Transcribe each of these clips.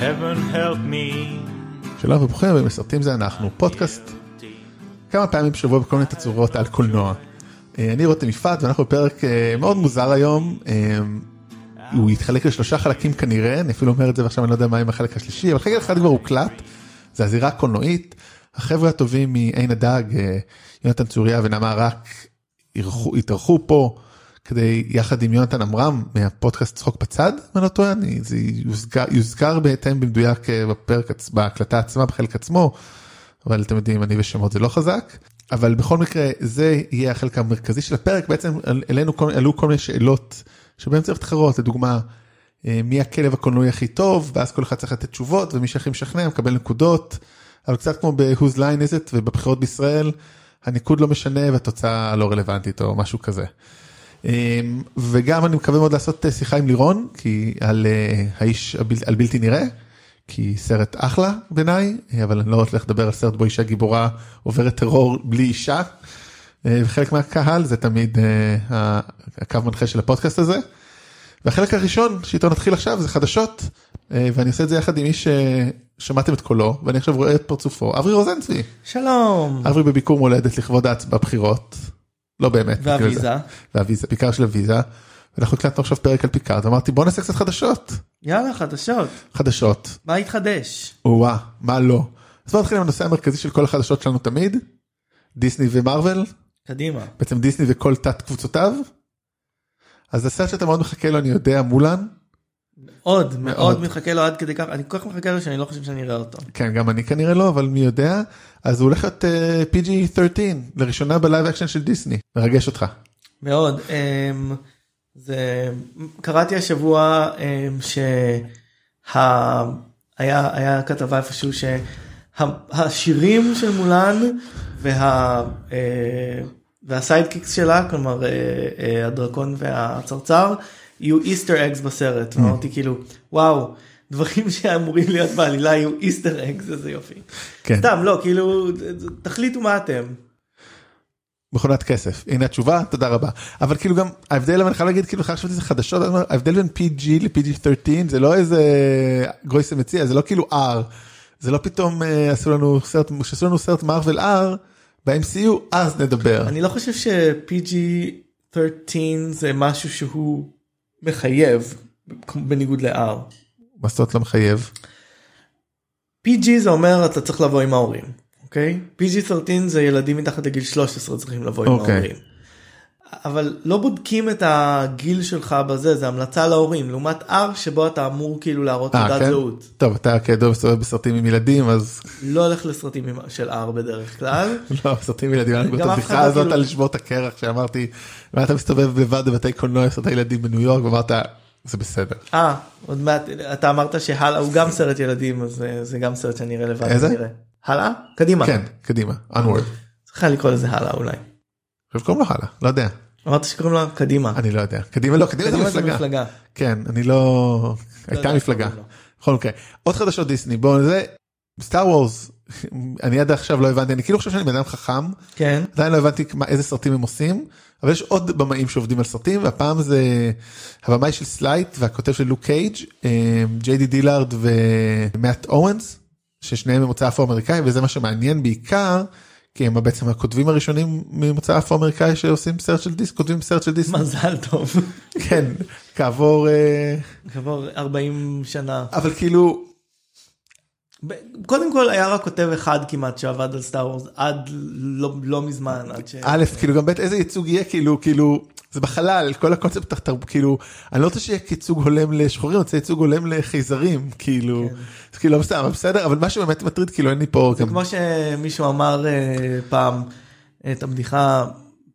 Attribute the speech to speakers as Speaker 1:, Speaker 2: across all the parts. Speaker 1: heaven help me.
Speaker 2: שלום וברוכים במסרטים זה אנחנו, פודקאסט כמה פעמים בשבוע בכל מיני תצורות על קולנוע. אה, אני רותם יפעת ואנחנו בפרק אה, מאוד מוזר היום. אה, הוא יתחלק לשלושה חלקים כנראה, אני אפילו אומר את זה ועכשיו אני לא יודע מה עם החלק השלישי, אבל חלק אחד כבר הוקלט, זה הזירה הקולנועית. החבר'ה הטובים מעין הדג, אה, יונתן צוריה ונעמה רק, אירחו- התארחו פה כדי יחד עם יונתן עמרם מהפודקאסט צחוק בצד, אם אני לא טועה, אני, זה יוזכר, יוזכר בהתאם במדויק אה, בפרק, עצ- בהקלטה עצמה, בחלק עצמו, אבל אתם יודעים, אני ושמות זה לא חזק. אבל בכל מקרה זה יהיה החלק המרכזי של הפרק בעצם על- אלינו כל, עלו כל מיני שאלות שבהן צריך להתחרות לדוגמה אה, מי הכלב הקולנועי הכי טוב ואז כל אחד צריך לתת תשובות ומי שהכי משכנע מקבל נקודות. אבל קצת כמו ב-Whose Line is it ובבחירות בישראל הניקוד לא משנה והתוצאה לא רלוונטית או משהו כזה. אה, וגם אני מקווה מאוד לעשות אה, שיחה עם לירון כי על אה, האיש הבל, על בלתי נראה. כי סרט אחלה בעיניי אה, אבל אני לא הולך לדבר על סרט בו אישה גיבורה עוברת טרור בלי אישה. אה, וחלק מהקהל זה תמיד אה, ה- הקו מנחה של הפודקאסט הזה. והחלק הראשון שאיתו נתחיל עכשיו זה חדשות אה, ואני עושה את זה יחד עם איש ששמעתם את קולו ואני עכשיו רואה את פרצופו אברי רוזנצבי
Speaker 3: שלום.
Speaker 2: אברי בביקור מולדת לכבוד ההצבעה בבחירות. לא באמת. בגלל זה.
Speaker 3: והוויזה.
Speaker 2: והוויזה בעיקר של הוויזה. אנחנו הקלטנו עכשיו פרק על פיקארד אמרתי בוא נעשה קצת חדשות
Speaker 3: יאללה חדשות.
Speaker 2: חדשות
Speaker 3: מה התחדש?
Speaker 2: או-אה, מה לא. אז בוא נתחיל עם הנושא המרכזי של כל החדשות שלנו תמיד. דיסני ומרוויל,
Speaker 3: קדימה.
Speaker 2: בעצם דיסני וכל תת קבוצותיו. אז הסרט שאתה מאוד מחכה לו אני יודע מולן,
Speaker 3: עוד מאוד
Speaker 2: מאוד.
Speaker 3: מחכה לו עד כדי כך אני כל כך מחכה לו שאני לא חושב שאני אראה אותו.
Speaker 2: כן גם אני כנראה לא אבל מי יודע, אז הוא הולך להיות אה, PG-13 לראשונה בלייב אקשן של דיסני, מרגש אותך.
Speaker 3: מאוד. אמ, זה קראתי השבוע אמ, שה... היה, היה כתבה איפשהו שהשירים של מולן וה, אה, והסיידקיקס שלה כלומר אה, אה, הדרקון והצרצר יהיו איסטר אגס בסרט ואמרתי כאילו וואו דברים שאמורים להיות בעלילה יהיו איסטר אגס איזה יופי.
Speaker 2: כן.
Speaker 3: סתם לא כאילו תחליטו מה אתם.
Speaker 2: מכונת כסף הנה התשובה תודה רבה אבל כאילו גם ההבדל אבל אני חייב להגיד כאילו חשבתי זה חדשות אבל ההבדל בין PG ל-PG13 זה לא איזה גויסה מציע זה לא כאילו R זה לא פתאום אה, עשו לנו סרט שעשו לנו סרט מרוויל R ב-MCU אז נדבר
Speaker 3: אני לא חושב ש-PG-13 זה משהו שהוא מחייב בניגוד ל-R.
Speaker 2: מסות לא מחייב
Speaker 3: PG זה אומר אתה צריך לבוא עם ההורים, אוקיי? PG-13 זה ילדים מתחת לגיל 13 צריכים לבוא עם
Speaker 2: אוקיי.
Speaker 3: ההורים. אבל לא בודקים את הגיל שלך בזה, זה המלצה להורים, לעומת R שבו אתה אמור כאילו להראות
Speaker 2: אה,
Speaker 3: תעודת
Speaker 2: כן?
Speaker 3: זהות.
Speaker 2: טוב אתה כידוע מסתובב בסרטים עם ילדים אז
Speaker 3: לא הולך לסרטים עם- של R בדרך כלל.
Speaker 2: לא סרטים עם ילדים אני
Speaker 3: גם
Speaker 2: את
Speaker 3: אף אחד
Speaker 2: הבדיחה
Speaker 3: לא
Speaker 2: הזאת
Speaker 3: כאילו-
Speaker 2: על לשבור את הקרח שאמרתי "מה אתה מסתובב לבד בבתי קולנוע סרטי ילדים בניו יורק ואמרת זה בסדר
Speaker 3: אה, עוד מעט, אתה אמרת שהלאה הוא גם סרט ילדים, אז אה, זה גם סרט שאני אראה לבד.
Speaker 2: איזה?
Speaker 3: כנראה. הלאה? קדימה.
Speaker 2: כן קדימה onward.
Speaker 3: צריכה לקרוא לזה הלאה אולי.
Speaker 2: עכשיו קוראים לו הלאה לא יודע.
Speaker 3: אמרת שקוראים לה קדימה.
Speaker 2: אני לא יודע. קדימה לא, קדימה זה מפלגה.
Speaker 3: מפלגה.
Speaker 2: כן, אני לא... הייתה
Speaker 3: יודע,
Speaker 2: מפלגה.
Speaker 3: לא.
Speaker 2: בכל מקרה. עוד חדשות דיסני, בואו זה... סטאר וורס, אני עד עכשיו לא הבנתי, אני כאילו חושב שאני בן אדם חכם,
Speaker 3: כן.
Speaker 2: עדיין לא הבנתי מה- איזה סרטים הם עושים, אבל יש עוד במאים שעובדים על סרטים, והפעם זה הבמאי של סלייט והכותב של לוק קייג', אה, ג'יי די דילארד ומאט אורנס, ששניהם ממוצא אפרו-אמריקאי, וזה מה שמעניין בעיקר. כי הם בעצם הכותבים הראשונים ממוצא אפרו-אמריקאי שעושים סרט של דיסק, כותבים סרט של דיסק.
Speaker 3: מזל טוב.
Speaker 2: כן, כעבור, אה,
Speaker 3: כעבור 40 שנה.
Speaker 2: אבל כאילו,
Speaker 3: ב- קודם כל היה רק כותב אחד כמעט שעבד על סטאר וורס עד לא- לא מזמן. עד ש-
Speaker 2: א', כאילו גם ב', איזה ייצוג יהיה, כאילו, כאילו, זה בחלל, כל הקונספט התרבות, כאילו, אני לא רוצה שיהיה ייצוג הולם לשחורים, אני רוצה ייצוג הולם לחייזרים, כאילו, זה כאילו, לא בסדר, אבל בסדר, אבל מה שבאמת מטריד, כאילו, אין לי פה, גם-
Speaker 3: כמו שמישהו אמר אה, פעם את הבדיחה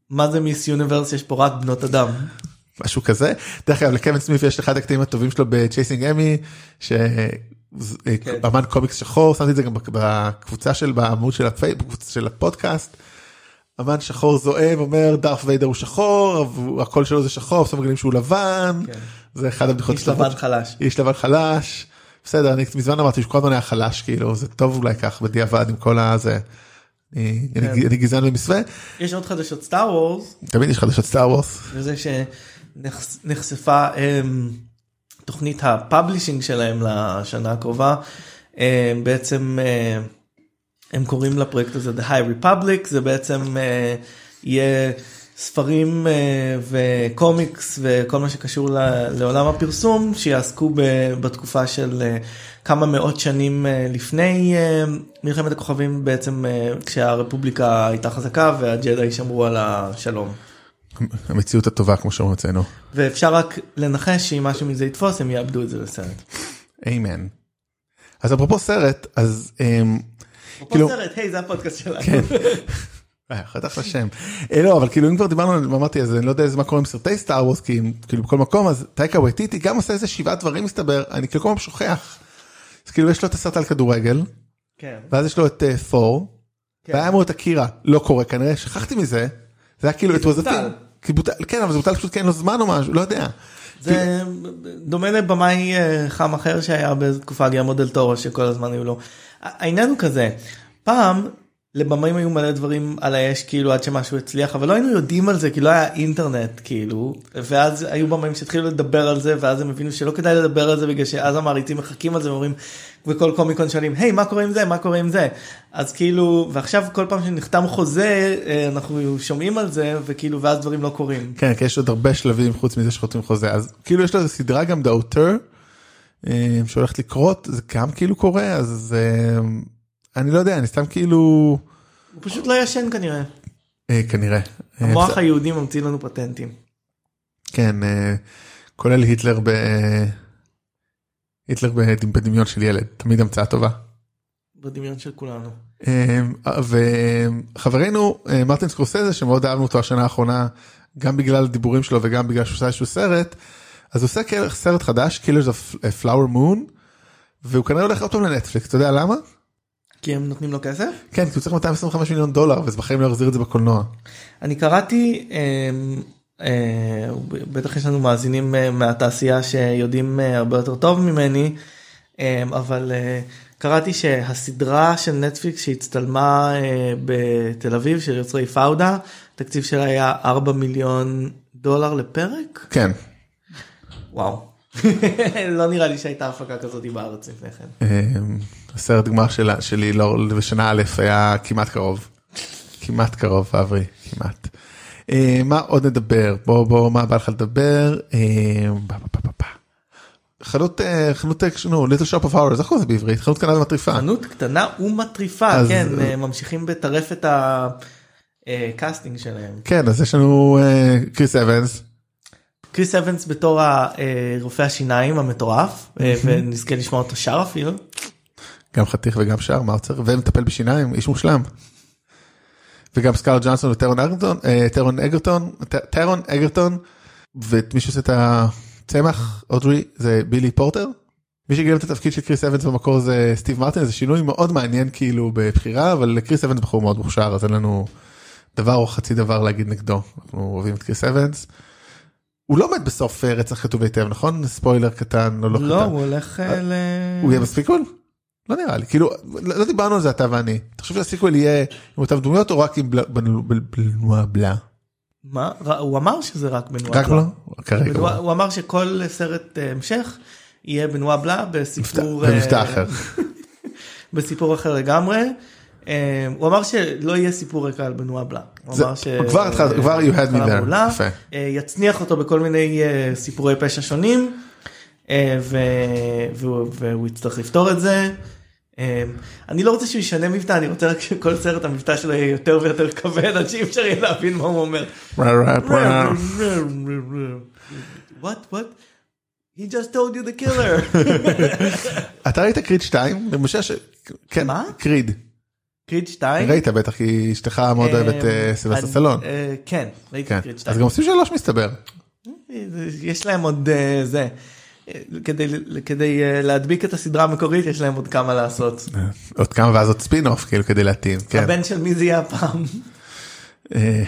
Speaker 3: מה זה מיס יוניברס יש פה רק בנות אדם.
Speaker 2: משהו כזה. דרך אגב לקווין סמיף יש אחד הקטעים הטובים שלו בצ'ייסינג אמי
Speaker 3: כן.
Speaker 2: שאמן קומיקס שחור שמתי את זה גם בק- בקבוצה של בעמוד של, הפי... בקבוצה של הפודקאסט. אמן שחור זועם אומר דארף ויידר הוא שחור אבל הקול שלו זה שחור בסוף מגלים שהוא לבן
Speaker 3: כן.
Speaker 2: זה אחד הבדיחות
Speaker 3: איש
Speaker 2: הטובות.
Speaker 3: לבן חלש.
Speaker 2: איש לבן חלש. בסדר אני מזמן אמרתי שהוא כל הזמן היה חלש כאילו זה טוב אולי כך בדיעבד עם כל הזה. אני,
Speaker 3: כן.
Speaker 2: אני, אני גזען במסווה
Speaker 3: יש עוד חדשות סטאר וורס
Speaker 2: תמיד יש חדשות סטאר וורס
Speaker 3: וזה שנחשפה אמ, תוכנית הפאבלישינג שלהם לשנה הקרובה. אה, בעצם אה, הם קוראים לפרויקט הזה The High Republic, זה בעצם אה, יהיה ספרים אה, וקומיקס וכל מה שקשור ל- לעולם הפרסום שיעסקו ב- בתקופה של אה, כמה מאות שנים אה, לפני אה, מלחמת הכוכבים בעצם אה, כשהרפובליקה הייתה חזקה והג'די שמרו על השלום.
Speaker 2: המציאות הטובה כמו שאומרים אצלנו.
Speaker 3: ואפשר רק לנחש שאם משהו מזה יתפוס הם יאבדו את זה לסרט.
Speaker 2: איימן. אז אפרופו סרט אז אמ, כאילו- כן.
Speaker 3: פה סרט, היי זה הפודקאסט שלנו.
Speaker 2: אה, חתך לשם. אה, לא אבל כאילו אם כבר דיברנו על- אמרתי אז אני לא יודע איזה מה קורה עם סרטי סטאר וורס כי הם כאילו בכל מקום אז טייקה וייטיטי גם עושה איזה שבעה דברים מסתבר אני כאילו כל פעם שוכח. אז כאילו יש לו את הסרט על כדורגל
Speaker 3: כן.
Speaker 2: ואז יש לו את אה, פור.
Speaker 3: כן.
Speaker 2: והיה אמור את הקירה לא קורה כנראה שכחתי מזה. זה היה כאילו it was a
Speaker 3: בוטל.
Speaker 2: thing. כי בוטל, כן אבל זה בוטל פשוט כי אין לו זמן או משהו לא יודע.
Speaker 3: זה דומה לבמאי אה, חם אחר שהיה באיזו תקופה גרמו דל תורו שכל הזמן היו לו. העניין הוא כזה, פעם לבמאים היו מלא דברים על האש כאילו עד שמשהו הצליח אבל לא היינו יודעים על זה כי לא היה אינטרנט כאילו ואז היו במאים שהתחילו לדבר על זה ואז הם הבינו שלא כדאי לדבר על זה בגלל שאז המעריצים מחכים על זה ואומרים וכל קומיקון שואלים היי מה קורה עם זה מה קורה עם זה אז כאילו ועכשיו כל פעם שנחתם חוזה אה, אנחנו שומעים על זה וכאילו ואז דברים לא קורים.
Speaker 2: כן, כי יש עוד הרבה שלבים חוץ מזה שחותמים חוזה, אז כאילו יש לו איזה סדרה גם The Outer, אה, שהולכת לקרות, זה גם כאילו קורה, אז אה, אני לא יודע, אני סתם כאילו,
Speaker 3: הוא פשוט לא ישן כנראה.
Speaker 2: אה, כנראה. אה,
Speaker 3: המוח
Speaker 2: בסדר,
Speaker 3: היהודי ממציא לנו פטנטים.
Speaker 2: כן, אה, כולל היטלר ב... אה, היטלר בד- בדמיון של ילד, תמיד המצאה טובה.
Speaker 3: בדמיון של כולנו.
Speaker 2: אה, וחברנו אה, מרטין סקורסזה שמאוד אהבנו אותו השנה האחרונה גם בגלל הדיבורים שלו וגם בגלל שהוא עושה איזשהו סרט אז הוא עושה כל- סרט חדש Killers of אה, Flower Moon והוא כנראה הולך עוד פעם לנטפליקס אתה יודע למה?
Speaker 3: כי הם נותנים לו כסף?
Speaker 2: כן כי הוא צריך 225 מיליון דולר ואז בחיים לא יחזיר את זה בקולנוע.
Speaker 3: אני קראתי, אה, אה, בטח יש לנו מאזינים אה, מהתעשייה שיודעים אה, הרבה יותר טוב ממני, אה, אבל אה, קראתי שהסדרה של נטפליקס שהצטלמה אה, בתל אביב של יוצרי פאודה, התקציב שלה היה 4 מיליון דולר לפרק?
Speaker 2: כן.
Speaker 3: וואו. לא נראה לי שהייתה הפקה כזאת בארץ לפני כן.
Speaker 2: אה, הסרט גמר שלה, שלי לא, בשנה א' היה כמעט קרוב. כמעט קרוב אברי כמעט. אה, מה עוד נדבר בוא בוא מה בא לך לדבר. אה, בא, בא, בא, בא, בא. חנות אה, חנות אה, נו ליטל שופ אוף האורז איך קוראים לזה בעברית חנות קטנה ומטריפה.
Speaker 3: חנות קטנה ומטריפה,
Speaker 2: אז-
Speaker 3: כן, אה, ממשיכים בטרפת הקאסטינג אה, שלהם.
Speaker 2: כן אז יש לנו אה, קריס אבנס
Speaker 3: קריס אבנס בתור הרופא השיניים המטורף, אה, ונזכה לשמוע אותו שר אפילו.
Speaker 2: לא גם חתיך וגם שער מרצר ומטפל בשיניים איש מושלם. וגם סקארל ג'ונסון וטרון אגרטון אה, טרון אגרטון ט- טרון אגרטון ואת מי שעושה את הצמח אודרי זה בילי פורטר. מי שגילה את התפקיד של קריס אבנס במקור זה סטיב מרטין זה שינוי מאוד מעניין כאילו בבחירה אבל קריס אבנס בחור מאוד מוכשר אז אין לנו דבר או חצי דבר להגיד נגדו אנחנו אוהבים את קריס אבנס. הוא לא מת בסוף אה, רצח כתוב היטב נכון ספוילר קטן או לא קטן.
Speaker 3: לא, הוא הולך אה, ל...
Speaker 2: הוא יהיה בסיקוול? לא נראה לי, כאילו, לא, לא דיברנו על זה אתה ואני. אתה חושב שהסיקוול יהיה עם אותן דמויות או רק עם בלה- בלה- בלה- בלה- בלה?
Speaker 3: מה? ר- הוא אמר שזה רק בנועה
Speaker 2: רק
Speaker 3: בלה.
Speaker 2: לא? כרגע.
Speaker 3: בנועה-
Speaker 2: לא.
Speaker 3: הוא אמר שכל סרט אה, המשך יהיה בנועה בלה
Speaker 2: מבטא-
Speaker 3: בסיפור... אה,
Speaker 2: במבטא אחר.
Speaker 3: בסיפור אחר לגמרי. אה, הוא אמר שלא יהיה סיפור רקע על בנועה בלה. הוא
Speaker 2: זה-
Speaker 3: אמר ש...
Speaker 2: כבר התחלת- כבר you had me
Speaker 3: התחלה
Speaker 2: there.
Speaker 3: מעולה.
Speaker 2: יפה.
Speaker 3: אה, יצניח אותו בכל מיני אה, סיפורי פשע שונים, אה, ו- והוא והוא יצטרך לפתור את זה. אה, אני לא רוצה שהוא ישנה מבטא, אני רוצה רק שכל סרט המבטא שלו יהיה יותר ויותר כבד, עד שאי אפשר יהיה להבין מה הוא אומר. What? What? He just told you the killer.
Speaker 2: אתה ראית קריד 2? למשה ש... כן.
Speaker 3: מה?
Speaker 2: קריד.
Speaker 3: קריד 2.
Speaker 2: ראית בטח כי אשתך מאוד אוהבת אה, סילבסטר סלון.
Speaker 3: כן, ראיתי
Speaker 2: כן.
Speaker 3: את קריד 2.
Speaker 2: אז גם עושים שלוש מסתבר.
Speaker 3: יש להם עוד אה, זה. אה, כדי, כדי אה, להדביק את הסדרה המקורית יש להם עוד כמה לעשות.
Speaker 2: עוד כמה ואז עוד ספין אוף כאילו כדי להתאים. כן.
Speaker 3: הבן של מי זה יהיה הפעם?
Speaker 2: אה,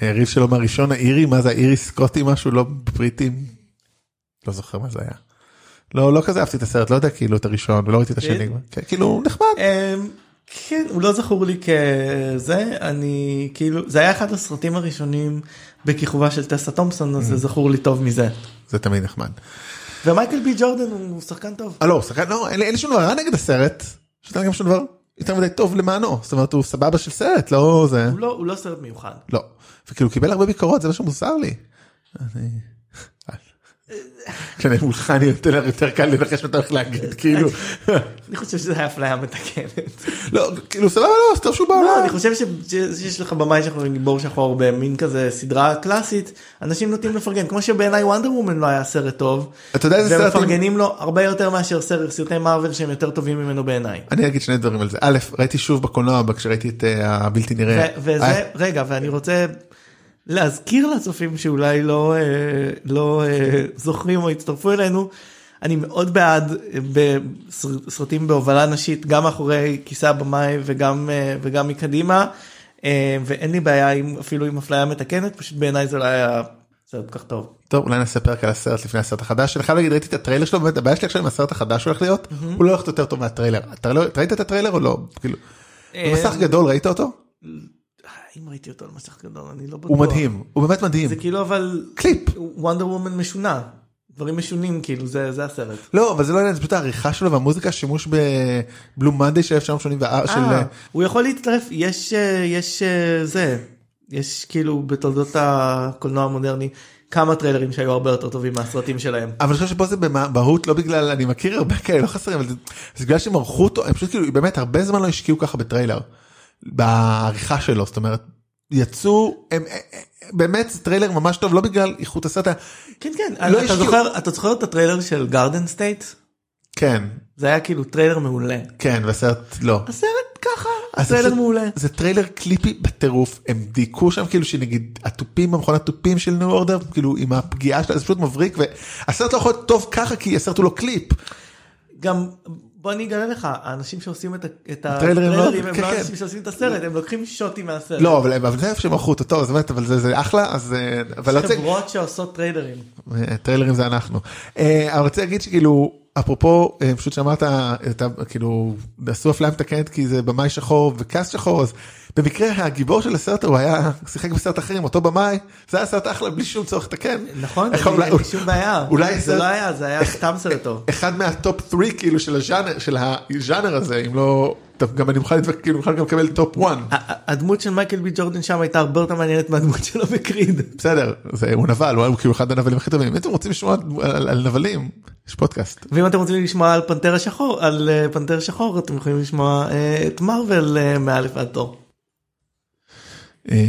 Speaker 2: היריב שלו מהראשון האירי מה זה האירי סקוטי משהו לא בריטים. לא זוכר מה זה היה. לא לא כזה אהבתי את הסרט לא יודע כאילו את הראשון ולא ראיתי את השני
Speaker 3: כן?
Speaker 2: כן, כאילו נחמד
Speaker 3: אמ, כן, הוא לא זכור לי כזה, אני כאילו, זה היה אחד הסרטים הראשונים בכיכובה של טסה תומפסון, אז זה זכור לי טוב מזה.
Speaker 2: זה תמיד נחמד.
Speaker 3: ומייקל בי ג'ורדן הוא שחקן טוב.
Speaker 2: אה, לא, הוא שחקן, לא, אין לי- אין לי שום דבר רע נגד הסרט, פשוט אין לי גם שום דבר יותר מדי טוב למענו, זאת אומרת הוא סבבה של סרט, לא זה,
Speaker 3: הוא לא- הוא לא סרט מיוחד.
Speaker 2: לא, וכאילו הוא קיבל הרבה ביקורות, זה מה שמוזר לי. אני- אה, כשאני מולך אני נותן לך יותר קל לנחש מה אתה הולך להגיד, כאילו,
Speaker 3: אני חושב שזה היה אפליה מתקנת.
Speaker 2: לא, כאילו סבבה, לא, זה טוב שהוא
Speaker 3: לא,
Speaker 2: בעולם.
Speaker 3: אני חושב ש- ש- שיש לך במאי שאנחנו קוראים גיבור שחור במין כזה סדרה קלאסית, אנשים נוטים לפרגן, כמו שבעיניי וונדר וומן לא היה סרט טוב.
Speaker 2: אתה יודע איזה סרט-
Speaker 3: ומפרגנים לו הרבה יותר מאשר סרט, סרטי מארוול שהם יותר טובים ממנו בעיניי.
Speaker 2: אני אגיד שני דברים על זה, א', ראיתי שוב בקולנוע כשראיתי את אה, הבלתי נראה. אה,
Speaker 3: ו- וזה, רגע, ואני רוצה להזכיר לצופים שאולי לא, אה, לא אה, זוכרים או הצטרפו אלינו, אני מאוד בעד אה, בסרטים בהובלה נשית, גם מאחורי כיסא הבמאי וגם, אה, וגם מקדימה, אה, ואין לי בעיה עם, אפילו עם אפליה מתקנת, פשוט בעיניי זה לא היה סרט כל כך טוב.
Speaker 2: טוב אולי נעשה פרק על הסרט לפני הסרט החדש אני חייב להגיד ראיתי את הטריילר שלו באמת הבעיה שלי עכשיו עם הסרט החדש שהולך להיות הוא לא הולך יותר טוב מהטריילר אתה לא- אתה ראית את הטריילר או לא כאילו
Speaker 3: אה,
Speaker 2: במסך גדול ראית אותו
Speaker 3: אם ראיתי אותו על מסך גדול, אני לא בטוח.
Speaker 2: הוא מדהים הוא באמת מדהים
Speaker 3: זה כאילו אבל...
Speaker 2: קליפ.
Speaker 3: וונדר וומן משונה. דברים משונים כאילו זה זה הסרט.
Speaker 2: לא אבל זה לא עניין זה פשוט העריכה שלו והמוזיקה שימוש בבלו מנדי של 1984 של
Speaker 3: אה,
Speaker 2: אה,
Speaker 3: הוא יכול להצטרף יש אה, יש אה, זה יש כאילו בתולדות הקולנוע המודרני כמה טריילרים שהיו הרבה יותר טובים מהסרטים שלהם.
Speaker 2: אבל אני חושב שפה זה במהות לא בגלל אני מכיר הרבה כאלה לא חסרים אבל זה, זה בגלל שהם ערכו אותו הם פשוט כאילו באמת הרבה זמן לא השקיעו ככה בטריילר. בעריכה שלו זאת אומרת יצאו הם אה, אה, באמת זה טריילר ממש טוב לא בגלל איכות הסרט. ה-
Speaker 3: כן כן
Speaker 2: לא
Speaker 3: אתה
Speaker 2: השקיעו.
Speaker 3: זוכר אתה זוכר את הטריילר של גארדן סטייט
Speaker 2: כן
Speaker 3: זה היה כאילו טריילר מעולה. אה,
Speaker 2: כן והסרט לא
Speaker 3: הסרט ככה
Speaker 2: אז
Speaker 3: הטריילר
Speaker 2: זה-
Speaker 3: מעולה.
Speaker 2: זה טריילר קליפי בטירוף הם דיכאו שם כאילו שנגיד התופים במכונת תופים של ניו אורדר כאילו עם הפגיעה שלה זה פשוט מבריק והסרט לא יכול להיות טוב ככה כי הסרט הוא לא קליפ
Speaker 3: גם בוא אני אגלה לך האנשים שעושים את ה- את
Speaker 2: הטריילרים לא-
Speaker 3: הטריילרים הם
Speaker 2: כן,
Speaker 3: לא
Speaker 2: כן.
Speaker 3: אנשים שעושים את הסרט הם לוקחים שוטים מהסרט.
Speaker 2: לא אבל אבל זה איפה שהם ערכו אותו טוב אז באמת אבל זה זה אחלה אז אה, אבל לא צריך
Speaker 3: חברות שעושות טריילרים.
Speaker 2: אה, טריילרים זה אנחנו אה, אבל רוצה להגיד שכאילו אפרופו אה, פשוט שאמרת אתה כאילו עשו אפליה מתקנת כי זה במאי שחור וקאסט שחור אז במקרה הגיבור של הסרט הוא היה שיחק בסרט אחר עם אותו במאי זה היה סרט אחלה בלי שום צורך לתקן.
Speaker 3: נכון,
Speaker 2: איך
Speaker 3: אין לי-
Speaker 2: אולי-
Speaker 3: אין לי שום בעיה,
Speaker 2: אולי
Speaker 3: זה
Speaker 2: סרט-
Speaker 3: לא היה, זה היה סתם סרט טוב.
Speaker 2: אחד מהטופ 3 כאילו של הז'אנר של הז'אנר הזה אם לא טוב, גם אני מוכן להתווכח כאילו מוכן גם לקבל טופ 1
Speaker 3: ה- הדמות של מייקל בי ג'ורדן שם הייתה הרבה יותר מעניינת מהדמות שלו בקריד.
Speaker 2: בסדר זה הוא נבל הוא היה כאילו אחד הנבלים הכי טובים אם אתם רוצים לשמוע על, על נבלים יש פודקאסט
Speaker 3: ואם אתם רוצים לשמוע על פנתר שחור, על אה, פנתר שחור, אתם יכולים לשמוע אה, את מארוול אה, מאלף עד תור.
Speaker 2: אה,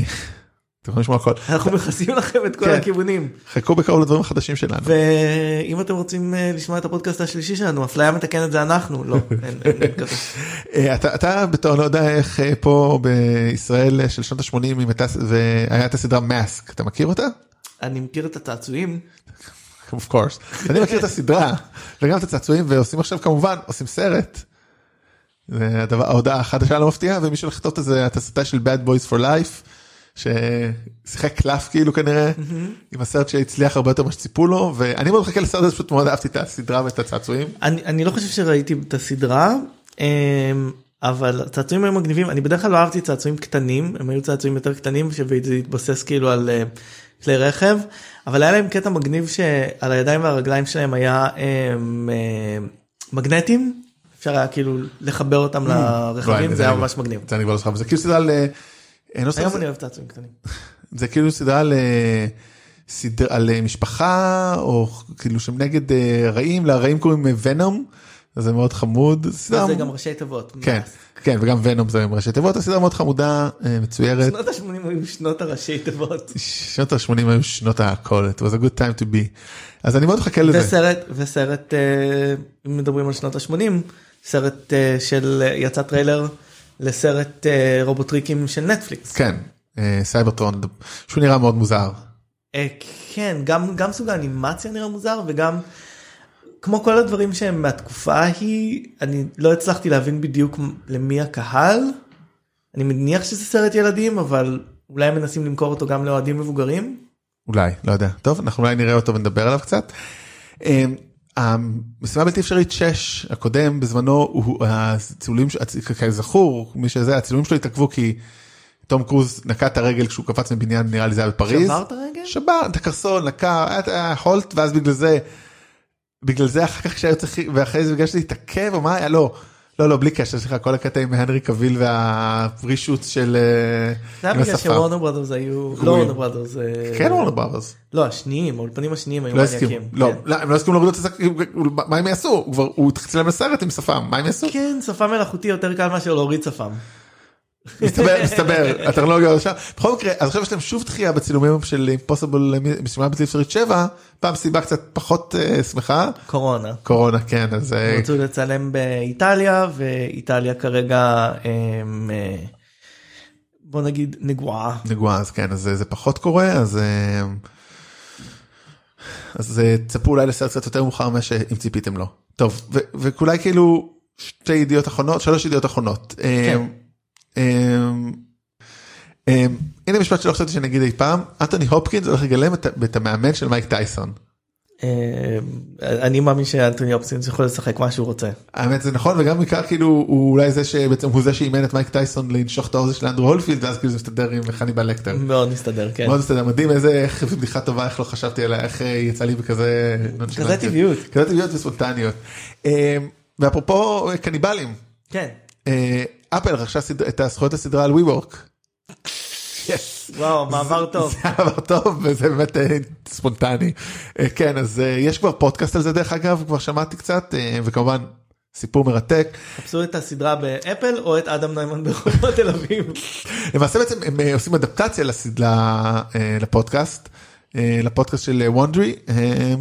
Speaker 2: אתם יכולים לשמוע הכל
Speaker 3: אנחנו מכסים לכם את כל
Speaker 2: כן.
Speaker 3: הכיוונים.
Speaker 2: חכו בקרוב לדברים החדשים שלנו
Speaker 3: ואם אתם רוצים אה, לשמוע את הפודקאסט השלישי שלנו, אפליה מתקנת זה אנחנו, לא, אין אין- אין כזה.
Speaker 2: אה, אתה, אתה בתור לא יודע איך אה, פה בישראל אה, של שנות ה-80 אם הייתה ס- והיה את הסדרה מאסק אתה מכיר אותה?
Speaker 3: אני מכיר את הצעצועים,
Speaker 2: of course. אני מכיר את הסדרה וגם את הצעצועים ועושים עכשיו כמובן עושים סרט. זה הדבר- ההודעה החדשה לא מפתיעה ומי שהולך לכתוב את זה התסריטה של bad boys for life ששיחק קלף כאילו כנראה עם הסרט שהצליח הרבה יותר ממה שציפו לו ואני מאוד מחכה לסרט הזה פשוט מאוד אהבתי את הסדרה ואת הצעצועים.
Speaker 3: אני, אני לא חושב שראיתי את הסדרה אמ, אבל הצעצועים היו מגניבים אני בדרך כלל לא אהבתי צעצועים קטנים הם היו צעצועים יותר קטנים שזה התבסס כאילו על אה, כלי רכב אבל היה להם קטע מגניב שעל הידיים והרגליים שלהם היה אמ, אמ, מגנטים אפשר היה כאילו לחבר אותם
Speaker 2: וואי,
Speaker 3: לרכבים
Speaker 2: אני-
Speaker 3: זה היה
Speaker 2: אני-
Speaker 3: ממש מגניב.
Speaker 2: נכון, זה אני כבר לא זוכר אבל זה כאילו סדרה על, אה, אין
Speaker 3: היום
Speaker 2: לו סרט-
Speaker 3: אני אוהב צעצועים קטנים.
Speaker 2: זה כאילו סדרה על, אה, סדר, על אה, משפחה או כאילו שהם נגד אה, רעים לרעים קוראים ונום. זה מאוד חמוד. סדרה-
Speaker 3: זה גם ראשי תיבות.
Speaker 2: כן, כן, וגם ונום זה עם ראשי תיבות, הסדרה מאוד חמודה, אה, מצוירת.
Speaker 3: שנות ה-80 היו שנות הראשי תיבות.
Speaker 2: שנות ה-80 היו שנות הכל, it was a good time to be. אז אני מאוד מחכה לזה.
Speaker 3: וסרט, וסרט, אה, אם מדברים על שנות ה-80, סרט אה, של, אה, יצא טריילר לסרט אה, רובוטריקים של נטפליקס.
Speaker 2: כן, אה, סייברטרון, שהוא נראה מאוד מוזר.
Speaker 3: אה, כן, גם, גם סוג האנימציה נראה מוזר וגם, כמו כל הדברים שהם מהתקופה ההיא, אני לא הצלחתי להבין בדיוק מ- למי הקהל. אני מניח שזה סרט ילדים, אבל אולי הם מנסים למכור אותו גם לאוהדים מבוגרים.
Speaker 2: אולי, לא יודע. טוב, אנחנו אולי נראה אותו ונדבר עליו קצת. אה, המשימה בלתי אפשרית 6 הקודם בזמנו הוא הצילומים ש- הצ- כזכור מי שזה הצילומים שלו התעכבו כי תום קרוז נקע את הרגל כשהוא קפץ מבניין נראה לי זה היה בפריז.
Speaker 3: שבר את הרגל?
Speaker 2: שבר את הקרסון נקע היה- היה הולט ואז בגלל זה בגלל זה אחר כך שהיה צריך, ואחרי זה בגלל שזה התעכב או מה היה, לא, לא, לא, בלי קשר, סליחה, כל הקטע עם הנרי קביל והפרישוץ של... אה,
Speaker 3: זה היה
Speaker 2: עם
Speaker 3: בגלל
Speaker 2: השפה.
Speaker 3: שוורנר ברודרס היו, לא
Speaker 2: גרועים.
Speaker 3: וורנר ברודרס, אה,
Speaker 2: כן, וורנר בראברס.
Speaker 3: לא השניים, האולפנים השניים היו
Speaker 2: לא הסכימו,
Speaker 3: מניאקים,
Speaker 2: לא,
Speaker 3: כן.
Speaker 2: לא, הם לא הסכימו להוריד את השק, מה הם יעשו? הוא כבר, הוא התחיל להם לסרט עם שפם, מה הם יעשו?
Speaker 3: כן, שפם מלאכותי יותר קל מאשר להוריד שפם.
Speaker 2: מסתבר, מסתבר, הטכנולוגיה עכשיו. בכל מקרה, אז עכשיו יש להם שוב דחייה בצילומים של אימפוסיבל, משימה בלתי אפשרית 7, פעם סיבה קצת פחות אה, שמחה,
Speaker 3: קורונה.
Speaker 2: קורונה, כן, אז אה,
Speaker 3: רצו לצלם באיטליה ואיטליה כרגע אמ, אה, בוא נגיד נגועה.
Speaker 2: נגועה, אז כן, אז אה, זה פחות קורה, אז... אה, אז אה, תצפו אולי לסרט קצת יותר מאוחר ממה שאם ציפיתם לו. טוב, ו- וכולי כאילו שתי ידיעות אחרונות, שלוש ידיעות אחרונות. אה,
Speaker 3: כן.
Speaker 2: אה, אה, הנה משפט שלא חשבתי שנגיד אי פעם, אנטוני הופקינס הולך לגלם את ה- את המאמן של מייק טייסון.
Speaker 3: אמ, אני מאמין שאנטוני אופסינס יכול לשחק מה שהוא רוצה.
Speaker 2: האמת זה נכון וגם בעיקר כאילו הוא אולי זה שבעצם הוא זה שאימן את מייק טייסון לנשוך את האוזן של אנדרו הולפילד ואז כאילו זה מסתדר עם חניבל לקטר.
Speaker 3: מאוד מסתדר כן.
Speaker 2: מאוד מסתדר מדהים איזה איך- איזה בדיחה טובה איך לא חשבתי עליה איך אה, יצא לי בכזה לא
Speaker 3: כזה
Speaker 2: נונשלנטיות.
Speaker 3: טבעיות.
Speaker 2: כזה טבעיות וספונטניות. אה, ואפרופו אה, קניבלים
Speaker 3: כן.
Speaker 2: אה, אפל רכשה סד- את הזכויות לסדרה על ווי וורק.
Speaker 3: וואו מעבר טוב.
Speaker 2: זה עבר טוב וזה באמת אה, ספונטני. אה, כן אז אה, יש כבר פודקאסט על זה דרך אגב כבר שמעתי קצת אה, וכמובן סיפור מרתק.
Speaker 3: חפשו את הסדרה באפל או את אדם ניימן ברחובות תל אביב.
Speaker 2: למעשה בעצם הם אה, עושים אדפטציה לסד- ל- אה, לפודקאסט, אה, לפודקאסט של וונדרי,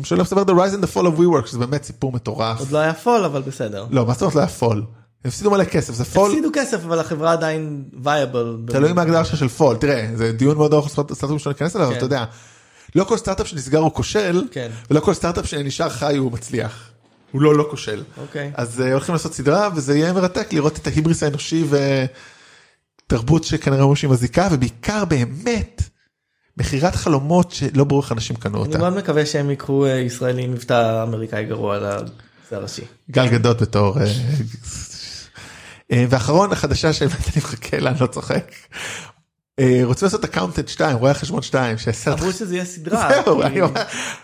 Speaker 2: שהולך לספר The Rise and the Fall of WeWork, שזה באמת סיפור מטורף.
Speaker 3: עוד לא היה פול אבל בסדר.
Speaker 2: לא, מה זאת אומרת לא היה פול? הפסידו מלא כסף, זה פול,
Speaker 3: הפסידו כסף אבל החברה עדיין וייבל.
Speaker 2: תלוי מה ההגדרה שלך של פול, תראה, זה דיון מאוד ארוך סטארט-אפ שלא ניכנס אליו, אבל
Speaker 3: כן.
Speaker 2: אתה יודע, לא כל סטארט-אפ שנסגר הוא כושל,
Speaker 3: כן.
Speaker 2: ולא כל סטארט-אפ שנשאר חי הוא מצליח. הוא לא לא כושל.
Speaker 3: אוקיי.
Speaker 2: אז אה, הולכים לעשות סדרה וזה יהיה מרתק לראות את ההיבריס האנושי ותרבות שכנראה אמרו שהיא מזיקה ובעיקר באמת מכירת חלומות שלא ברור איך אנשים קנו
Speaker 3: אני
Speaker 2: אותה.
Speaker 3: מאוד מקווה שהם יקחו אה, ישראלי עם מבטא אמריקאי גרוע על זה הראשי.
Speaker 2: גל גדות בתור. אה, אה, ואחרון החדשה שבאמת אני מחכה לה אני לא צוחק. אה, רוצים לעשות אקאונטנט 2 רואה חשבון 2 שהסרט.
Speaker 3: אמרו שזה יהיה סדרה.
Speaker 2: זהו, אני
Speaker 3: כי-
Speaker 2: ממש-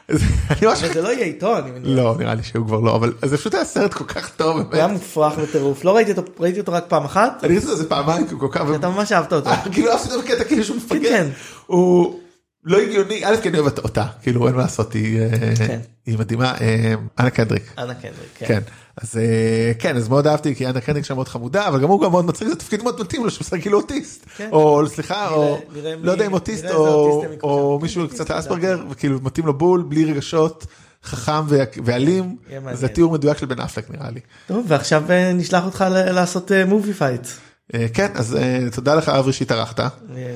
Speaker 2: זה- אני ממש
Speaker 3: אבל זה לא יהיה עיתון. אני מניח.
Speaker 2: לא נראה לי שהוא כבר לא אבל זה פשוט היה סרט כל כך טוב.
Speaker 3: הוא היה
Speaker 2: באמת.
Speaker 3: מופרך בטירוף. לא ראיתי אותו, ראיתי אותו רק פעם אחת.
Speaker 2: אני חושב שזה פעמיים כי הוא כל כך.
Speaker 3: אתה ממש אהבת אותו.
Speaker 2: כאילו אף אחד בקטע כאילו שהוא מפגר.
Speaker 3: כן.
Speaker 2: הוא לא הגיוני, א' כי אני אוהב אותה, כאילו אין מה לעשות, היא אה,
Speaker 3: כן.
Speaker 2: היא מדהימה, אה, אנה קנדריק.
Speaker 3: אנה קנדריק. כן.
Speaker 2: כן, אז אה, כן, אז מאוד אהבתי כי אנה קנדריק שם מאוד חמודה, אבל גם הוא גם מאוד מצחיק, זה תפקיד מאוד מתאים לו שהוא משחק כאילו אוטיסט,
Speaker 3: כן.
Speaker 2: או סליחה, או
Speaker 3: נראה מי-
Speaker 2: לא יודע אם אוטיסט,
Speaker 3: נראה איזה אוטיסט
Speaker 2: או
Speaker 3: הם ייקחו שם.
Speaker 2: או
Speaker 3: כן,
Speaker 2: מישהו קצת אספרגר, וכאילו מתאים לו בול, בלי רגשות, חכם ו- ואלים,
Speaker 3: יהיה מעניין.
Speaker 2: זה תיאור מדויק של בן אפלק נראה לי.
Speaker 3: טוב, ועכשיו אה, נשלח אותך ל- לעשות מובי פייט.
Speaker 2: אה, כן, אז אה, תודה לך אברי שהתארחת,
Speaker 3: אה,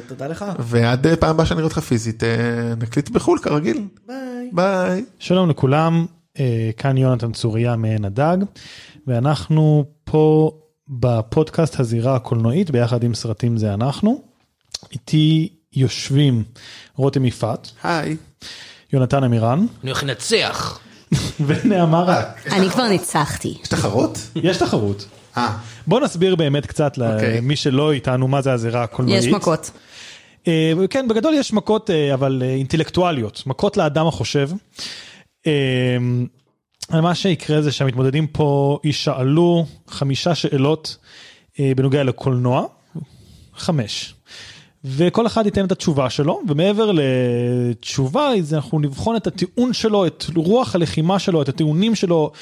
Speaker 3: תודה לך.
Speaker 2: ועד אה, פעם הבאה שאני אראה אותך פיזית, אה, נקליט בחו"ל כרגיל,
Speaker 3: ביי.
Speaker 2: ביי.
Speaker 4: שלום לכולם, אה, כאן יונתן צוריה מעין הדג, ואנחנו פה בפודקאסט הזירה הקולנועית ביחד עם סרטים זה אנחנו. איתי יושבים רותם יפעת,
Speaker 2: היי.
Speaker 4: יונתן עמירן
Speaker 5: אני הולך לנצח.
Speaker 4: ונעמה רק.
Speaker 6: אני כבר ניצחתי.
Speaker 2: יש תחרות?
Speaker 4: יש תחרות.
Speaker 2: אה.
Speaker 4: בוא נסביר באמת קצת
Speaker 2: אוקיי.
Speaker 4: למי שלא איתנו מה זה הזירה הקולנועית.
Speaker 6: יש מכות.
Speaker 4: אה, כן, בגדול יש מכות, אה, אבל אה, אינטלקטואליות, מכות לאדם החושב. אה, מה שיקרה זה שהמתמודדים פה יישאלו חמישה שאלות אה, בנוגע לקולנוע, חמש. וכל אחד ייתן את התשובה שלו, ומעבר לתשובה, אז אנחנו נבחון את הטיעון שלו, את רוח הלחימה שלו, את הטיעונים שלו,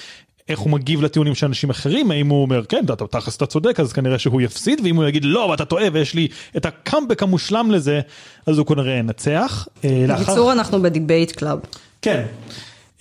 Speaker 4: איך הוא מגיב לטיעונים של אנשים אחרים, האם הוא אומר, כן, אתה תכלס אתה צודק, אז כנראה שהוא יפסיד, ואם הוא יגיד, לא, אבל אתה טועה, ויש לי את הקאמבק המושלם לזה, אז הוא כנראה ינצח. אה, לאחר-
Speaker 6: בקיצור, אנחנו בדיבייט קלאב.
Speaker 4: כן.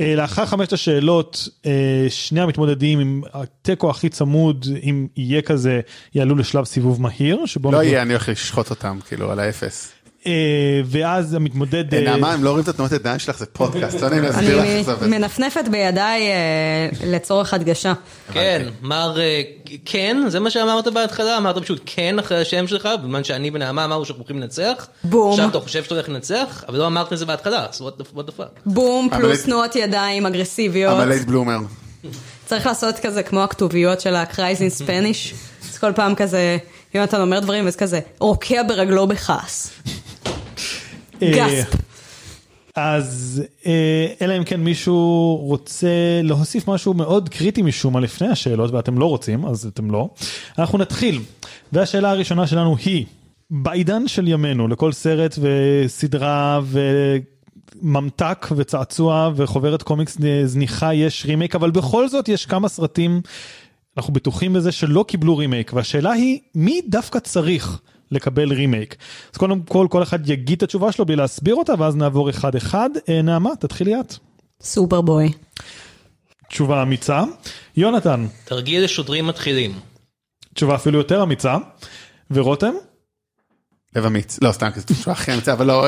Speaker 4: אה, לאחר חמשת השאלות, אה, שני המתמודדים עם התיקו הכי צמוד, אם יהיה כזה, יעלו לשלב סיבוב מהיר, שבו...
Speaker 7: לא
Speaker 4: אנחנו-
Speaker 7: יהיה, אני הולך לשחוט אותם, כאילו, על האפס.
Speaker 4: אה, ואז המתמודד... אה,
Speaker 7: נעמה, הם לא רואים את התנועות ידיים שלך, זה פודקאסט, לא נעים להסביר לך
Speaker 6: אני
Speaker 7: איך זה עובד.
Speaker 6: מנפנפת בידיי אה, לצורך הדגשה.
Speaker 5: כן, מר אה, כן, זה מה שאמרת בהתחלה, אמרת פשוט כן אחרי השם שלך, בזמן שאני ונעמה אמרנו שאנחנו הולכים לנצח.
Speaker 6: בום.
Speaker 5: עכשיו אתה חושב שאתה הולך לנצח, אבל לא אמרת את זה בהתחלה, אז what the- what the fuck.
Speaker 6: בום,
Speaker 7: אבל
Speaker 6: פלוס
Speaker 7: את-
Speaker 6: תנועות ידיים אגרסיביות.
Speaker 7: אבל לייט בלומר.
Speaker 6: צריך לעשות כזה כמו הכתוביות של ה-Cries in Spanish. אז כל פעם כזה, יונתן אומר דברים, אז כזה, רוקע ברגלו בכעס.
Speaker 4: אה,
Speaker 6: גספ.
Speaker 4: אז אה, אלא אם כן מישהו רוצה להוסיף משהו מאוד קריטי משום מה לפני השאלות ואתם לא רוצים אז אתם לא. אנחנו נתחיל והשאלה הראשונה שלנו היא בעידן של ימינו לכל סרט וסדרה וממתק וצעצוע וחוברת קומיקס אה, זניחה יש רימייק אבל בכל זאת יש כמה סרטים אנחנו בטוחים בזה שלא קיבלו רימייק והשאלה היא מי דווקא צריך לקבל רימייק. אז קודם כל כל אחד יגיד את התשובה שלו בלי להסביר אותה ואז נעבור אחד אחד. אה, נעמה תתחילי את.
Speaker 6: סופרבוי.
Speaker 4: תשובה אמיצה. יונתן
Speaker 5: תרגיל לשוטרים מתחילים.
Speaker 4: תשובה אפילו יותר אמיצה. ורותם?
Speaker 7: לב אמיץ. לא, סתם, כי זו תשובה הכי אמיצה, אבל לא...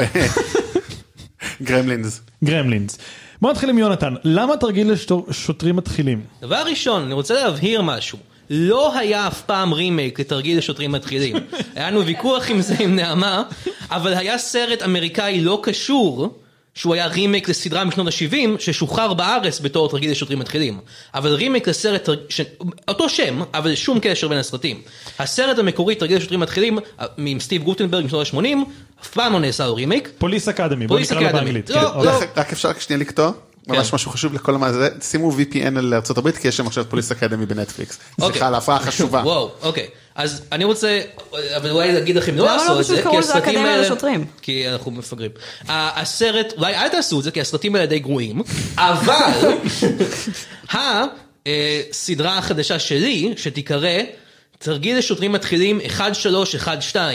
Speaker 7: גרמלינס.
Speaker 4: גרמלינס. בוא נתחיל עם יונתן למה תרגיל לשוטרים מתחילים?
Speaker 5: דבר ראשון, אני רוצה להבהיר משהו. לא היה אף פעם רימייק לתרגיל לשוטרים מתחילים. היה לנו ויכוח עם זה עם נעמה, אבל היה סרט אמריקאי לא קשור, שהוא היה רימייק לסדרה משנות ה-70, ששוחרר בארץ בתור תרגיל לשוטרים מתחילים. אבל רימייק לסרט, תרג- ש... אותו שם, אבל שום קשר בין הסרטים. הסרט המקורי, תרגיל לשוטרים מתחילים, אה, עם סטיב גוטנברג משנות ה-80, אף פעם לא נעשה לו רימייק.
Speaker 4: פוליס אקדמי.
Speaker 5: Police Academy. לא,
Speaker 4: כן,
Speaker 5: לא.
Speaker 4: אוקיי.
Speaker 7: רק- רק אפשר רק שנייה לקטוע?
Speaker 6: כן.
Speaker 7: ממש משהו חשוב לכל המאזינים, שימו VPN על ארה"ב כי יש שם עכשיו פוליס אקדמי בנטפליקס.
Speaker 5: אוקיי.
Speaker 7: סליחה על ההפרעה החשובה.
Speaker 5: וואו, אוקיי. אז אני רוצה, אבל אולי להגיד לכם לא
Speaker 6: למה לא
Speaker 5: לעשות את
Speaker 6: פשוט
Speaker 5: זה,
Speaker 6: קראו
Speaker 5: כי
Speaker 6: לזה
Speaker 5: הסרטים
Speaker 6: אקדמיה
Speaker 5: האלה...
Speaker 6: לשוטרים?
Speaker 5: כי אנחנו מפגרים. ה- הסרט, אולי אל תעשו את זה, כי הסרטים האלה די גרועים, אבל הסדרה החדשה שלי, שתיקרא תרגיל לשוטרים מתחילים 1312,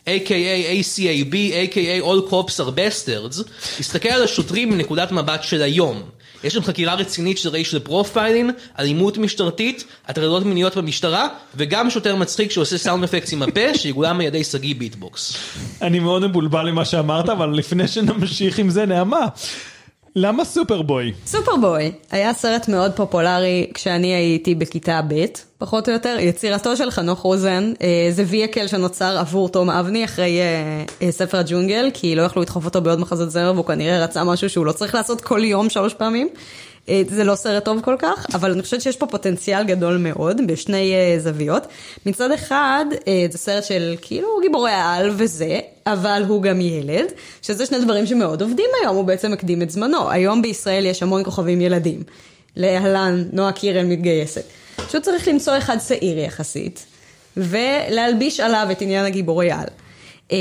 Speaker 5: a.k.a. ACAB, a.k.a. All Cops are Bastards, תסתכל על השוטרים מנקודת מבט של היום. יש שם חקירה רצינית של רייש לפרופיילין, אלימות משטרתית, הטרדות מיניות במשטרה, וגם שוטר מצחיק שעושה סאונד אפקט עם הפה, שיגולם על ידי שגיא ביטבוקס.
Speaker 4: אוקיי. אני מאוד מבולבל ממה שאמרת אבל לפני שנמשיך עם זה נעמה. למה סופרבוי?
Speaker 6: סופרבוי היה סרט מאוד פופולרי כשאני הייתי בכיתה ב', פחות או יותר, יצירתו של חנוך רוזן, אה, זה וייקל שנוצר עבור תום אבני אחרי אה, אה, ספר הג'ונגל, כי לא יכלו לדחוף אותו בעוד מחזות זמר והוא כנראה רצה משהו שהוא לא צריך לעשות כל יום שלוש פעמים. אה, זה לא סרט טוב כל כך, אבל אני חושבת שיש פה פוטנציאל גדול מאוד בשני אה, זוויות. מצד אחד, אה, זה סרט של כאילו גיבורי העל וזה, אבל הוא גם ילד, שזה שני דברים שמאוד עובדים היום, הוא בעצם מקדים את זמנו. היום בישראל יש המון כוכבים ילדים. להלן, נועה קירל מתגייסת. פשוט צריך למצוא אחד צעיר יחסית, ולהלביש עליו את עניין הגיבורי על. אה,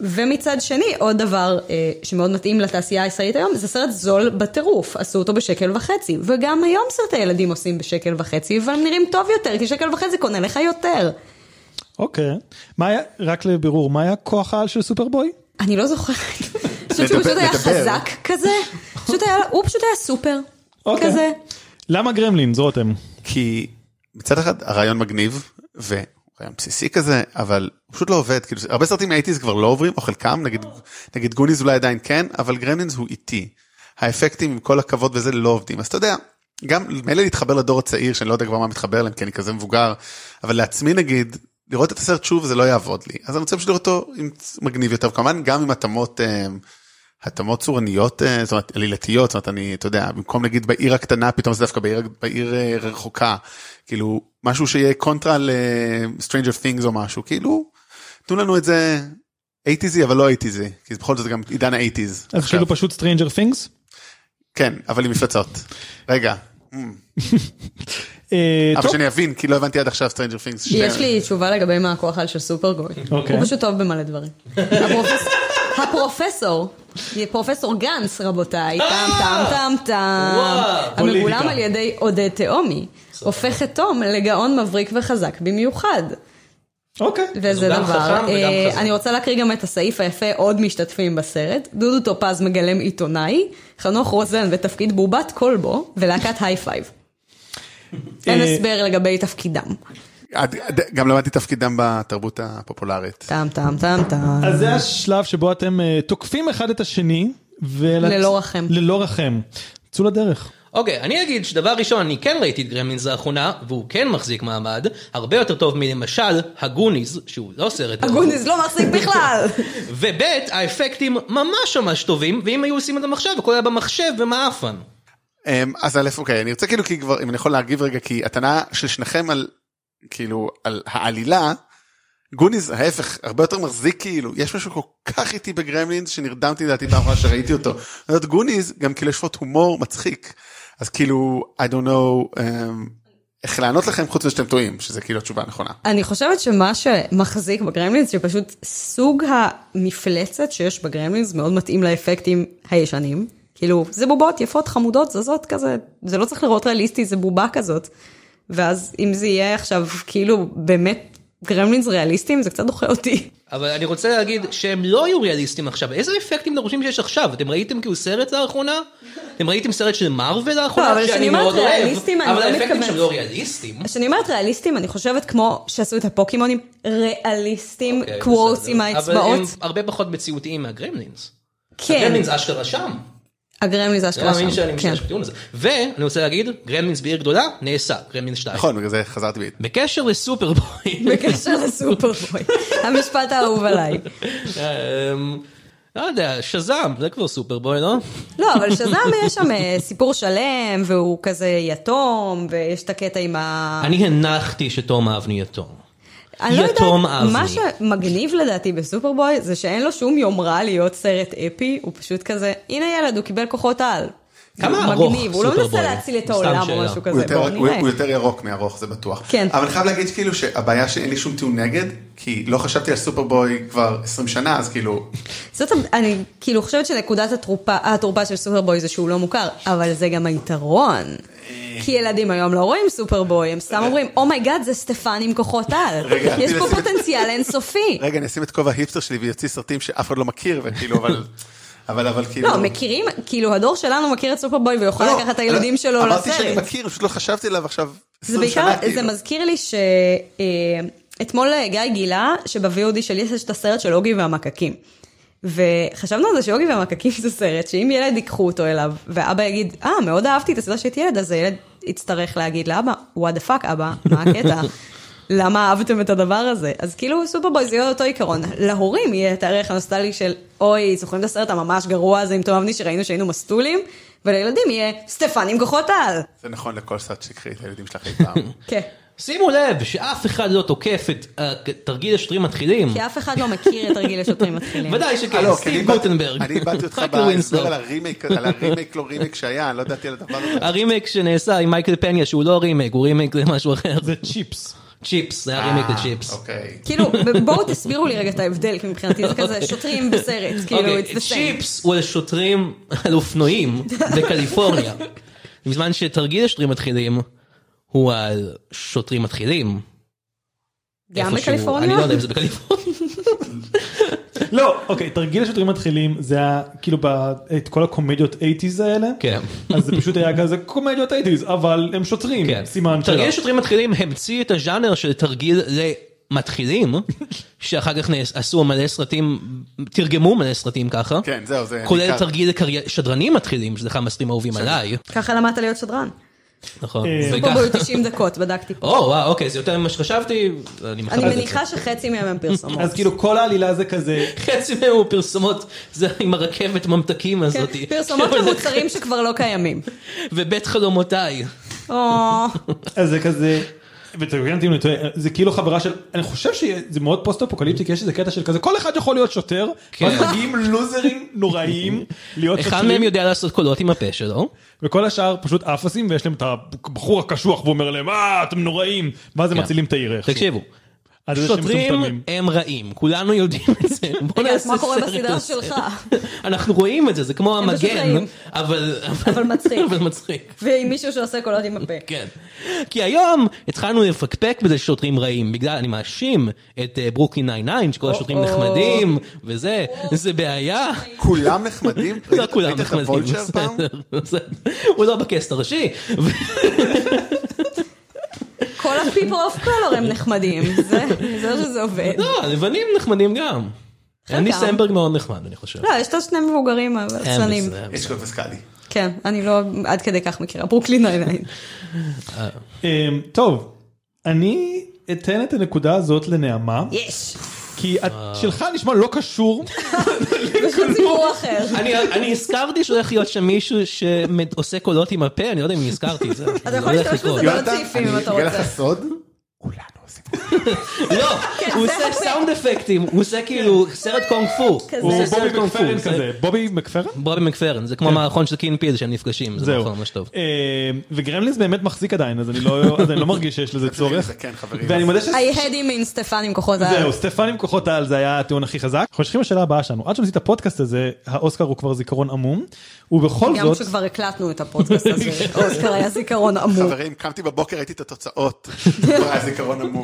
Speaker 6: ומצד שני, עוד דבר אה, שמאוד מתאים לתעשייה הישראלית היום, זה סרט זול בטירוף, עשו אותו בשקל וחצי, וגם היום סרטי ילדים עושים בשקל וחצי, אבל הם נראים טוב יותר, כי שקל וחצי קונה לך יותר.
Speaker 4: אוקיי. מה היה, רק לבירור, מה היה כוח העל של סופרבוי?
Speaker 6: אני לא זוכרת. אני חושבת שהוא
Speaker 7: לדבר-
Speaker 6: פשוט היה
Speaker 7: לדבר.
Speaker 6: חזק כזה. פשוט היה, הוא פשוט היה סופר.
Speaker 4: אוקיי.
Speaker 6: כזה.
Speaker 4: למה גרמלינס רותם?
Speaker 7: כי מצד אחד הרעיון מגניב ורעיון בסיסי כזה אבל הוא פשוט לא עובד כאילו הרבה סרטים מהאיטיז כבר לא עוברים או חלקם נגיד נגיד גוניז אולי עדיין כן אבל גרמלינס הוא איטי. האפקטים עם כל הכבוד וזה לא עובדים אז אתה יודע גם מילא להתחבר לדור הצעיר שאני לא יודע כבר מה מתחבר להם כי אני כזה מבוגר אבל לעצמי נגיד. לראות את הסרט שוב זה לא יעבוד לי אז אני רוצה פשוט לראות אותו עם מגניב יותר כמובן גם עם התאמות אמ, התאמות צורניות, אה, זאת אומרת עלילתיות, זאת אומרת אני, אתה יודע, במקום נגיד בעיר הקטנה, פתאום זה דווקא בעיר, בעיר אה, רחוקה, כאילו משהו שיהיה קונטרה ל-Stranger Things או משהו, כאילו, תנו לנו את זה 80's אבל לא 80's, כי זה בכל זאת גם עידן ה-80's.
Speaker 4: אז כאילו פשוט סטרנג'ר פינגס?
Speaker 7: כן, אבל עם מפלצות. רגע, אבל
Speaker 4: אה, טוב,
Speaker 7: שאני אבין, כי לא הבנתי עד עכשיו Stranger Things.
Speaker 2: כן.
Speaker 6: יש
Speaker 7: שני-
Speaker 6: לי תשובה לגבי מה הכוח על של סופרגוי.
Speaker 4: אוקיי.
Speaker 6: הוא פשוט טוב במלא דברים. הפרופס- הפרופסור, פרופסור גנץ רבותיי, טאם טאם טאם טאם,
Speaker 5: וואו.
Speaker 6: המגולם
Speaker 4: פוליטיקה.
Speaker 6: על ידי עודד תהומי, הופך את תום לגאון מבריק וחזק במיוחד.
Speaker 4: אוקיי.
Speaker 6: וזה
Speaker 5: אז הוא גם
Speaker 6: דבר.
Speaker 5: חכם וגם
Speaker 6: אה,
Speaker 5: חזק.
Speaker 6: אני רוצה להקריא גם את הסעיף היפה, עוד משתתפים בסרט. דודו טופז מגלם עיתונאי, חנוך רוזן בתפקיד בובת כלבו, ולהקת היי פייב. אין
Speaker 4: אה,
Speaker 6: הסבר לגבי תפקידם.
Speaker 7: עד- עד- גם למדתי תפקידם בתרבות הפופולרית.
Speaker 6: טאם טאם טאם טאם.
Speaker 4: אז זה השלב שבו אתם אה, תוקפים אחד את השני. ול-
Speaker 6: ללא רחם.
Speaker 4: ללא רחם. צאו לדרך.
Speaker 5: אוקיי, אני אגיד שדבר ראשון, אני כן ראיתי את גרמלינס האחרונה, והוא כן מחזיק מעמד, הרבה יותר טוב מלמשל הגוניז, שהוא לא סרט. טוב.
Speaker 6: הגוניז לא מחזיק בכלל.
Speaker 5: וב' האפקטים ממש ממש טובים, ואם היו עושים אותם עכשיו, הכל היה במחשב ומעפן.
Speaker 7: אמ, אז א' אוקיי אני רוצה כאילו כי כבר אם אני יכול להגיב רגע כי הטענה של שניכם על כאילו על העלילה גוניז ההפך הרבה יותר מחזיק כאילו יש משהו כל כך איטי בגרמלינס שנרדמתי לדעתי פעם אחרונה שראיתי אותו. זאת גוניז גם כאילו יש פה הומור מצחיק אז כאילו I don't know um, איך לענות לכם חוץ מזה שאתם טועים שזה כאילו התשובה הנכונה.
Speaker 6: אני חושבת שמה שמחזיק בגרמלינס, שפשוט סוג המפלצת שיש בגרמלינס מאוד מתאים לאפקטים הישנים. כאילו, זה בובות יפות, חמודות, זזות כזה, זה לא צריך לראות ריאליסטי, זה בובה כזאת. ואז אם זה יהיה עכשיו כאילו באמת גרמלינס ריאליסטים, זה קצת דוחה אותי.
Speaker 5: אבל אני רוצה להגיד שהם לא היו ריאליסטים עכשיו. איזה אפקטים אתם חושבים שיש עכשיו? אתם ראיתם כאילו סרט לאחרונה? אתם ראיתם סרט של מארוול
Speaker 6: לא,
Speaker 5: לאחרונה?
Speaker 6: אבל כשאני
Speaker 5: שאני
Speaker 6: אומרת
Speaker 5: מאוד אוהב.
Speaker 6: ריאליסטים, אני
Speaker 5: אבל
Speaker 6: לא
Speaker 5: האפקטים
Speaker 6: מתכוונת.
Speaker 5: שהם לא ריאליסטים.
Speaker 6: כשאני אומרת ריאליסטים, אני חושבת כמו שעשו את הפוקימונים, ריאליסטים,
Speaker 5: אוקיי,
Speaker 6: קוורץ
Speaker 5: בסדר.
Speaker 6: עם
Speaker 5: אבל הם
Speaker 6: האצבעות.
Speaker 5: הרבה פחות מציאותיים מהגרמלינס.
Speaker 6: כן,
Speaker 5: הגרמלינס אשכרה שם.
Speaker 6: הגרמלינס
Speaker 5: לא
Speaker 6: אשכרה
Speaker 5: מאמין
Speaker 6: שם.
Speaker 5: שאני
Speaker 6: כן.
Speaker 5: משתמש בטיעון הזה. ואני רוצה להגיד, גרמלינס בעיר גדולה, נעשה, גרמלינס 2.
Speaker 7: נכון בגלל זה חזרתי בי.
Speaker 5: בקשר לסופרבוי,
Speaker 6: בקשר לסופרבוי, המשפט האהוב עליי.
Speaker 5: אמ, לא יודע, שזאם, זה כבר סופרבוי, לא?
Speaker 6: לא, אבל שזם יש שם אה, סיפור שלם, והוא כזה יתום, ויש את הקטע עם
Speaker 7: אה.
Speaker 6: ה...
Speaker 5: אני הנחתי שתום אבני יתום.
Speaker 6: אני לא
Speaker 5: יתום
Speaker 6: יודעת, מה
Speaker 5: אבני.
Speaker 6: שמגניב לדעתי בסופרבוי, זה שאין לו שום יומרה להיות סרט אפי, הוא פשוט כזה, הנה ילד, הוא קיבל כוחות על.
Speaker 5: כמה
Speaker 6: הוא
Speaker 5: ארוך
Speaker 6: מגניב, הוא לא מנסה
Speaker 5: סופרבוי?
Speaker 6: להציל את
Speaker 5: סתם
Speaker 6: העולם או
Speaker 5: שאלה.
Speaker 6: משהו
Speaker 7: הוא
Speaker 6: כזה,
Speaker 7: יותר,
Speaker 6: בואו
Speaker 7: הוא,
Speaker 6: נראה.
Speaker 7: הוא יותר ירוק מארוך זה בטוח.
Speaker 6: כן.
Speaker 7: אבל אני חייב להגיד כאילו שהבעיה שאין לי שום טיעון נגד כי לא חשבתי על סופרבוי כבר 20 שנה אז כאילו
Speaker 6: זאת, אני כאילו חושבת שנקודת התרופה, התורפה של סופרבוי זה שהוא לא מוכר, אבל זה גם היתרון.
Speaker 7: אה.
Speaker 6: כי ילדים היום לא רואים סופרבוי, הם סתם אומרים, אומייגאד, זה סטפן עם כוחות על.
Speaker 7: רגע,
Speaker 6: יש פה
Speaker 7: תנסי-
Speaker 6: פוטנציאל אינסופי.
Speaker 7: רגע אני אשים את כובע היפסטר שלי ויוציא סרטים שאף אחד לא מכיר וכאילו אבל אבל אבל כאילו.
Speaker 6: לא, מכירים, כאילו הדור שלנו מכיר את סופרבוי ויוכל
Speaker 7: לא,
Speaker 6: לקחת את הילדים
Speaker 7: לא,
Speaker 6: שלו
Speaker 7: אמרתי שאני
Speaker 6: לסרט.
Speaker 7: מכיר פשוט לא חשבתי עליו עכשיו
Speaker 6: זה
Speaker 7: 20
Speaker 6: בעיקר,
Speaker 7: שנה כאילו.
Speaker 6: זה מזכיר לי שאתמול אה, גיא גילה שב-VOD שלי יש את הסרט של אוגי והמקקים. וחשבנו על זה שאוגי והמקקים זה סרט שאם ילד ייקחו אותו אליו, ואבא יגיד, אה, מאוד אהבתי את הסדרה שהייתי ילד, אז הילד יצטרך להגיד לאבא, what the fuck אבא, מה הקטע? למה אהבתם את הדבר הזה? אז כאילו סופרבוי זה יהיה אותו עיקרון. להורים יהיה את הערך הנוסטלי של, אוי, זוכרים את הסרט הממש גרוע הזה עם תום אבני שראינו שהיינו מסטולים? ולילדים יהיה, סטפן עם כוחות על!
Speaker 7: זה נכון לכל סרט שקחי את הילדים שלך אי פעם.
Speaker 6: כן.
Speaker 5: שימו לב שאף אחד לא תוקף את אה, תרגיל השוטרים מתחילים.
Speaker 6: כי אף אחד לא מכיר את תרגיל לשוטרים מתחילים.
Speaker 5: ודאי
Speaker 7: אה,
Speaker 5: שכן,
Speaker 7: לא, כי אני
Speaker 5: סטיב
Speaker 7: איבדתי-
Speaker 5: גוטנברג.
Speaker 7: אני איבדתי אותך
Speaker 5: מייקל
Speaker 7: בהסבר
Speaker 5: וינסלו.
Speaker 7: על הרימייק על הרימייק לא רימייק שהיה אני לא ידעתי על הדבר הזה.
Speaker 5: הרימייק שנעשה עם מייקל פניה שהוא לא רימייק, הוא רימייק למשהו אחר.
Speaker 4: זה צ'יפס.
Speaker 5: צ'יפס, זה היה רימייק
Speaker 7: אה,
Speaker 5: לצ'יפס.
Speaker 7: אוקיי.
Speaker 6: כאילו, ב- בואו תסבירו לי רגע את ההבדל, כי מבחינתי זה כזה שוטרים בסרט, כאילו,
Speaker 5: אוקיי,
Speaker 6: it's the same.
Speaker 5: צ'יפס הוא על שוטרים על אופנועים בקליפורניה. בזמן שתרגיל השוטרים מתחילים הוא על שוטרים מתחילים.
Speaker 6: גם
Speaker 5: איפשהו-
Speaker 6: בקליפורניה?
Speaker 5: אני לא יודע אם זה בקליפורניה.
Speaker 4: לא, אוקיי, תרגיל השוטרים מתחילים, זה היה כאילו ב- את כל הקומדיות 80's האלה.
Speaker 5: כן.
Speaker 4: אז זה פשוט היה כזה קומדיות 80's, אבל הם שוטרים,
Speaker 5: כן.
Speaker 4: סימן
Speaker 5: תרגיל
Speaker 4: שאלה.
Speaker 5: השוטרים מתחילים המציא את הז'אנר של תרגיל למתחילים, שאחר כך נעש- עשו מלא סרטים, תרגמו מלא סרטים ככה.
Speaker 7: כן זהו זה.
Speaker 5: כולל
Speaker 7: ניכר.
Speaker 5: תרגיל לקרי- שדרנים מתחילים, שזה אחד מהסרטים האהובים עליי,
Speaker 6: ככה למדת להיות שדרן.
Speaker 5: נכון?
Speaker 4: אה,
Speaker 5: וכך-
Speaker 6: פה היו 90 דקות, בדקתי.
Speaker 5: או וואו, אוקיי, זה יותר ממה שחשבתי, אני
Speaker 6: אני
Speaker 5: מכבד את זה.
Speaker 6: מניחה שחצי מהם הם פרסומות.
Speaker 4: אז כאילו כל העלילה זה כזה,
Speaker 5: חצי מהם הוא פרסומות, זה עם הרכבת ממתקים
Speaker 6: כן,
Speaker 5: הזאת.
Speaker 6: פרסומות למוצרים שכבר לא קיימים.
Speaker 5: ובית חלומותיי.
Speaker 6: או,
Speaker 4: אז זה כזה, ותקן אותי אם אני טועה, זה כאילו חברה של, אני חושב שזה מאוד פוסט אפוקליפטי, כי יש איזה קטע של כזה, כל אחד יכול להיות שוטר,
Speaker 5: כן.
Speaker 4: ואז מגיעים לוזרים נוראיים להיות
Speaker 5: אחד מהם
Speaker 4: שוטרים,
Speaker 5: יודע לעשות קולות עם הפה שלו.
Speaker 4: וכל השאר פשוט אפסים, ויש להם את הבחור הקשוח, והוא אומר להם, אה, אתם נוראים, ואז הם
Speaker 5: כן.
Speaker 4: מצילים את העיר איכשהו.
Speaker 5: תקשיבו,
Speaker 4: אז זה שהם מטומטמים.
Speaker 5: שוטרים הם רעים, כולנו יודעים את זה. בוא
Speaker 6: רגע, אז
Speaker 5: נעשה
Speaker 6: מה קורה
Speaker 5: סרט על
Speaker 6: בסדרה
Speaker 5: זה.
Speaker 6: שלך?
Speaker 5: אנחנו רואים את זה, זה כמו
Speaker 6: הם פשוט
Speaker 5: המגן,
Speaker 6: רעים.
Speaker 5: אבל...
Speaker 6: אבל מצחיק.
Speaker 5: אבל מצחיק.
Speaker 6: ועם מישהו שעושה קולות עם הפה.
Speaker 5: כן. כי היום התחלנו לפקפק בזה ששוטרים רעים, בגלל, אני מאשים את אה, ברוקלין 99, שכל השוטרים
Speaker 6: או.
Speaker 5: נחמדים, וזה, זה בעיה.
Speaker 7: כולם נחמדים? לא
Speaker 5: לא כולם
Speaker 7: ראית את
Speaker 5: נחמדים,
Speaker 7: הוולצ'ר פעם?
Speaker 5: בסדר. בסדר. הוא לא בקסט הראשי.
Speaker 6: כל ה-people of color הם נחמדים, זה זה איך שזה עובד.
Speaker 5: לא, הלבנים נחמדים גם. אני סמברג מאוד נחמד, אני חושב.
Speaker 6: לא, יש את השני מבוגרים עצלנים.
Speaker 5: הם בסדר.
Speaker 7: יש קוד וסקאלי.
Speaker 6: כן, אני לא עד כדי כך מכירה, ברוקלין 99.
Speaker 4: אמ, טוב, אני אתן את הנקודה הזאת לנעמה,
Speaker 6: יש!
Speaker 4: כי את-
Speaker 5: אה.
Speaker 4: שלך נשמע לא קשור,
Speaker 6: פשוט סיפור אחר.
Speaker 5: אני, אני הזכרתי שהולך להיות שם מישהו שעושה קולות עם הפה, אני לא יודע אם הזכרתי את זה.
Speaker 6: אתה יכול להשתמש בזה
Speaker 5: לקרות.
Speaker 6: בעוד סעיפים לא אם
Speaker 7: אני
Speaker 6: אתה
Speaker 7: אגלה
Speaker 6: רוצה.
Speaker 7: לך סוד? כולנו עושים.
Speaker 5: לא,
Speaker 6: כן,
Speaker 5: הוא עושה סאונד אפקטים, הוא עושה כאילו סרט קונג פו.
Speaker 6: כזה.
Speaker 4: הוא
Speaker 5: עושה
Speaker 6: זה
Speaker 4: בובי
Speaker 5: סרט קונג פו,
Speaker 4: מקפרן
Speaker 5: זה-
Speaker 4: כזה. בובי מקפרן?
Speaker 5: בובי מקפרן, זה כמו המערכון של קין פיל שהם נפגשים, זה
Speaker 4: זהו.
Speaker 5: נכון ממש טוב.
Speaker 4: אה, וגרמלינס באמת מחזיק עדיין, אז אני לא- אז אני לא מרגיש שיש לזה צורך.
Speaker 2: זה כן, חברים.
Speaker 4: ואני מודה ש...
Speaker 6: I had him עם סטפן עם כוחות העל.
Speaker 4: זהו, סטפן עם כוחות העל זה היה הטיעון הכי חזק. אנחנו ממשיכים לשאלה הבאה שלנו. עד שנוציא את הפודקאסט הזה, האוסקר הוא כבר זיכרון עמום, ובכל
Speaker 6: גם
Speaker 4: זאת...
Speaker 6: כשכבר הקלטנו את הפודקאסט הזה, אוסקר היה זיכרון עמום.
Speaker 2: חברים, קמתי בבוקר, ראיתי את התוצאות. כבר היה זיכרון עמום.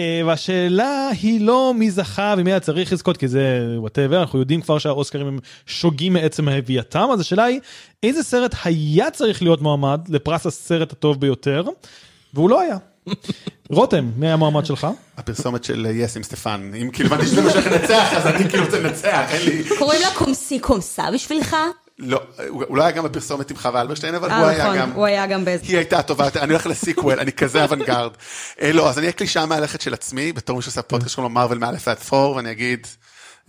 Speaker 4: אה, והשאלה היא לא מי זכה ומי היה צריך לזכות כי זה וואטאבר אנחנו יודעים כבר שהאוסקרים הם שוגים מעצם הביאתם אז השאלה היא איזה סרט היה צריך להיות מועמד לפרס הסרט הטוב ביותר והוא לא היה. רותם מי היה המועמד שלך?
Speaker 2: הפרסומת של יס עם סטפן, אם כאילו הבנתי שזה מה שהולך לנצח, אז אני כאילו רוצה לנצח, אין לי...
Speaker 6: קוראים לה קומסי קומסה בשבילך?
Speaker 2: לא, הוא הוא לא היה גם בפרסומת עם חווה אלברשטיין, אבל הוא
Speaker 6: אה
Speaker 2: היה
Speaker 6: נכון,
Speaker 2: גם...
Speaker 6: הוא היה גם באיזה...
Speaker 2: היא הייתה הטובה יותר, אני הולך לסיקוול, אני כזה אוונגרד. אה, לא, אז אני אהיה קלישאה מהלכת של עצמי, בתור מי שעושה פודקאסט שקוראים לו מארוול מאלף עד פור, ואני אגיד,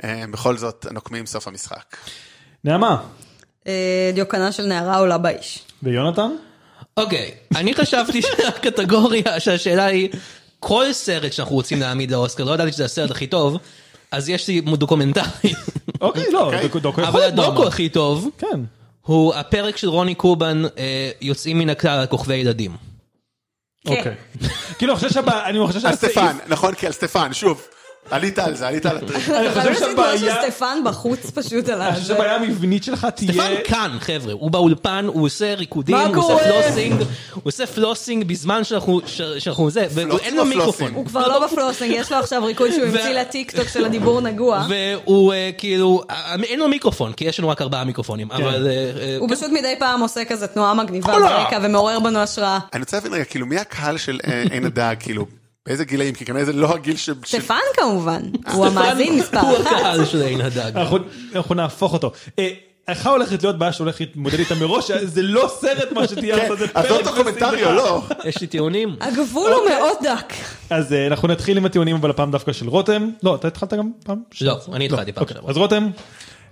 Speaker 2: אה, בכל זאת, הנוקמים סוף המשחק.
Speaker 4: נעמה
Speaker 6: אה, דיוקנה של נערה עולה באיש.
Speaker 4: ויונתן?
Speaker 5: אוקיי, אני חשבתי שהקטגוריה, שהשאלה היא, כל סרט שאנחנו רוצים להעמיד לאוסקר, לא ידעתי שזה הסרט הכי טוב, אז יש לי דוקומנטרי.
Speaker 4: אוקיי לא
Speaker 2: אוקיי.
Speaker 4: דוקו- דוקו יכול
Speaker 5: אבל
Speaker 4: להיות
Speaker 5: הדוקו
Speaker 4: מועמד.
Speaker 5: הכי טוב,
Speaker 4: כן.
Speaker 5: הוא הפרק של רוני קובן, אה, יוצאים מן הכלל כוכבי ילדים.
Speaker 4: אוקיי. כאילו אני חושב שהבעיה אני חושב
Speaker 2: על
Speaker 4: שהסעיף-
Speaker 2: סטפן, נכון? כי על סטפן, שוב, עלית על זה, עלית על הטריק.
Speaker 4: אני
Speaker 6: אבל
Speaker 4: חושב
Speaker 6: באמת הסיפור של
Speaker 4: שהבעיה-
Speaker 6: סטפן בחוץ פשוט על
Speaker 4: אני חושב
Speaker 6: הזה.
Speaker 4: שהבעיה המבנית שלך
Speaker 5: סטפן
Speaker 4: תהיה
Speaker 5: כאן חבר'ה, הוא באולפן, הוא עושה ריקודים,
Speaker 6: מה
Speaker 5: הוא עושה
Speaker 6: קורה?
Speaker 5: פלוסינג, הוא עושה פלוסינג בזמן שאנחנו, ש- שאנחנו זה, ואין לו
Speaker 2: או פלוסינג?
Speaker 5: מיקרופון.
Speaker 6: הוא כבר לא בפלוסינג, יש לו עכשיו ריקוד שהוא המציא לטיקטוק של הדיבור נגוע.
Speaker 5: והוא אה, כאילו, אה, אין לו מיקרופון, כי יש לנו רק ארבעה מיקרופונים, אבל... אה, אה,
Speaker 6: הוא פשוט מדי פעם עושה כזה תנועה מגניבה
Speaker 5: אולה.
Speaker 6: ברקע ומעורר בנו השראה.
Speaker 2: אני רוצה להבין רגע, כאילו, מי הקהל של אה, עין הדג, כאילו, באיזה גילאים? כי כנראה זה לא הגיל ש... של-
Speaker 6: סטפן כמובן, הוא
Speaker 5: סטפן
Speaker 6: המאזין
Speaker 5: הוא
Speaker 6: מספר אחת.
Speaker 5: הקהל של עין הדג.
Speaker 4: אנחנו- אנחנו נהפוך אותו. אה, לך הולכת להיות בעיה שהולך להתמודד איתה מראש, זה לא סרט מה שתהיה,
Speaker 2: כן,
Speaker 4: לעשות, זה
Speaker 2: אז
Speaker 4: פרק
Speaker 2: לא דוקומנטרי או
Speaker 4: בסדרה.
Speaker 2: לא?
Speaker 5: יש לי טיעונים?
Speaker 6: הגבול הוא מאוד דק.
Speaker 4: אז אה, אנחנו נתחיל עם הטיעונים אבל הפעם דווקא של רותם. לא, אתה התחלת גם פעם?
Speaker 5: לא, אני התחלתי פעם
Speaker 4: אוקיי,
Speaker 5: שעברה.
Speaker 4: אז רותם,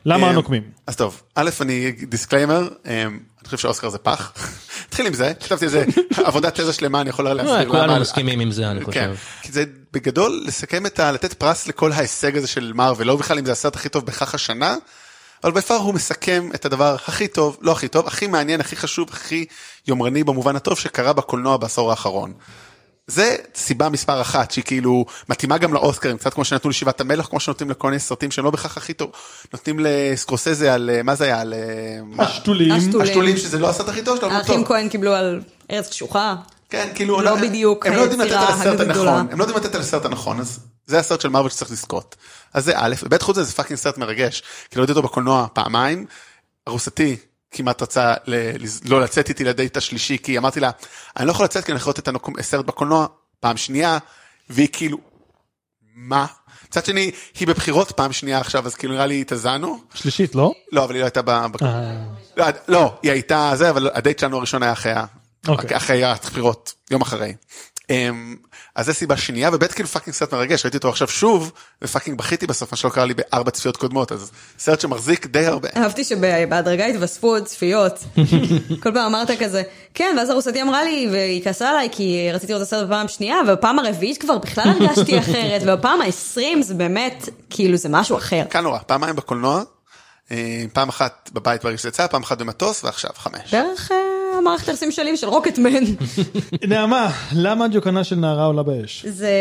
Speaker 4: למה
Speaker 2: אה,
Speaker 4: הנוקמים?
Speaker 2: אז טוב, א', אני דיסקליימר, אה, אני חושב שהאוסקר זה פח. נתחיל עם זה, כתבתי איזה עבודת תזה שלמה, אני יכול להסביר
Speaker 5: אה,
Speaker 2: למה.
Speaker 5: כולנו מסכימים עם זה, אני
Speaker 2: כאילו, כן,
Speaker 5: חושב.
Speaker 2: כי זה בגדול לסכם את ה... לתת פרס לכל ההישג הזה של מארוול, לא בכלל אם זה הסרט הכי טוב בכך השנה, אבל בפאר הוא מסכם את הדבר הכי טוב, לא הכי טוב, הכי מעניין, הכי חשוב, הכי יומרני במובן הטוב שקרה בקולנוע בעשור האחרון. זה סיבה מספר אחת שהיא כאילו מתאימה גם לאוסקרים קצת כמו שנתנו לשבעת המלך כמו שנותנים לכל מיני סרטים שהם לא בהכרח הכי טוב נותנים לסקורסזה על אה, מה זה היה על אה, מה?
Speaker 4: השתולים.
Speaker 6: השתולים.
Speaker 2: השתולים שזה לא הסרט הכי טוב שלו. אבל הוא
Speaker 6: האחים
Speaker 2: טוב.
Speaker 6: כהן קיבלו על ארץ קשוחה.
Speaker 2: כן, כאילו,
Speaker 6: לא בדיוק
Speaker 2: הם לא יודעים לתת
Speaker 6: היצירה
Speaker 2: על הסרט
Speaker 6: הגדולה.
Speaker 2: הנכון, הם לא יודעים לתת על הסרט הנכון, אז זה הסרט של מרוויל שצריך לזכות. אז זה א', וב' חוץ מזה זה פאקינג סרט מרגש, כי ראיתי אותו בקולנוע פעמיים, ארוסתי כמעט רצה ל- לז- לא לצאת איתי לדייט השלישי, כי אמרתי לה, אני לא יכול לצאת כי אני יכול לראות את הנוקום- הסרט בקולנוע פעם שנייה, והיא כאילו, מה? מצד שני, היא בבחירות פעם שנייה עכשיו, אז כאילו נראה לי התאזנו.
Speaker 4: שלישית, לא?
Speaker 2: לא, אבל היא לא הייתה ב... ב- לא, לא, היא הייתה זה, אבל הדייט שלנו הראשון היה אחרי ה...
Speaker 4: אוקיי.
Speaker 2: אחרי הבחירות, יום אחרי. אמ, אז זה סיבה שנייה, ובאמת כאילו פאקינג סרט מרגש, ראיתי אותו עכשיו שוב, ופאקינג בכיתי בסוף, מה שלא קרה לי בארבע צפיות קודמות, אז סרט שמחזיק די הרבה.
Speaker 6: אהבתי שבהדרגה התווספו עוד צפיות. כל פעם אמרת כזה, כן, ואז ארוסתי אמרה לי, והיא כעסה עליי כי רציתי לראות את הסרט בפעם השנייה, ובפעם הרביעית כבר בכלל לא הרגשתי אחרת, ובפעם העשרים זה באמת, כאילו זה משהו אחר.
Speaker 2: כאן נורא, פעמיים בקולנוע, אה, פעם אחת בבית ברגע שזה יצא, פעם אחת במטוס, ועכשיו חמש.
Speaker 6: דרך אה, המערכת היחסים שלי ושל רוקטמן.
Speaker 4: נעמה, למה דיוקנה של נערה עולה באש?
Speaker 6: זה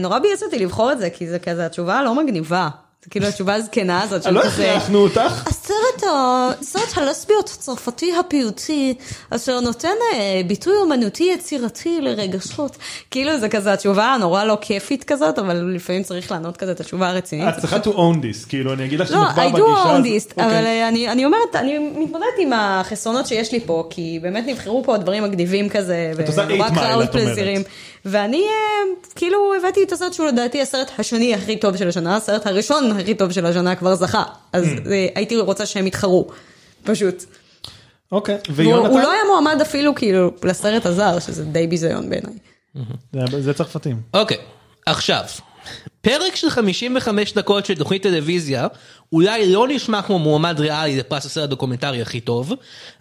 Speaker 6: נורא ביאס אותי לבחור את זה, כי זה כזה, התשובה לא מגניבה. זה כאילו התשובה הזקנה הזאת של
Speaker 4: לא
Speaker 6: כזה.
Speaker 4: הכרחנו אותך.
Speaker 6: הסרט, ה- סרט הלסביות הצרפתי הפיוטי, אשר נותן אה, ביטוי אומנותי יצירתי לרגשות. כאילו זה כזה התשובה הנורא לא כיפית כזאת, אבל לפעמים צריך לענות כזה את התשובה הרצינית.
Speaker 4: את צריכה אה, to own this, כאילו, אני אגיד לך
Speaker 6: אה, לא,
Speaker 4: שמדובר
Speaker 6: I do
Speaker 4: בגישה הזאת.
Speaker 6: אונדיסט,
Speaker 4: אוקיי.
Speaker 6: אבל אה, אני אני אומרת, אני מתמודדת עם החסרונות שיש לי פה, כי באמת נבחרו פה דברים מגניבים כזה,
Speaker 4: עושה eight mile, את אומרת.
Speaker 6: פלזירים. ואני אה, כאילו הבאתי את הסרט שהוא לדעתי הסרט השני הכי טוב של השנה, הסרט הראשון הכי טוב של השנה כבר זכה, אז
Speaker 4: Hmm.
Speaker 6: אה, הייתי רוצה שהם יתחרו, פשוט.
Speaker 4: אוקיי,
Speaker 6: הוא הוא לא
Speaker 4: ויונתן?
Speaker 6: היה מועמד אפילו כאילו לסרט הזר, שזה די ביזיון בעיניי.
Speaker 4: זה- זה צרפתים.
Speaker 5: אוקיי, עכשיו, פרק של 55 דקות של תוכנית טלוויזיה, אולי לא נשמע כמו מועמד ריאלי לפרס הסרט הדוקומנטרי הכי טוב,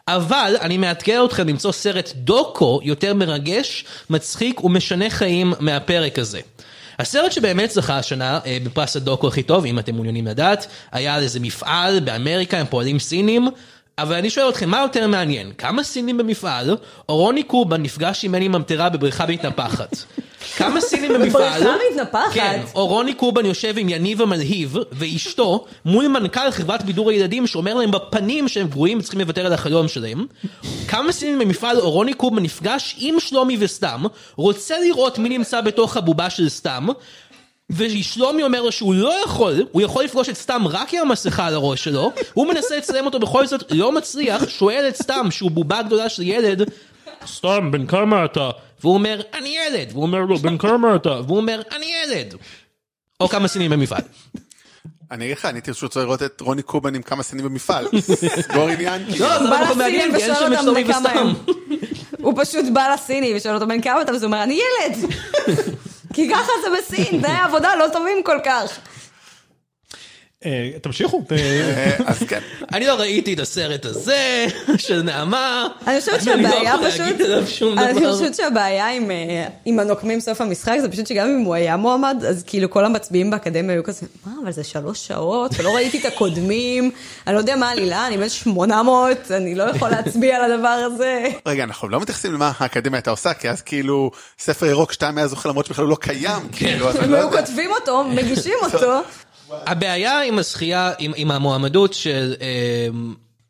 Speaker 5: אבל אני מאתגר אתכם למצוא סרט דוקו יותר מרגש, מצחיק ומשנה חיים מהפרק הזה. הסרט שבאמת זכה השנה אה, בפרס הדוקו הכי טוב, אם אתם מעוניינים לדעת, היה על איזה מפעל באמריקה, הם פועלים סינים, אבל אני שואל אתכם, מה יותר מעניין? כמה סינים במפעל, או רוני קובה נפגש עם מני ממטרה בבריכה מתנפחת? כמה סינים במפעל,
Speaker 6: בבריכה מתנפחת?
Speaker 5: כן, או רוני קובן יושב עם יניב המלהיב ואשתו מול מנכ"ל חברת בידור הילדים שאומר להם בפנים שהם גרועים וצריכים לוותר על החלום שלהם. כמה סינים במפעל או רוני קובן נפגש עם שלומי וסתם, רוצה לראות מי נמצא בתוך הבובה של סתם. ושלומי אומר לו שהוא לא יכול, הוא יכול לפגוש את סתם רק עם המסכה על הראש שלו, הוא מנסה לצלם אותו בכל זאת, לא מצליח, שואל את סתם, שהוא בובה גדולה של ילד, סתם, בן כמה אתה? והוא אומר, אני ילד. והוא אומר לו, בן כמה אתה? והוא אומר, אני ילד. או כמה סינים במפעל.
Speaker 7: אני אגיד לך, אני הייתי פשוט רוצה לראות את רוני קובן עם כמה סינים במפעל. סגור עניין. כאילו.
Speaker 5: לא, זה
Speaker 6: בא
Speaker 5: לא כל כך מעניין,
Speaker 6: לסינים
Speaker 5: כי אין
Speaker 6: ושואל
Speaker 5: שם את
Speaker 6: אותם
Speaker 5: שלומי
Speaker 6: בני כמה
Speaker 5: וסתם.
Speaker 6: הם. הוא פשוט בא לסיני ושואל אותו בן כמה אתה, ואז הוא אומר, אני ילד! כי ככה זה בסין, תנאי העבודה לא טובים כל כך.
Speaker 4: אה, תמשיכו. אה,
Speaker 7: אה, אז כן.
Speaker 5: אני לא ראיתי את הסרט הזה, של נעמה.
Speaker 6: אני חושבת
Speaker 5: לא
Speaker 6: שהבעיה
Speaker 5: יכול
Speaker 6: פשוט...
Speaker 5: להגיד עליו שום
Speaker 6: אני
Speaker 5: דבר.
Speaker 6: חושבת שהבעיה עם, אה, עם הנוקמים סוף המשחק זה פשוט שגם אם הוא היה מועמד, אז כאילו כל המצביעים באקדמיה היו כזה, מה, אבל זה שלוש שעות, ולא ראיתי את הקודמים, אני לא יודע מה העלילה, אני בן 800, אני לא יכול להצביע על הדבר הזה.
Speaker 7: רגע, אנחנו לא מתייחסים למה האקדמיה הייתה עושה, כי אז כאילו ספר ירוק 2 היה זוכה למרות שבכלל הוא לא קיים. כאילו, אז אני
Speaker 6: הם
Speaker 7: לא
Speaker 6: היו
Speaker 7: יודע.
Speaker 6: כותבים אותו, מגישים אותו.
Speaker 5: הבעיה עם הזכייה, עם, עם המועמדות של אה,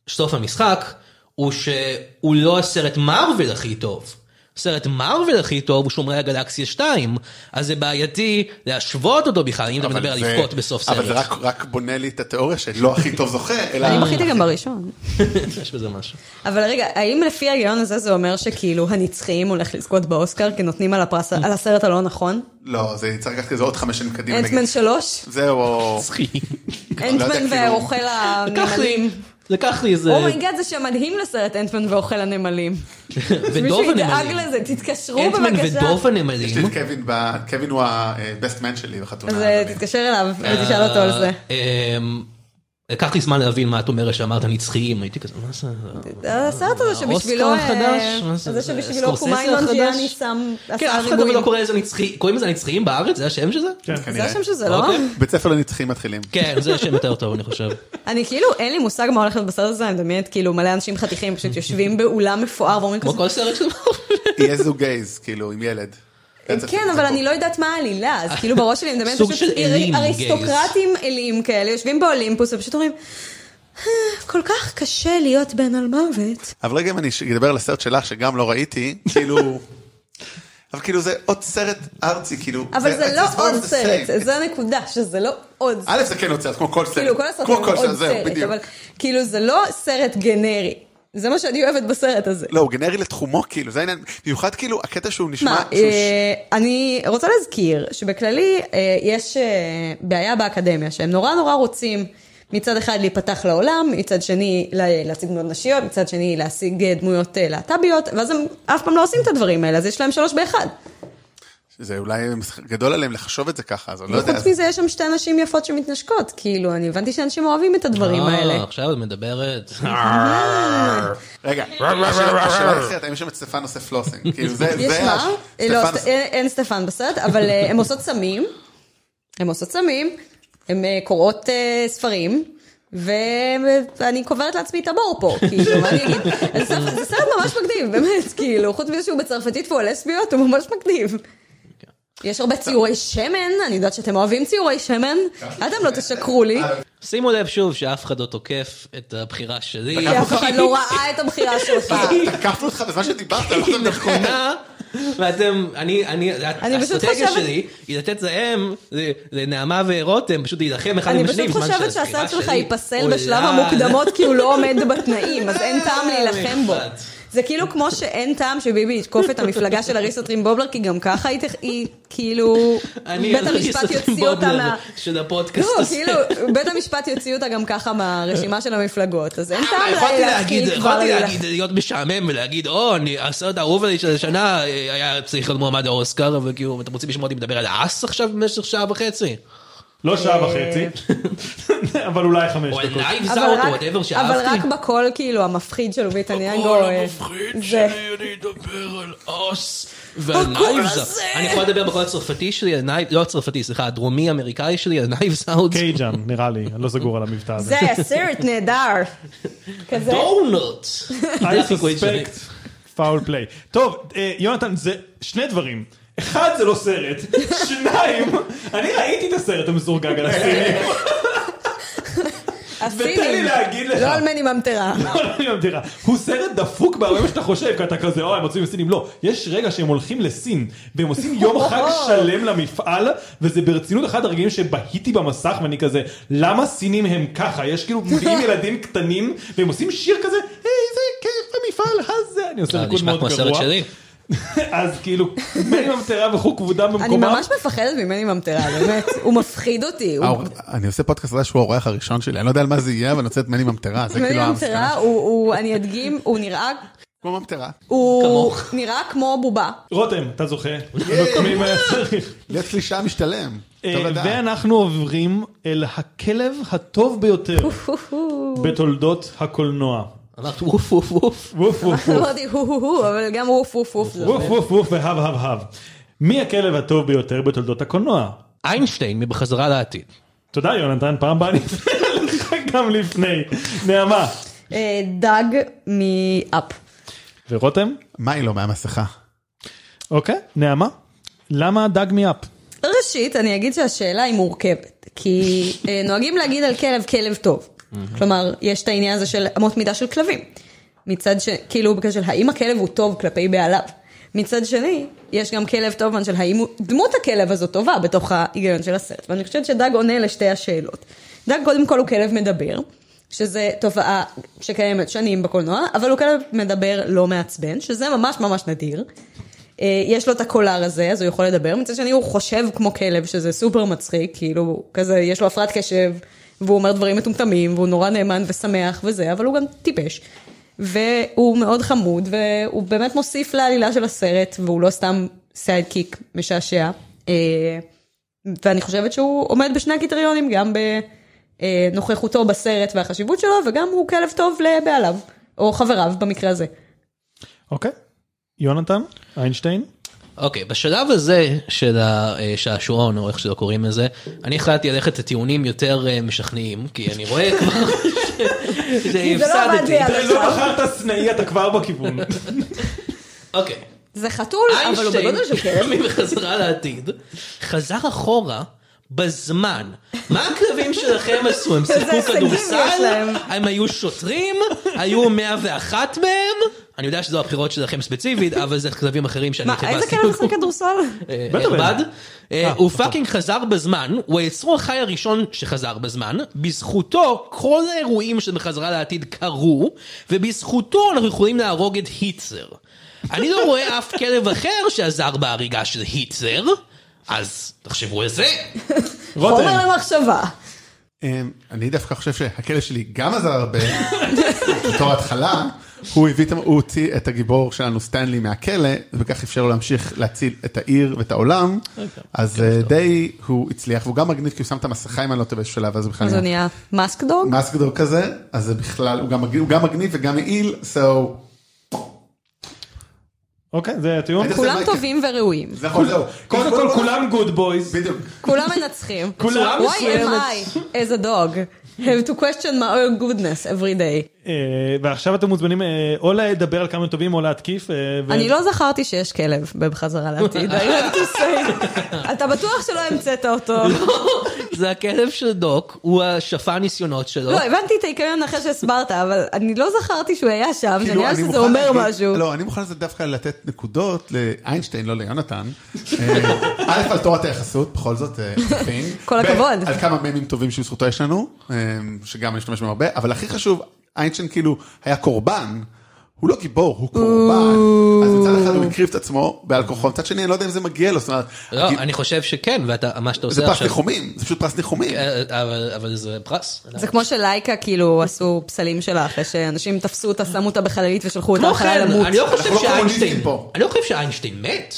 Speaker 5: סוף המשחק, הוא שהוא לא הסרט מארוול הכי טוב. סרט מארוול הכי טוב הוא שומרי הגלקסיה 2, אז זה בעייתי להשוות אותו בכלל, אם אתה
Speaker 7: אבל
Speaker 5: מדבר על
Speaker 7: זה-
Speaker 5: לבכות בסוף סרט.
Speaker 7: אבל זה רק- רק בונה לי את התיאוריה שלא לא הכי טוב זוכה, אלא...
Speaker 6: אני בכיתי גם בראשון.
Speaker 5: יש בזה משהו.
Speaker 6: אבל רגע, האם לפי ההיגיון הזה זה אומר שכאילו הנצחיים הולך לזכות באוסקר, כי נותנים על הפרס, על הסרט הלא נכון?
Speaker 7: לא, זה צריך לקחת איזה עוד חמש שנים קדימה. נגיד.
Speaker 6: אנטמן שלוש?
Speaker 7: זהו, או... לא
Speaker 6: אנטמן
Speaker 7: יודע, כאילו-
Speaker 6: והאוכל
Speaker 5: לקח לי,
Speaker 6: הנמלים. Oh
Speaker 5: לקח לי איזה...
Speaker 6: אומייגאד זה שם מדהים לסרט אנטמן ואוכל הנמלים.
Speaker 5: כן, ודוב
Speaker 6: מישהו ידאג
Speaker 5: הנמלים.
Speaker 6: לזה, תתקשרו
Speaker 5: אנטמן
Speaker 6: בבקשה.
Speaker 5: ודוב
Speaker 7: יש
Speaker 5: הנמלים.
Speaker 7: לי את קווין, ב- קווין הוא ה-best man שלי בחתונה. לא
Speaker 6: אז אה,
Speaker 7: אדוני.
Speaker 6: תתקשר אליו ותשאל אותו על זה.
Speaker 5: אה, אמ, לקח לי זמן להבין מה את אומרת שאמרת נצחיים, הייתי כזה, מה זה?
Speaker 6: הסרט הזה שבשבילו...
Speaker 5: האוסקר החדש?
Speaker 6: אה,
Speaker 5: מה זה,
Speaker 6: הזה
Speaker 5: זה
Speaker 6: שבשבילו
Speaker 5: סקורסזה
Speaker 6: קומאי מונג'יאני
Speaker 5: החדש?
Speaker 6: שם
Speaker 5: כן,
Speaker 6: עשה
Speaker 5: אף אחד אבל לא
Speaker 6: ריבועים.
Speaker 5: קורא לזה נצחי, קוראים לזה נצחיים בארץ? זה השם של זה?
Speaker 6: זה
Speaker 7: כנראה.
Speaker 6: השם של זה, לא?
Speaker 5: אוקיי.
Speaker 7: בית ספר לנצחים מתחילים.
Speaker 5: כן, זה שם יותר טוב, אני חושב.
Speaker 6: אני כאילו, אין לי מושג מה הולך להיות בסרט הזה, אני מדמיינת כאילו מלא אנשים חתיכים פשוט יושבים באולם מפואר ואומרים
Speaker 5: כמו
Speaker 6: כזה,
Speaker 5: כל סרט של מארוול.
Speaker 7: יהיה זוג גייז, כאילו, עם ילד.
Speaker 6: כן, אבל אני לא יודעת מה העלילה, אז כאילו בראש שלי אני מדמיינת
Speaker 5: סוג
Speaker 6: פשוט
Speaker 5: של אלים,
Speaker 6: אריסטוקרטים אלים כאלה, יושבים באולימפוס ופשוט אומרים, "אה, כל כך קשה להיות בן על מוות.
Speaker 7: אבל רגע אם אני ש- אדבר על הסרט שלך, שגם לא ראיתי, כאילו... אבל כאילו זה עוד סרט ארצי, כאילו...
Speaker 6: אבל זה
Speaker 7: it's
Speaker 6: לא
Speaker 7: more of
Speaker 6: עוד
Speaker 7: the
Speaker 6: סרט,
Speaker 7: same.
Speaker 6: זה הנקודה, שזה לא עוד
Speaker 2: אה,
Speaker 6: סרט.
Speaker 7: א', זה כן עוד סרט, כמו כל סרט.
Speaker 6: כאילו כל הסרט
Speaker 7: כמו כל
Speaker 6: עוד
Speaker 7: סרט, זהו,
Speaker 6: סרט,
Speaker 7: בדיוק.
Speaker 6: אבל כאילו זה לא סרט גנרי, זה מה שאני אוהבת בסרט הזה.
Speaker 7: לא, הוא גנרי לתחומו, כאילו, זה העניין. במיוחד כאילו, הקטע שהוא נשמע...
Speaker 6: מה,
Speaker 7: שהוא ש-
Speaker 6: אה, אני רוצה להזכיר שבכללי אה, יש אה, בעיה באקדמיה שהם נורא נורא רוצים מצד אחד להיפתח לעולם, מצד שני לה- להשיג דמויות נשיות, מצד שני להשיג אה, דמויות אה, להט"ביות, ואז הם אף פעם לא עושים את הדברים האלה, אז יש להם שלוש באחד.
Speaker 7: זה אולי משחק גדול עליהם לחשוב את זה ככה, אז אני לא יודע.
Speaker 6: וחוץ מזה יש שם שתי נשים יפות שמתנשקות, כאילו, אני הבנתי שאנשים אוהבים את הדברים האלה.
Speaker 5: אה, עכשיו את מדברת.
Speaker 7: רגע, השאלה השאלה בסרט, האם יש שם את סטפן עושה פלוסינג? כאילו, זה...
Speaker 6: יש
Speaker 7: זה
Speaker 6: מה?
Speaker 7: הש-
Speaker 6: אה, לא,
Speaker 7: סטפן
Speaker 6: סט- אין אין סטפן בסרט, אבל אה, הם עושות סמים. הם עושות סמים, הן אה, קוראות אה, ספרים. ו- ואני קוברת לעצמי את הבור פה, כאילו, מה אני אגיד? אז סרט- זה סרט ממש מגניב, באמת, כאילו, חוץ מזה שהוא בצרפתית והוא לסביות, הוא ממש מגניב. יש הרבה ציורי שמן, אני יודעת שאתם אוהבים ציורי שמן, אתם לא תשקרו לי,
Speaker 5: שימו לב שוב שאף אחד לא תוקף את הבחירה שלי.
Speaker 6: כי אף אחד לא ראה את הבחירה שלך.
Speaker 7: תקפנו אותך בזמן שדיברת, לא
Speaker 5: היא
Speaker 7: אתה מדבר.
Speaker 6: נכון.
Speaker 5: נכונה, ואתם, אני, אני,
Speaker 6: אני פשוט
Speaker 5: האסטרטגיה
Speaker 6: חושבת-
Speaker 5: שלי היא לתת להם, ל- לנעמה ורותם, פשוט להילחם אחד עם
Speaker 6: אני
Speaker 5: השני.
Speaker 6: פשוט
Speaker 5: בזמן
Speaker 6: חושבת
Speaker 5: שהזכירה
Speaker 6: שהסרט שלך
Speaker 5: שלי אה.
Speaker 6: ייפסל
Speaker 5: עולה
Speaker 6: בשלב
Speaker 5: על-
Speaker 6: המוקדמות כי הוא לא עומד בתנאים, אז אין
Speaker 5: אה,
Speaker 6: טעם להילחם בו.
Speaker 5: משפט.
Speaker 6: זה כאילו כמו שאין טעם שביבי יתקוף את המפלגה של אריסה טרימבובלר, כי גם ככה היא, תח- היא כאילו,
Speaker 5: אני
Speaker 6: בית המשפט
Speaker 5: אריסטו
Speaker 6: יוציא אותה
Speaker 5: בובלר
Speaker 6: מה...
Speaker 5: של
Speaker 6: לא,
Speaker 5: הפודקאסט הזה.
Speaker 6: כאילו, בית המשפט יוציא אותה גם ככה מהרשימה של המפלגות, אז אין טעם
Speaker 5: אה, לא, יכולתי
Speaker 6: לה-
Speaker 5: להגיד,
Speaker 6: להתחיל כבר
Speaker 5: יכולתי
Speaker 6: להילחם.
Speaker 5: להגיד, להיות משעמם ולהגיד, או, אני- הסרט האהוב עלי של השנה אה, היה צריך להיות מועמד האוסקר, אבל כאילו, אתם רוצים לשמוע אותי מדבר על אס עכשיו במשך שעה וחצי?
Speaker 4: לא שעה וחצי, אבל אולי חמש
Speaker 5: או
Speaker 4: דקות.
Speaker 5: לייב
Speaker 6: אבל
Speaker 5: זאוט או
Speaker 6: רק-
Speaker 5: וואטאבר
Speaker 6: אבל
Speaker 5: שאהבתי.
Speaker 6: רק בקול כאילו המפחיד של אובית הניאנגו. אה, זה-
Speaker 5: אני אדבר על אוס ועל נייבס. אני יכול לדבר בקול הצרפתי שלי, על נייב- לא הצרפתי, סליחה, הדרומי אמריקאי שלי, על נייבס אאוט.
Speaker 4: קייג'ן נראה לי, אני לא סגור על המבטא הזה.
Speaker 6: זה היה סרט נהדר. כזה.
Speaker 5: דונלד.
Speaker 4: I suspect foul play. טוב, אה, יונתן, זה שני דברים. אחד, זה לא סרט. שניים, אני ראיתי את הסרט המסורגג על הסינים. ותן לי
Speaker 6: הסינים.
Speaker 4: להגיד לך.
Speaker 6: לא על מני ממטרה.
Speaker 4: אני ממתירה. הוא סרט דפוק בהרבה מה שאתה חושב, כי אתה כזה, אוי, הם עוצרים לסינים. לא, יש רגע שהם הולכים לסין, והם עושים יום חג שלם למפעל, וזה ברצינות אחד הרגעים שבהיתי במסך, ואני כזה, למה סינים הם ככה? יש כאילו מביאים ילדים קטנים, והם עושים שיר כזה, היי, זה כיף במפעל הזה. אני עושה
Speaker 5: אה,
Speaker 4: ריקוד
Speaker 5: נשמע
Speaker 4: מאוד
Speaker 5: כמו הסרט
Speaker 4: גרוע.
Speaker 5: שלי.
Speaker 4: אז כאילו, מי ממטרה וכו' כבודה
Speaker 6: אני
Speaker 4: במקומה.
Speaker 6: ממש מפחדת ממני ממטרה, באמת. הוא מפחיד אותי. הוא-
Speaker 2: האור- אני עושה פודקאסט חדש שהוא האורח הראשון שלי, אני לא יודע על מה זה יהיה, אבל אני רוצה את מני ממטרה, זה
Speaker 6: מני
Speaker 2: כאילו
Speaker 6: ממטרה
Speaker 2: המסקנה.
Speaker 6: הוא, הוא- אני אדגים, הוא נראה,
Speaker 2: כמו ממטרה.
Speaker 6: הוא
Speaker 5: כמוך.
Speaker 6: נראה כמו בובה.
Speaker 4: רותם, אתה זוכה. מקומים היה צריך.
Speaker 2: להיות קלישה משתלם.
Speaker 4: אה,
Speaker 2: טוב לדעת.
Speaker 4: ואנחנו עוברים אל הכלב הטוב ביותר בתולדות הקולנוע.
Speaker 5: אמרת ווף ווף ווף.
Speaker 4: ווף ווף ווף.
Speaker 6: אמרתי הו הו הו, אבל גם ווף ווף ווף. זה לא
Speaker 4: ווף ווף ווף והב הב הב. מי הכלב הטוב ביותר בתולדות הקולנוע?
Speaker 5: איינשטיין מבחזרה לעתיד.
Speaker 4: תודה יונתן, פעם הבאה אני אפנה לך גם לפני. נעמה.
Speaker 6: עובד. אה, דג מאפ.
Speaker 4: ורותם?
Speaker 2: מה היא לא מהמסכה?
Speaker 4: אוקיי, נעמה. למה דג מאפ?
Speaker 6: ראשית, אני אגיד שהשאלה היא מורכבת, כי אה, נוהגים להגיד על כלב כלב טוב. כלומר, יש את העניין הזה של אמות מידה של כלבים. מצד ש... כאילו, בקשר של האם הכלב הוא טוב כלפי בעליו. מצד שני, יש גם כלב טוב במובן של האם הוא- דמות הכלב הזאת טובה בתוך ההיגיון של הסרט. ואני חושבת שדג עונה לשתי השאלות. דג קודם כל הוא כלב מדבר, שזה תופעה שקיימת שנים בקולנוע, אבל הוא כלב מדבר לא מעצבן, שזה ממש ממש נדיר. אה, יש לו את הקולר הזה, אז הוא יכול לדבר. מצד שני, הוא חושב כמו כלב, שזה סופר מצחיק, כאילו, כזה, יש לו הפרעת קשב, והוא אומר דברים מטומטמים, והוא נורא נאמן ושמח וזה, אבל הוא גם טיפש. והוא מאוד חמוד, והוא באמת מוסיף לעלילה של הסרט, והוא לא סתם סיידקיק משעשע. אה, ואני חושבת שהוא עומד בשני הקריטריונים, גם בנוכחותו בסרט והחשיבות שלו, וגם הוא כלב טוב לבעליו, או חבריו במקרה הזה.
Speaker 4: אוקיי. יונתן? איינשטיין?
Speaker 5: אוקיי, בשלב הזה של השעשועון, או איך שלא קוראים לזה, אני החלטתי ללכת לטיעונים יותר אה, משכנעים, כי אני רואה כבר
Speaker 6: כי זה לא עבד
Speaker 5: שהפסדתי.
Speaker 6: לי עד
Speaker 4: לא
Speaker 6: עכשיו.
Speaker 4: בחרת סנאי, אתה כבר בכיוון.
Speaker 5: אוקיי.
Speaker 6: זה חתול, אבל הוא
Speaker 5: איינשטיין,
Speaker 6: בגודל של כלב.
Speaker 5: מחזרה לעתיד, חזר אחורה בזמן. מה הכלבים שלכם עשו? הם שיחקו
Speaker 6: הישגים יש
Speaker 5: כדורסל?
Speaker 6: להם.
Speaker 5: הם היו שוטרים? היו 101 מהם? אני יודע שזו הבחירות שלכם ספציפית, אבל זה כלבים אחרים שאני
Speaker 6: מה,
Speaker 4: אוקיי,
Speaker 5: חיפשתי.
Speaker 6: איזה כלב משחק כדורסל?
Speaker 5: אה,
Speaker 4: בטח,
Speaker 5: הרבד.
Speaker 4: בטח.
Speaker 5: אה, הוא פאקינג חזר בזמן, הוא היצרו החי הראשון שחזר בזמן, בזכותו כל האירועים של בחזרה לעתיד קרו, ובזכותו אנחנו יכולים להרוג את היטלר. אני לא רואה אף כלב אחר שעזר בהריגה של היטלר, אז תחשבו על זה.
Speaker 4: רותם.
Speaker 6: חומר למחשבה.
Speaker 2: אמ, אני דווקא חושב שהכלב שלי גם עזר הרבה, בתור התחלה, הוא הביא, את- הוא הוציא את הגיבור שלנו סטנלי מהכלא, ובכך אפשר לו להמשיך להציל את העיר ואת העולם,
Speaker 4: אוקיי,
Speaker 2: אז אה, די הוא הצליח, והוא גם מגניב כי הוא שם את המסכה אם אני לא טועה באיזשהו שלב, אז הוא בכלל
Speaker 6: אז הוא נהיה מאסק דוג?
Speaker 2: מאסק דוג כזה, אז זה בכלל, הוא גם מגניב- הוא גם מגניב וגם מעיל, so...
Speaker 4: אוקיי, זה הטיעון.
Speaker 2: הייתי עושה
Speaker 6: כולם
Speaker 2: מייקל.
Speaker 6: טובים וראויים.
Speaker 2: זה יכול זהו.
Speaker 4: קודם כל כולם גוד בויז.
Speaker 2: בדיוק.
Speaker 6: כולם מנצחים.
Speaker 4: כולם
Speaker 6: Why am
Speaker 4: מסוימת.
Speaker 6: I, as a dog, have to question my own goodness every day?
Speaker 4: אה, ועכשיו אתם מוזמנים אה, או לדבר על כמה הם טובים או להתקיף. אה, ו-
Speaker 6: אני לא זכרתי שיש כלב בחזרה לעתיד. I have to say. אתה בטוח שלא המצאת אותו.
Speaker 4: לא.
Speaker 5: זה הכלב של דוק, הוא שפע ניסיונות שלו.
Speaker 6: לא, הבנתי את העיקרון אחרי שהסברת, אבל אני לא זכרתי שהוא היה שם, שאני
Speaker 2: כאילו,
Speaker 6: יודעת
Speaker 2: אני
Speaker 6: שזה
Speaker 2: מוכן
Speaker 6: אומר
Speaker 2: להגיד-
Speaker 6: משהו.
Speaker 2: לא, אני מוכן לזה דווקא לתת נקודות לאיינשטיין, לא ליונתן. אה, א', על תורת היחסות, בכל זאת, אה, חופים.
Speaker 6: כל
Speaker 2: ב',
Speaker 6: הכבוד.
Speaker 2: על כמה ממים טובים שבזכותו יש לנו, אה, שגם אני משתמש בהם הרבה, אבל הכי חשוב, איינשטיין כאילו היה קורבן. הוא לא גיבור, הוא קורבן. אז מצד אחד הוא הקריב את עצמו בעל כוחו, מצד שני אני לא יודע אם זה מגיע לו, זאת אומרת,
Speaker 5: לא,
Speaker 2: הג-
Speaker 5: אני חושב שכן, ומה שאתה
Speaker 2: זה
Speaker 5: עושה
Speaker 2: פרס
Speaker 5: עכשיו...
Speaker 2: ניחומים, זה פשוט פרס ניחומים.
Speaker 5: אה, אבל- אבל זה פרס.
Speaker 6: זה כמו שלייקה כאילו עשו פסלים שלה אחרי שאנשים תפסו אותה, שמו אותה בחללית ושלחו אותה
Speaker 5: כמו
Speaker 6: אחריה
Speaker 5: כן,
Speaker 6: למות.
Speaker 5: אני לא
Speaker 2: אנחנו
Speaker 5: חושב
Speaker 2: לא
Speaker 5: שאיינשטיין,
Speaker 2: קומוניסטים פה.
Speaker 5: אני לא חושב שאיינשטיין מת.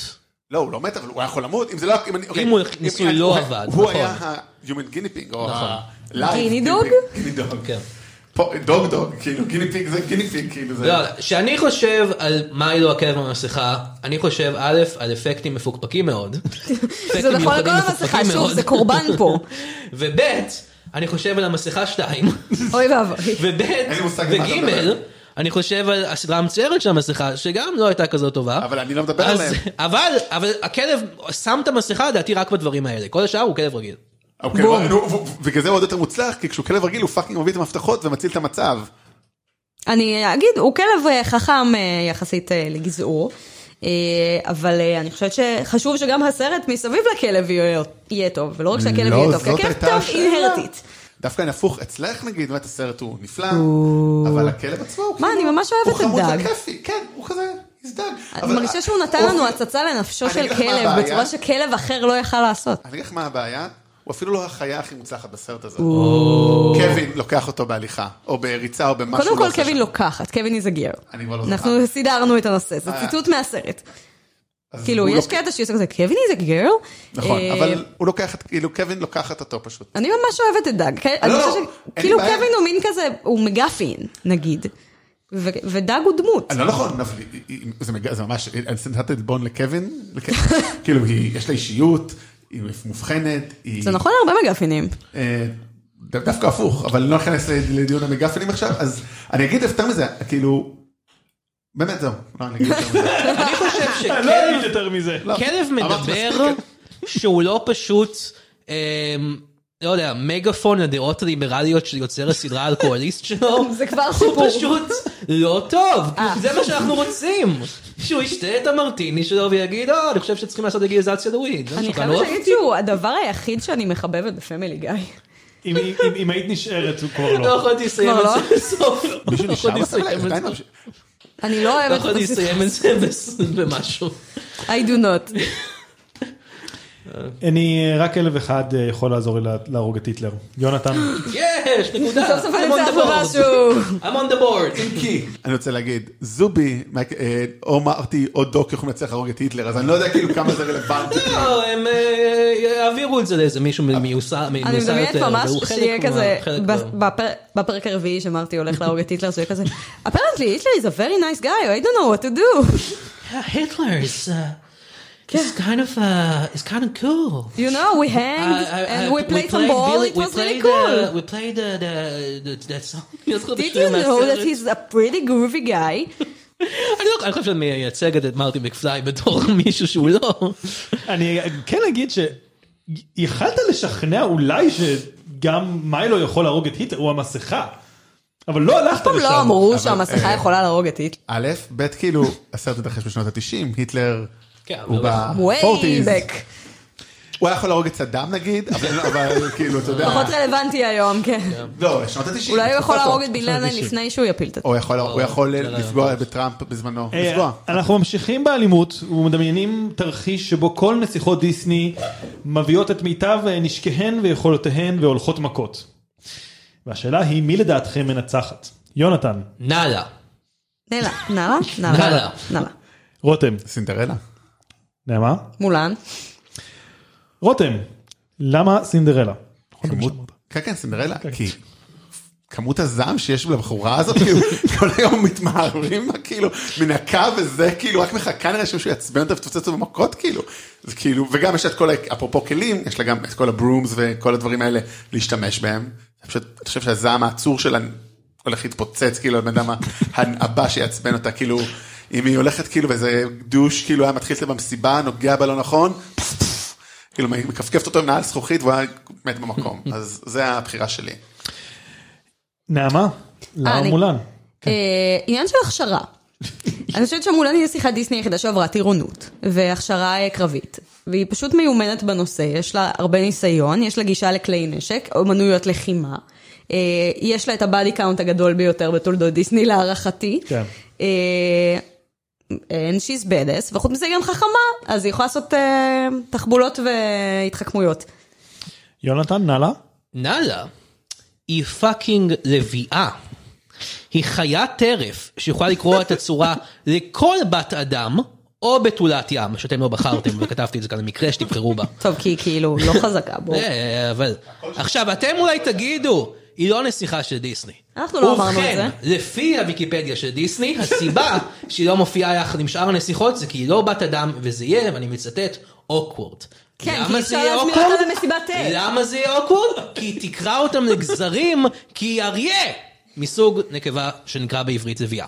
Speaker 2: לא, הוא לא מת, אבל הוא היה יכול למות, אם זה לא... אם אני- אוקיי,
Speaker 5: הוא ניסוי
Speaker 2: אני-
Speaker 5: לא
Speaker 2: הוא-
Speaker 5: עבד,
Speaker 2: הוא
Speaker 5: נכון.
Speaker 2: היה ה-Human Guinea Pig, או ה-Live
Speaker 6: Guinea dog?
Speaker 2: Guinea Dog.
Speaker 5: כן.
Speaker 2: פה, דוג דוג, כאילו, Guinea Pig זה Guinea Pig, כאילו זה...
Speaker 5: לא, כשאני חושב על מיילו הכלב במסכה, אני חושב א', על אפקטים מפוקפקים מאוד.
Speaker 6: זה נכון לכל המסכה, שוב, זה קורבן פה.
Speaker 5: וב', אני חושב על המסכה 2,
Speaker 6: אוי ואבוי.
Speaker 5: וב',
Speaker 2: לי מושג על מה אתה
Speaker 5: וג',
Speaker 2: מדבר.
Speaker 5: אני חושב על הסדרה המצערת של המסכה, שגם לא הייתה כזאת טובה.
Speaker 2: אבל אני לא מדבר
Speaker 5: אז-
Speaker 2: עליהם.
Speaker 5: אבל, אבל הכלב שם את המסכה, לדעתי, רק בדברים האלה. כל השאר הוא כלב רגיל.
Speaker 2: אוקיי,
Speaker 6: בום.
Speaker 2: נו, ו- ו- בגלל זה הוא עוד יותר מוצלח, כי כשהוא כלב רגיל הוא פאקינג מביא את המפתחות ומציל את המצב.
Speaker 6: אני אגיד, הוא כלב אה, חכם אה, יחסית אה, לגזעור, אה, אבל אה, אני חושבת שחשוב שגם הסרט מסביב לכלב יהיה- יהיה טוב, ולא רק שהכלב
Speaker 8: לא,
Speaker 6: יהיה טוב, כי
Speaker 8: זאת
Speaker 6: הכלב
Speaker 8: הייתה
Speaker 6: טוב
Speaker 8: השאלה.
Speaker 6: אינהרטית.
Speaker 2: דווקא אני הפוך, אצלך נגיד, באמת הסרט הוא נפלא, אבל הכלב עצמו הוא
Speaker 6: מה,
Speaker 2: כאילו-
Speaker 6: אני ממש אוהבת
Speaker 2: הוא
Speaker 6: את
Speaker 2: חמוד
Speaker 6: דג.
Speaker 2: וכיפי, כן, הוא כזה, he's dog.
Speaker 6: אני
Speaker 2: אבל-
Speaker 6: מרגישה שהוא נתן
Speaker 2: אופי-
Speaker 6: לנו הצצה לנפשו
Speaker 2: אני
Speaker 6: של
Speaker 2: אגיד לך מה
Speaker 6: כלב
Speaker 2: הבעיה.
Speaker 6: בצורה שכלב אחר לא יכל לעשות.
Speaker 2: אני אגיד לך מה הבעיה, הוא אפילו לא החיה הכי מוצלחת בסרט הזה. קווין לוקח אותו בהליכה, או בריצה, או במשהו.
Speaker 6: קודם
Speaker 2: לא
Speaker 6: כל
Speaker 2: עושה
Speaker 6: קווין
Speaker 2: שם.
Speaker 6: לוקחת, קווין איז הגר.
Speaker 2: אני כבר לא זוכר.
Speaker 6: אנחנו סידרנו את הנושא, זה
Speaker 2: אה.
Speaker 6: ציטוט מהסרט.
Speaker 2: אז
Speaker 6: כאילו,
Speaker 2: הוא
Speaker 6: יש
Speaker 2: לוק-
Speaker 6: קטע שהיא עושה כזה, קווין איז הגר?
Speaker 2: נכון, אבל הוא לוקח, את- כאילו קווין לוקחת אותו פשוט.
Speaker 6: אה, אני ממש אוהבת את דג. אני
Speaker 2: לא,
Speaker 6: חושבת
Speaker 2: אין לי
Speaker 6: ש- כאילו
Speaker 2: בעיה.
Speaker 6: קווין הוא מין כזה, הוא מגפין, נגיד. ו- ודג הוא דמות.
Speaker 2: לא נכון, אבל היא- היא- זה מג- זה ממש, אני נתת את בון לקווין, לקווין. כאילו, היא- יש לה אישיות, היא מובחנת, היא...
Speaker 6: זה נכון להרבה מגפינים.
Speaker 2: אה, דו- דווקא הפוך, אבל לא נכנס ל- לדיון המגפנים עכשיו, אז אני אגיד יותר מזה, כאילו, באמת זהו, לא, אני אגיד יותר מזה.
Speaker 5: אני חושב
Speaker 4: לא
Speaker 5: שכלב...
Speaker 4: אגיד יותר מזה.
Speaker 5: כלב
Speaker 2: אמרתי כן.
Speaker 5: מדבר שהוא לא פשוט, אמ, לא יודע, מגפון לדעות הליברליות שיוצר הסדרה האלכוהוליסט שלו.
Speaker 6: זה כבר
Speaker 5: לא, הוא
Speaker 6: סיפור.
Speaker 5: פשוט לא טוב,
Speaker 6: אה.
Speaker 5: זה מה שאנחנו רוצים. שהוא ישתה את המרטיני שלו ויגיד, "אה, אני חושב שצריכים לעשות לגיליזציה לוויד. זה מה
Speaker 6: אני
Speaker 5: שכאן, לא
Speaker 6: חייבת
Speaker 5: אוהב.
Speaker 6: להגיד שהוא הדבר היחיד שאני מחבבת בפמילי גיא.
Speaker 4: אם- אם- אם היית נשארת, הוא כבר
Speaker 5: לא
Speaker 6: נכון.
Speaker 4: לא.
Speaker 5: יכולתי לסיים
Speaker 6: כבר
Speaker 5: את זה בסוף.
Speaker 2: מישהו
Speaker 5: לא
Speaker 2: נשאר
Speaker 5: יכולתי
Speaker 2: בסרט?
Speaker 5: לסיים את
Speaker 2: עדיין
Speaker 5: זה.
Speaker 2: ממשיך.
Speaker 6: אני לא
Speaker 5: לא
Speaker 6: אוהבת
Speaker 5: יכולתי
Speaker 6: את זה.
Speaker 5: לסיים את זה בס- במשהו.
Speaker 6: I do not.
Speaker 4: אני אה, רק אלף אחד אה, יכול לעזור לי לה- להרוג את היטלר. יונתן,
Speaker 5: יש, נקודה.
Speaker 6: סוף סוף אני
Speaker 5: I'm on
Speaker 6: אצא
Speaker 5: the board.
Speaker 6: משהו.
Speaker 5: I'm on the board.
Speaker 2: אני רוצה להגיד, זובי, מייק- אה, או מרטי או דוק יכולים להצליח להרוג את היטלר, אז אני לא יודע כאילו כמה זה רלוונטי.
Speaker 5: לא, הם אה, יעבירו את זה לאיזה מישהו מיוסר יותר.
Speaker 6: אני מדמיינת ממש
Speaker 5: אה, והוא חלק
Speaker 6: שיהיה
Speaker 5: מה-
Speaker 6: כזה,
Speaker 5: חלק לא.
Speaker 6: ב-
Speaker 5: מה-
Speaker 6: בפר- בפרק הרביעי שמרטי הולך להרוג את היטלר, שהוא יהיה כזה, apparently היטלר is a very nice guy, I don't know what to do.
Speaker 5: Hitler is uh,
Speaker 6: כן.
Speaker 5: is kind of uh, is kind of cool.
Speaker 6: You know, we
Speaker 5: Uh,
Speaker 6: hanged
Speaker 5: uh,
Speaker 6: and
Speaker 5: uh,
Speaker 6: we played some ball,
Speaker 5: Billy-
Speaker 6: it
Speaker 5: we
Speaker 6: was really
Speaker 5: played, uh,
Speaker 6: cool.
Speaker 5: We played uh, the the- that song.
Speaker 6: Did you know that he's a pretty groovy guy?
Speaker 5: אני לא- אני חושב שאני מייצגת את מרטין מקפליי בתור מישהו שהוא לא.
Speaker 4: אני כן אגיד שיכלת לשכנע אולי שגם מיילו יכול להרוג את היטלר, הוא המסכה. אבל לא הלכת לשם.
Speaker 6: לא אמרו
Speaker 2: אה,
Speaker 6: שהמסכה יכולה להרוג את היטלר.
Speaker 2: א', ב', כאילו, הסרט מתרחש בשנות ה-90, היטלר
Speaker 5: כן,
Speaker 2: הוא
Speaker 5: אבל-
Speaker 6: way
Speaker 2: ב-40's.
Speaker 6: back.
Speaker 2: הוא היה יכול להרוג את סדאם נגיד, אבל אבל כאילו, אתה יודע,
Speaker 6: פחות רלוונטי היום, כן.
Speaker 2: לא, שנות ה-90.
Speaker 6: אולי הוא יכול להרוג את בן לאדן לפני שהוא יפיל את הטלפון.
Speaker 2: או יכול- הוא יכול
Speaker 5: לא, לא,
Speaker 2: לפגוע בטראמפ בזמנו,
Speaker 4: אה,
Speaker 2: לפגוע.
Speaker 4: אנחנו ממשיכים באלימות ומדמיינים תרחיש שבו כל נסיכות דיסני מביאות את מיטב אה, נשקיהן ויכולותיהן והולכות מכות. והשאלה היא מי לדעתכם מנצחת? יונתן,
Speaker 5: נאללה.
Speaker 6: נאללה, נאללה?
Speaker 5: נאללה.
Speaker 6: נאללה. נאללה.
Speaker 4: רותם,
Speaker 2: סינדרלה.
Speaker 4: נעמה,
Speaker 6: מולן.
Speaker 4: רותם, למה סינדרלה?
Speaker 2: כמות, כן כן סינדרלה, כי כמות הזעם שיש לבחורה הזאת, כאילו כל היום מתמהרים בה, כאילו מנקה וזה, כאילו רק מחכה נראה שמישהו יעצבן אותה ותפוצץ אותה במכות, כאילו, זה כאילו, וגם יש לה את כל, ה- אפרופו כלים, יש לה גם את כל הברומס וכל הדברים האלה להשתמש בהם, אני פשוט, אני חושב שהזעם העצור שלה הולך להתפוצץ, כאילו הבן אדם הבא שיעצבן אותה, כאילו, אם היא הולכת כאילו ואיזה דוש, כאילו היה מתחיל איתה במסיבה, נוגע בה לא נכון, כאילו מכפכפת אותו עם נעל זכוכית והוא היה מת במקום אז זה הבחירה שלי.
Speaker 4: נעמה, למה
Speaker 6: אני-
Speaker 4: מולן?
Speaker 6: אה, עניין של הכשרה. אני חושבת שמולן היא שיחת דיסני היחידה שעברה טירונות, והכשרה אה, קרבית. והיא פשוט מיומנת בנושא, יש לה הרבה ניסיון, יש לה גישה לכלי נשק, אומנויות לחימה. אה, יש לה את הבאדי קאונט הגדול ביותר בתולדות דיסני להערכתי.
Speaker 4: כן.
Speaker 6: אה, and she's badass, וחוץ מזה היא גם חכמה, אז היא יכולה לעשות אה, תחבולות והתחכמויות.
Speaker 4: יונתן, נעלה?
Speaker 5: נאללה היא פאקינג לביאה. היא חיית טרף שיכולה לקרוע את הצורה לכל בת אדם, או בתולת ים, שאתם לא בחרתם, וכתבתי את זה כאן במקרה שתבחרו בה.
Speaker 6: טוב, כי היא כאילו לא חזקה בו.
Speaker 5: אה, אבל... עכשיו, אתם אולי תגידו, היא לא נסיכה של דיסני.
Speaker 6: אנחנו לא אמרנו את זה.
Speaker 5: ובכן, לפי הוויקיפדיה של דיסני, הסיבה שהיא לא מופיעה יחד עם שאר הנסיכות זה כי היא לא בת אדם, וזה יהיה, ואני מצטט, אוקוורד.
Speaker 6: כן,
Speaker 5: למה
Speaker 6: כי
Speaker 5: זה
Speaker 6: אפשר
Speaker 5: יהיה
Speaker 6: להזמין
Speaker 5: awkward?
Speaker 6: אותה למסיבת תה.
Speaker 5: למה זה יהיה אוקוורד? כי היא תקרע אותם לגזרים, כי היא אריה! מסוג נקבה שנקרא בעברית לביאה.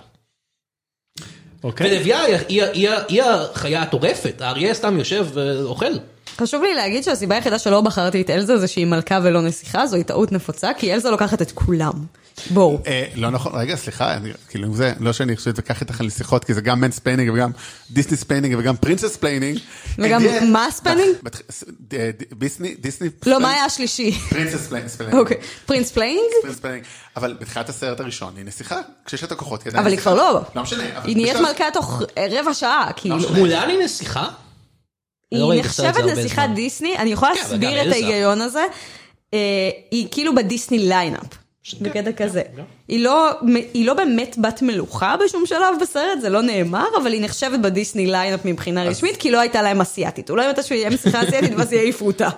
Speaker 4: אוקיי.
Speaker 5: ולביאה היא- היא- היא- היא החיה הטורפת, האריה סתם יושב ואוכל.
Speaker 6: חשוב לי להגיד שהסיבה היחידה שלא בחרתי את אלזה זה שהיא מלכה ולא נסיכה, זוהי טעות נפוצה, כי אלזה לוקחת את כולם. בואו.
Speaker 2: אה, לא נכון, רגע, סליחה, אני- כאילו זה, לא שאני חושב להתווכח איתך על שיחות, כי זה גם מן ספיינינג וגם דיסני ספיינינג וגם אה, פרינסס ספיינינג.
Speaker 6: וגם מה ספיינינג?
Speaker 2: אה, דיסני, דיסני.
Speaker 6: לא, מה היה השלישי?
Speaker 2: פרינסס ספיינינג.
Speaker 6: אוקיי. פרינס פליינג?
Speaker 2: פרינס פלנינג. אבל בתחילת הסרט הראשון היא נסיכה, כשיש לה את הכוחות היא עדיין
Speaker 6: אבל היא
Speaker 2: נסיכה.
Speaker 6: כבר לא.
Speaker 2: לא משנה. אבל
Speaker 6: היא נהיית
Speaker 2: בשלב- לא
Speaker 6: מלכה תוך אה, רבע שעה, כאילו.
Speaker 2: משנה.
Speaker 5: מולן היא נסיכה?
Speaker 6: היא
Speaker 5: לא ראיתי את הסרט
Speaker 6: נחשבת
Speaker 5: הזה הרבה
Speaker 6: נסיכת
Speaker 5: זמן.
Speaker 6: דיסני, אני יכולה
Speaker 5: כן, אבל גם
Speaker 6: להסביר את
Speaker 5: אלזה.
Speaker 6: ההיגיון הזה. אה, היא כאילו בדיסני ליינאפ,
Speaker 5: כן,
Speaker 6: בקטע כזה. היא לא- היא לא באמת בת מלוכה בשום שלב בסרט, זה לא נאמר, אבל היא נחשבת בדיסני ליינאפ מבחינה רשמית, כי לא הייתה להם אסייתית. אולי אם הייתה שהיא נסיכה אסייתית, ואז יעיפו אותה.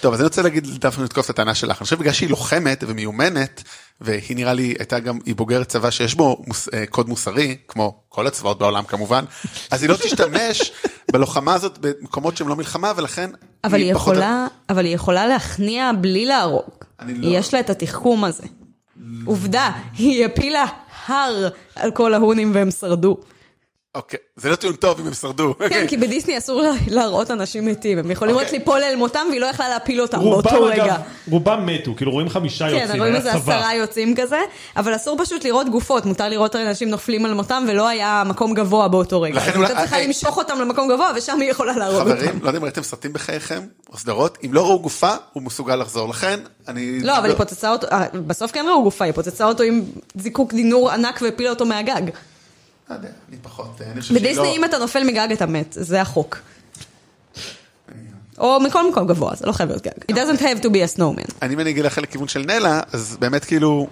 Speaker 2: טוב, אז אני רוצה להגיד, דווקא לתקוף את הטענה שלך. אני חושב בגלל שהיא לוחמת ומיומנת, והיא נראה לי הייתה גם, היא בוגרת צבא שיש בו מוס, אה, קוד מוסרי, כמו כל הצבאות בעולם כמובן, אז היא לא תשתמש בלוחמה הזאת במקומות שהם לא מלחמה, ולכן...
Speaker 6: אבל היא
Speaker 2: פחות-
Speaker 6: יכולה, אבל היא יכולה להכניע בלי להרוג.
Speaker 2: אני לא-
Speaker 6: יש לה את התחכום הזה.
Speaker 5: לא.
Speaker 6: עובדה, היא הפילה הר על כל ההונים והם שרדו.
Speaker 2: אוקיי, זה לא טיעון טוב אם הם שרדו.
Speaker 6: כן, כי בדיסני אסור לה- להראות אנשים מתים, הם יכולים רק
Speaker 2: אוקיי.
Speaker 6: ליפול אל מותם והיא לא יכלה להפיל אותם
Speaker 4: רובם
Speaker 6: באותו רגע.
Speaker 4: אגב, רובם מתו, כאילו רואים חמישה
Speaker 6: כן,
Speaker 4: יוצאים,
Speaker 6: אבל רואים
Speaker 4: היה
Speaker 6: איזה
Speaker 4: צבא.
Speaker 6: עשרה יוצאים כזה, אבל אסור פשוט לראות גופות, מותר לראות אנשים נופלים על מותם ולא היה מקום גבוה באותו רגע.
Speaker 2: לכן
Speaker 6: אז
Speaker 2: אולי-
Speaker 6: הייתה צריכה
Speaker 2: אה,
Speaker 6: למשוך אותם למקום גבוה ושם היא יכולה להרוג אותם.
Speaker 2: חברים, לא יודע אם ראיתם סרטים בחייכם, או סדרות, אם לא ראו גופה, הוא מסוגל לחזור, לכן אני...
Speaker 6: לא, אבל היא פוצצה אותו, אה, בסוף כן ראו גופה, היא פוצצה אותו עם זיקוק דינור ענק והפילה אותו מהגג.
Speaker 2: לא יודע, אני פחות, אני חושב שהיא
Speaker 6: בדיסני
Speaker 2: לא...
Speaker 6: אם אתה נופל מגג אתה מת, זה החוק. או מכל מקום גבוה, זה לא חייב להיות גג. It doesn't have to be a snowman.
Speaker 2: אני אם אני אגיד לך לכיוון של נלה, אז באמת כאילו...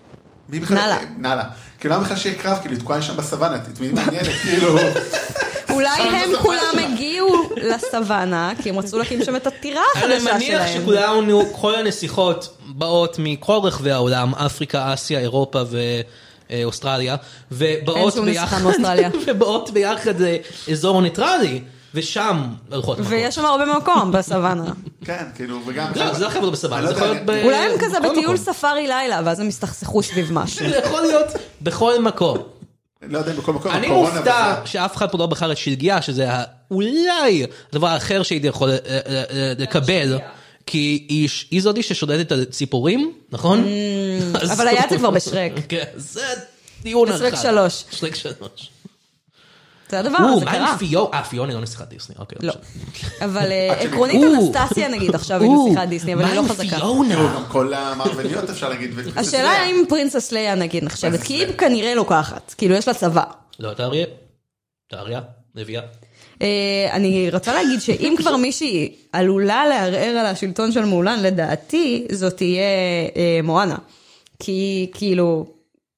Speaker 2: מי בכלל-
Speaker 6: נלה.
Speaker 2: נלה. כאילו למה בכלל שיהיה קרב, כאילו היא תקועה שם בסוואנה, את מי מעניינת, כאילו...
Speaker 6: אולי
Speaker 2: שם
Speaker 6: הם
Speaker 2: בסוואנה.
Speaker 6: כולם הגיעו לסוואנה, כי הם רצו להקים שם את הטירה
Speaker 5: אני
Speaker 6: החדשה
Speaker 5: מניח
Speaker 6: שלהם.
Speaker 5: שכולנו, כל הנסיכות באות מכל רחבי העולם, אפריקה, אסיה, אירופה ואוסטרליה,
Speaker 6: אין
Speaker 5: ובאות
Speaker 6: שום נסיכה
Speaker 5: ביחד,
Speaker 6: מאוסטרליה.
Speaker 5: ובאות ביחד לאזור ניטרלי, ושם הולכות מכות.
Speaker 6: ויש שם הרבה מקום בסוואנה.
Speaker 2: כן, כאילו, וגם...
Speaker 5: לא, זה לא חייב להיות בסבבה,
Speaker 2: אני לא
Speaker 5: זה יכול
Speaker 2: יודע,
Speaker 5: להיות ב...
Speaker 6: אולי הם כזה
Speaker 5: בכל
Speaker 6: בטיול
Speaker 5: אה, מקום.
Speaker 6: ספארי לילה, ואז הם הסתכסכו סביב משהו.
Speaker 5: זה יכול להיות בכל מקום.
Speaker 2: אני לא יודע אם בכל מקום,
Speaker 5: אני
Speaker 2: הקורונה
Speaker 5: מופתע
Speaker 2: וזה.
Speaker 5: שאף אחד פה לא בחר את שלגיה, שזה ה- אולי הדבר האחר שהייתי יכול אה, אה, אה, לקבל. כי היא ש- היא זאתי ששולטת על ציפורים, נכון? אז-
Speaker 6: Mm, אבל היה את זה כבר בשרק.
Speaker 5: כן, זה דיון אחד.
Speaker 6: בשרק שלוש.
Speaker 5: שרק שלוש.
Speaker 6: זה הדבר,
Speaker 5: או,
Speaker 6: זה
Speaker 5: מה
Speaker 6: קרה.
Speaker 5: עם פיונה? אה, פיונה לא נסיכת דיסני, אוקיי.
Speaker 6: לא.
Speaker 5: משנה.
Speaker 6: אבל אה, עקרונית
Speaker 5: אוקיי. או.
Speaker 6: אנסטסיה נגיד עכשיו היא
Speaker 5: או,
Speaker 6: נסיכת דיסני, אבל היא לא
Speaker 5: מה
Speaker 6: חזקה.
Speaker 5: עם פיונה?
Speaker 2: גם כל המערבניות אפשר להגיד. ו-
Speaker 6: השאלה
Speaker 2: זה-
Speaker 6: האם פרינסס ליה נגיד נחשבת, כי היא כנראה לוקחת, כאילו יש לה צבא.
Speaker 5: לא, אתה אריה? אתה אריה? נביאה?
Speaker 6: אה, אני רוצה להגיד שאם כבר מישהי עלולה לערער על השלטון של מולן, לדעתי זאת תהיה אה, מואנה. כי היא, כאילו,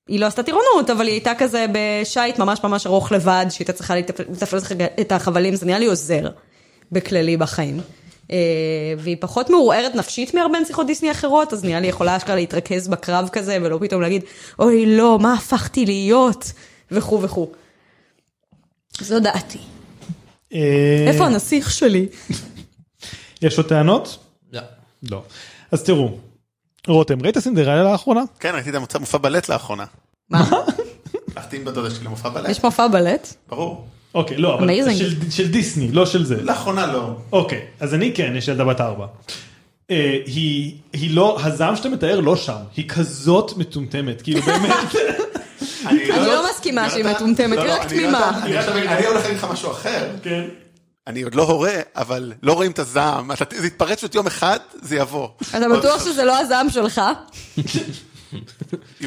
Speaker 6: היא לא עשתה טירונות, אבל היא הייתה כזה בשייט ממש ממש ארוך לבד, שהיא הייתה צריכה לתפ- לתפעל את החבלים, זה נראה לי עוזר בכללי בחיים. אה, והיא פחות מעורערת נפשית מהרבה נסיכות דיסני אחרות, אז נראה לי יכולה אשכרה להתרכז בקרב כזה, ולא פתאום להגיד, אוי לא, מה הפכתי להיות, וכו' וכו'. זו דעתי.
Speaker 4: אה,
Speaker 6: איפה הנסיך שלי?
Speaker 4: יש עוד טענות?
Speaker 5: לא.
Speaker 4: לא. אז תראו, רותם, ראית סינדרלה לאחרונה?
Speaker 2: כן, ראיתי את המופע- מופע בלט לאחרונה.
Speaker 6: מה?
Speaker 2: הלכתי עם בדודה שלי למופע בלט,
Speaker 6: יש מופע בלט?
Speaker 2: ברור.
Speaker 4: אוקיי, לא, אבל
Speaker 6: Amazing.
Speaker 4: של- של דיסני, לא של זה.
Speaker 2: לאחרונה לא.
Speaker 4: אוקיי, אז אני כן, יש ילדה בת ארבע. אה, היא, היא לא, הזעם שאתה מתאר לא שם, היא כזאת מטומטמת, כאילו באמת,
Speaker 2: אני
Speaker 6: לא מסכימה
Speaker 2: יונתן,
Speaker 6: שהיא מטומטמת,
Speaker 2: לא,
Speaker 6: היא
Speaker 2: לא,
Speaker 6: רק
Speaker 2: אני
Speaker 6: תמימה.
Speaker 2: יונתן, אני עכשיו- אני הולך להגיד לך משהו אחר.
Speaker 4: כן.
Speaker 2: אני עוד לא הורה, אבל לא רואים את הזעם. אתה- זה יתפרץ פשוט יום אחד, זה יבוא.
Speaker 6: אתה בטוח שזה לא הזעם שלך?
Speaker 2: You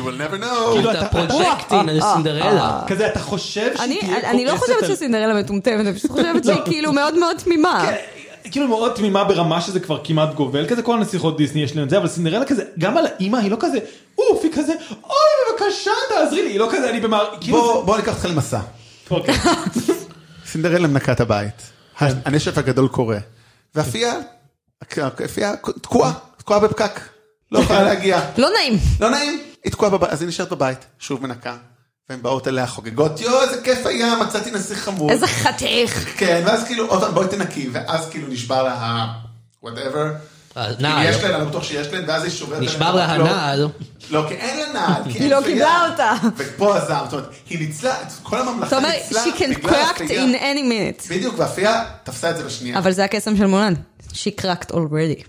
Speaker 2: will never know.
Speaker 4: כאילו,
Speaker 5: אתה
Speaker 4: אתה-
Speaker 6: אה,
Speaker 5: פרוג'קטין על סינדרלה.
Speaker 4: כזה אתה חושב
Speaker 6: אני,
Speaker 4: שהיא תהיה
Speaker 6: אני לא
Speaker 4: כועסת
Speaker 6: חושבת
Speaker 4: על-
Speaker 6: שסינדרלה מטומטמת, אני פשוט חושבת שהיא כאילו מאוד מאוד תמימה. אה?
Speaker 4: כאילו מאוד תמימה ברמה שזה כבר כמעט גובל כזה כל הנסיכות דיסני יש להם את זה אבל סינדרלה כזה גם על האימא היא לא כזה אוף היא כזה אוי בבקשה תעזרי לי היא לא כזה אני במער כאילו
Speaker 2: בוא בוא ניקח אותך למסע.
Speaker 4: אוקיי.
Speaker 7: סינדרלה מנקה את הבית,
Speaker 6: כן.
Speaker 7: הנשף הגדול קורה, והפייה, הפייה תקועה, תקועה בפקק, לא יכולה להגיע,
Speaker 6: לא נעים.
Speaker 7: לא נעים, היא תקועה בבית, אז היא נשארת בבית, שוב מנקה, והן באות אליה חוגגות, יואו איזה כיף היה, מצאתי נסיך חמור,
Speaker 6: איזה חתיך.
Speaker 7: כן, ואז כאילו, עוד פעם בואי תנקי, ואז כאילו נשבר לה ה... וואטאבר. אם
Speaker 5: הנעל.
Speaker 7: יש להן, אני לא בטוח שיש להן, ואז היא שוברת... להן
Speaker 5: אה, נשבר
Speaker 7: את
Speaker 5: לה
Speaker 7: המקלות.
Speaker 5: הנעל.
Speaker 7: לא, כי אין לה נעל. כי אין
Speaker 6: לא
Speaker 7: פייה.
Speaker 6: קיבלה אותה.
Speaker 7: ופה הזעם, זאת אומרת, היא ניצלה, כל
Speaker 6: אתה
Speaker 7: הממלכה
Speaker 6: אומר,
Speaker 7: ניצלה
Speaker 6: she can
Speaker 7: בגלל
Speaker 6: crack
Speaker 7: הפייה.
Speaker 6: in any minute.
Speaker 7: בדיוק, והפייה תפסה את זה בשנייה.
Speaker 6: אבל זה הקסם של מולן. She cracked already.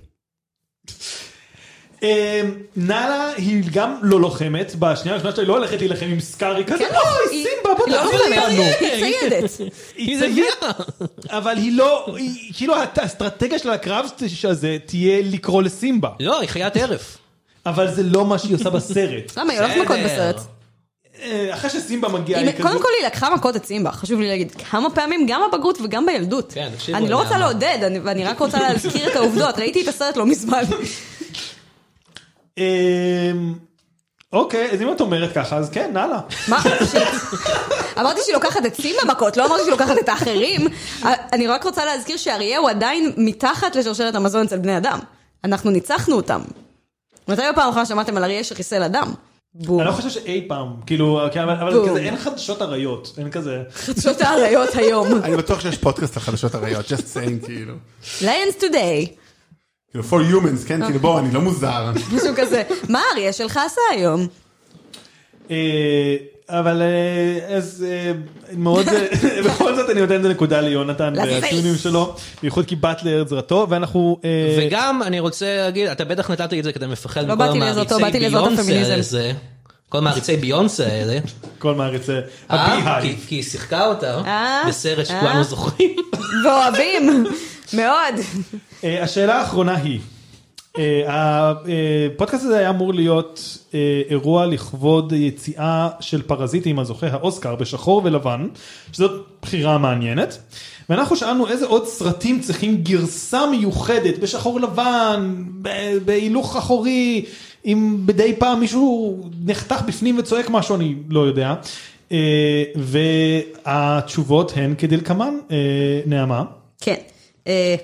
Speaker 4: אה, נאלה היא גם לא לוחמת, בשנייה הראשונה שלה היא לא הולכת להילחם עם סקארי כזה, אוי,
Speaker 6: כן, לא, היא-
Speaker 4: סימבה, בוא
Speaker 6: היא לא
Speaker 4: תעביר
Speaker 6: לוחמת,
Speaker 4: אותנו.
Speaker 6: היא ציידת.
Speaker 4: היא
Speaker 5: איזה
Speaker 4: ציידת, אבל היא לא, היא- כאילו האסטרטגיה של הקרב הזה תהיה לקרוא לסימבה,
Speaker 5: לא, היא חיית ערף.
Speaker 4: אבל זה לא מה שהיא עושה בסרט.
Speaker 6: למה היא הולכת מכות בסרט?
Speaker 4: אה, אחרי שסימבה מגיעה,
Speaker 6: היא-
Speaker 4: היא כזו,
Speaker 6: קודם כל היא לקחה מכות את סימבה, חשוב לי להגיד, כמה פעמים, גם בבגרות וגם בילדות.
Speaker 5: כן, תקשיבו,
Speaker 6: אני לא
Speaker 5: נעמה.
Speaker 6: רוצה לעודד, אני- ואני רק רוצה להזכיר את העובדות, ראיתי את הסרט לא מזמן.
Speaker 4: אה, אוקיי, אז אם את אומרת ככה, אז כן, נאללה.
Speaker 6: מה? שיט. אמרתי שהיא לוקחת את סימבה מכות, לא אמרתי שהיא לוקחת את האחרים. אה, אני רק רוצה להזכיר שאריה הוא עדיין מתחת לשרשרת המזון אצל בני אדם. אנחנו ניצחנו אותם. מתי בפעם האחרונה שמעתם על אריה שחיסל אדם? בום.
Speaker 4: אני לא חושב שאי פעם, כאילו, כן, אבל אבל
Speaker 6: בום.
Speaker 4: כזה, אין חדשות אריות, אין כזה.
Speaker 6: חדשות האריות היום.
Speaker 2: אני בטוח שיש פודקאסט על חדשות אריות, just saying כאילו.
Speaker 6: ליונס טודיי.
Speaker 2: כאילו for humans, כן? כאילו בוא, אני לא מוזר.
Speaker 6: משהו כזה. מה האריה שלך עשה היום?
Speaker 4: אה, אבל אה, אז אה, מאוד, אה, בכל זאת אני נותן את הנקודה ליונתן
Speaker 6: לפייס.
Speaker 4: והטיונים שלו, בייחוד כי באת לעזרתו, ואנחנו... אה,
Speaker 5: וגם אני רוצה להגיד, אתה בטח נתת לי את זה כי אתה מפחד
Speaker 6: לא
Speaker 5: מכל
Speaker 6: באתי לעזור אותו,
Speaker 5: המעריצי
Speaker 6: באתי לעזור את
Speaker 5: ביונסה
Speaker 6: הפמיניזם.
Speaker 5: האלה זה. כל מעריצי ביונסה האלה.
Speaker 4: כל מעריצי
Speaker 5: אה,
Speaker 4: הבי-היי.
Speaker 5: כי- כי היא שיחקה אותה
Speaker 6: אה,
Speaker 5: בסרט
Speaker 6: אה.
Speaker 5: שכולנו זוכרים.
Speaker 6: ואוהבים. מאוד.
Speaker 4: אה, השאלה האחרונה היא, אה, ה- אה, הפודקאסט הזה היה אמור להיות אה, אירוע לכבוד יציאה של פרזיטים הזוכה האוסקר בשחור ולבן, שזאת בחירה מעניינת. ואנחנו שאלנו איזה עוד סרטים צריכים גרסה מיוחדת בשחור לבן, ב- בהילוך אחורי, אם מדי פעם מישהו נחתך בפנים וצועק משהו, אני לא יודע. אה, והתשובות הן כדלקמן, אה, נעמה.
Speaker 6: כן. אה,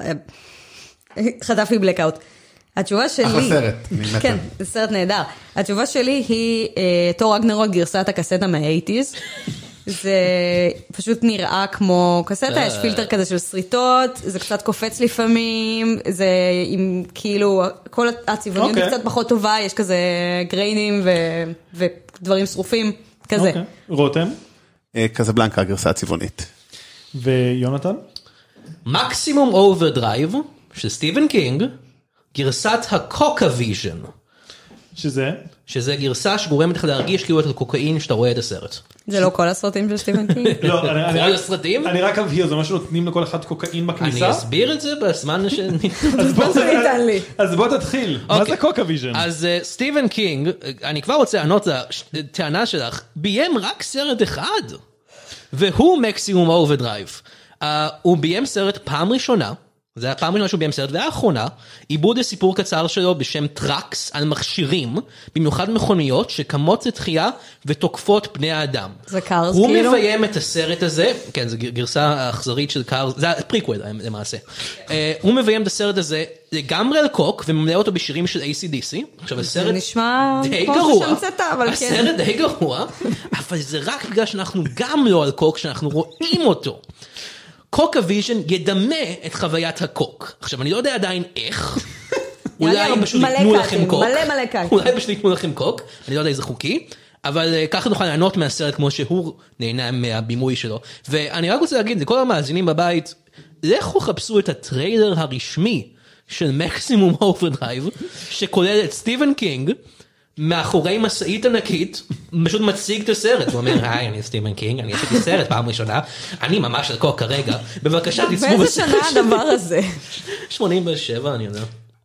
Speaker 6: אה, חטף לי blackout. התשובה שלי...
Speaker 2: אחלה סרט, אני מת
Speaker 6: כן,
Speaker 2: עליו.
Speaker 6: זה סרט נהדר. התשובה שלי היא אה, תור רגנרוק גרסת הקסטה מהאייטיז. זה פשוט נראה כמו קסטה, יש פילטר כזה של שריטות, זה קצת קופץ לפעמים, זה עם כאילו, כל הצבעוניות היא
Speaker 4: אוקיי.
Speaker 6: קצת פחות טובה, יש כזה גריינים ו- ודברים שרופים, כזה.
Speaker 4: אוקיי. רותם.
Speaker 7: אה, קזבלנקה הגרסה הצבעונית.
Speaker 4: ויונתן?
Speaker 5: מקסימום אוברדרייב של סטיבן קינג, גרסת הקוקה-ויז'ן,
Speaker 4: שזה?
Speaker 5: שזה גרסה שגורמת לך להרגיש כאילו אתה קוקאין כשאתה רואה את הסרט.
Speaker 6: זה לא כל הסרטים של סטיבן קינג.
Speaker 4: לא, אני- אני
Speaker 5: כל
Speaker 4: רק-
Speaker 5: הסרטים?
Speaker 4: אני רק אבהיר, זה מה שנותנים לכל אחד קוקאין
Speaker 5: אני
Speaker 4: בכניסה?
Speaker 5: אסביר את זה בזמן ש...
Speaker 4: אז בוא-
Speaker 6: שניתן לי.
Speaker 4: אז בוא תתחיל, מה זה
Speaker 5: אוקיי.
Speaker 4: קוקה ויז'ן?
Speaker 5: אז אה, סטיבן קינג, אה, אני כבר רוצה לענות לטענה שלך, ביים רק סרט אחד, והוא מקסימום אוברדרייב. Uh, הוא ביים סרט פעם ראשונה, זה היה פעם ראשונה שהוא ביים סרט, והאחרונה, עיבוד לסיפור קצר שלו בשם טראקס על מכשירים, במיוחד מכוניות שקמות לתחייה ותוקפות בני האדם.
Speaker 6: זה קארס,
Speaker 5: הוא
Speaker 6: כאילו?
Speaker 5: מביים את הסרט הזה, כן, זו גר- גרסה אכזרית של קארס, זה הפריקוול למעשה. אה, הוא מביים את הסרט הזה לגמרי על קוק וממלא אותו בשירים של ACDC. עכשיו
Speaker 6: זה
Speaker 5: הסרט
Speaker 6: נשמע
Speaker 5: די
Speaker 6: כמו
Speaker 5: גרוע,
Speaker 6: שהמצאת, אבל כן.
Speaker 5: הסרט די גרוע, אבל זה רק בגלל שאנחנו גם לא על קוק, שאנחנו רואים אותו. קוק הוויז'ן ידמה את חוויית הקוק. עכשיו אני לא יודע עדיין איך.
Speaker 6: יעלה
Speaker 5: אולי
Speaker 6: הרבה-
Speaker 5: פשוט
Speaker 6: מלא
Speaker 5: ייתנו לכם
Speaker 6: קאטים,
Speaker 5: קוק,
Speaker 6: מלא מלא קאטים.
Speaker 5: אולי פשוט ייתנו לכם קוק, אני לא יודע אם זה חוקי, אבל אה, ככה נוכל ליהנות מהסרט כמו שהוא נהנה מהבימוי שלו. ואני רק רוצה להגיד לכל המאזינים בבית, לכו חפשו את הטריילר הרשמי של מקסימום אוברדרייב, שכולל את סטיבן קינג. מאחורי משאית ענקית, פשוט מציג את הסרט, הוא אומר, היי, אני סטיבן קינג, אני עשיתי סרט פעם ראשונה, אני ממש על קוק כרגע, בבקשה תצפו
Speaker 6: באיזה שנה הדבר הזה?
Speaker 5: 87, אני יודע.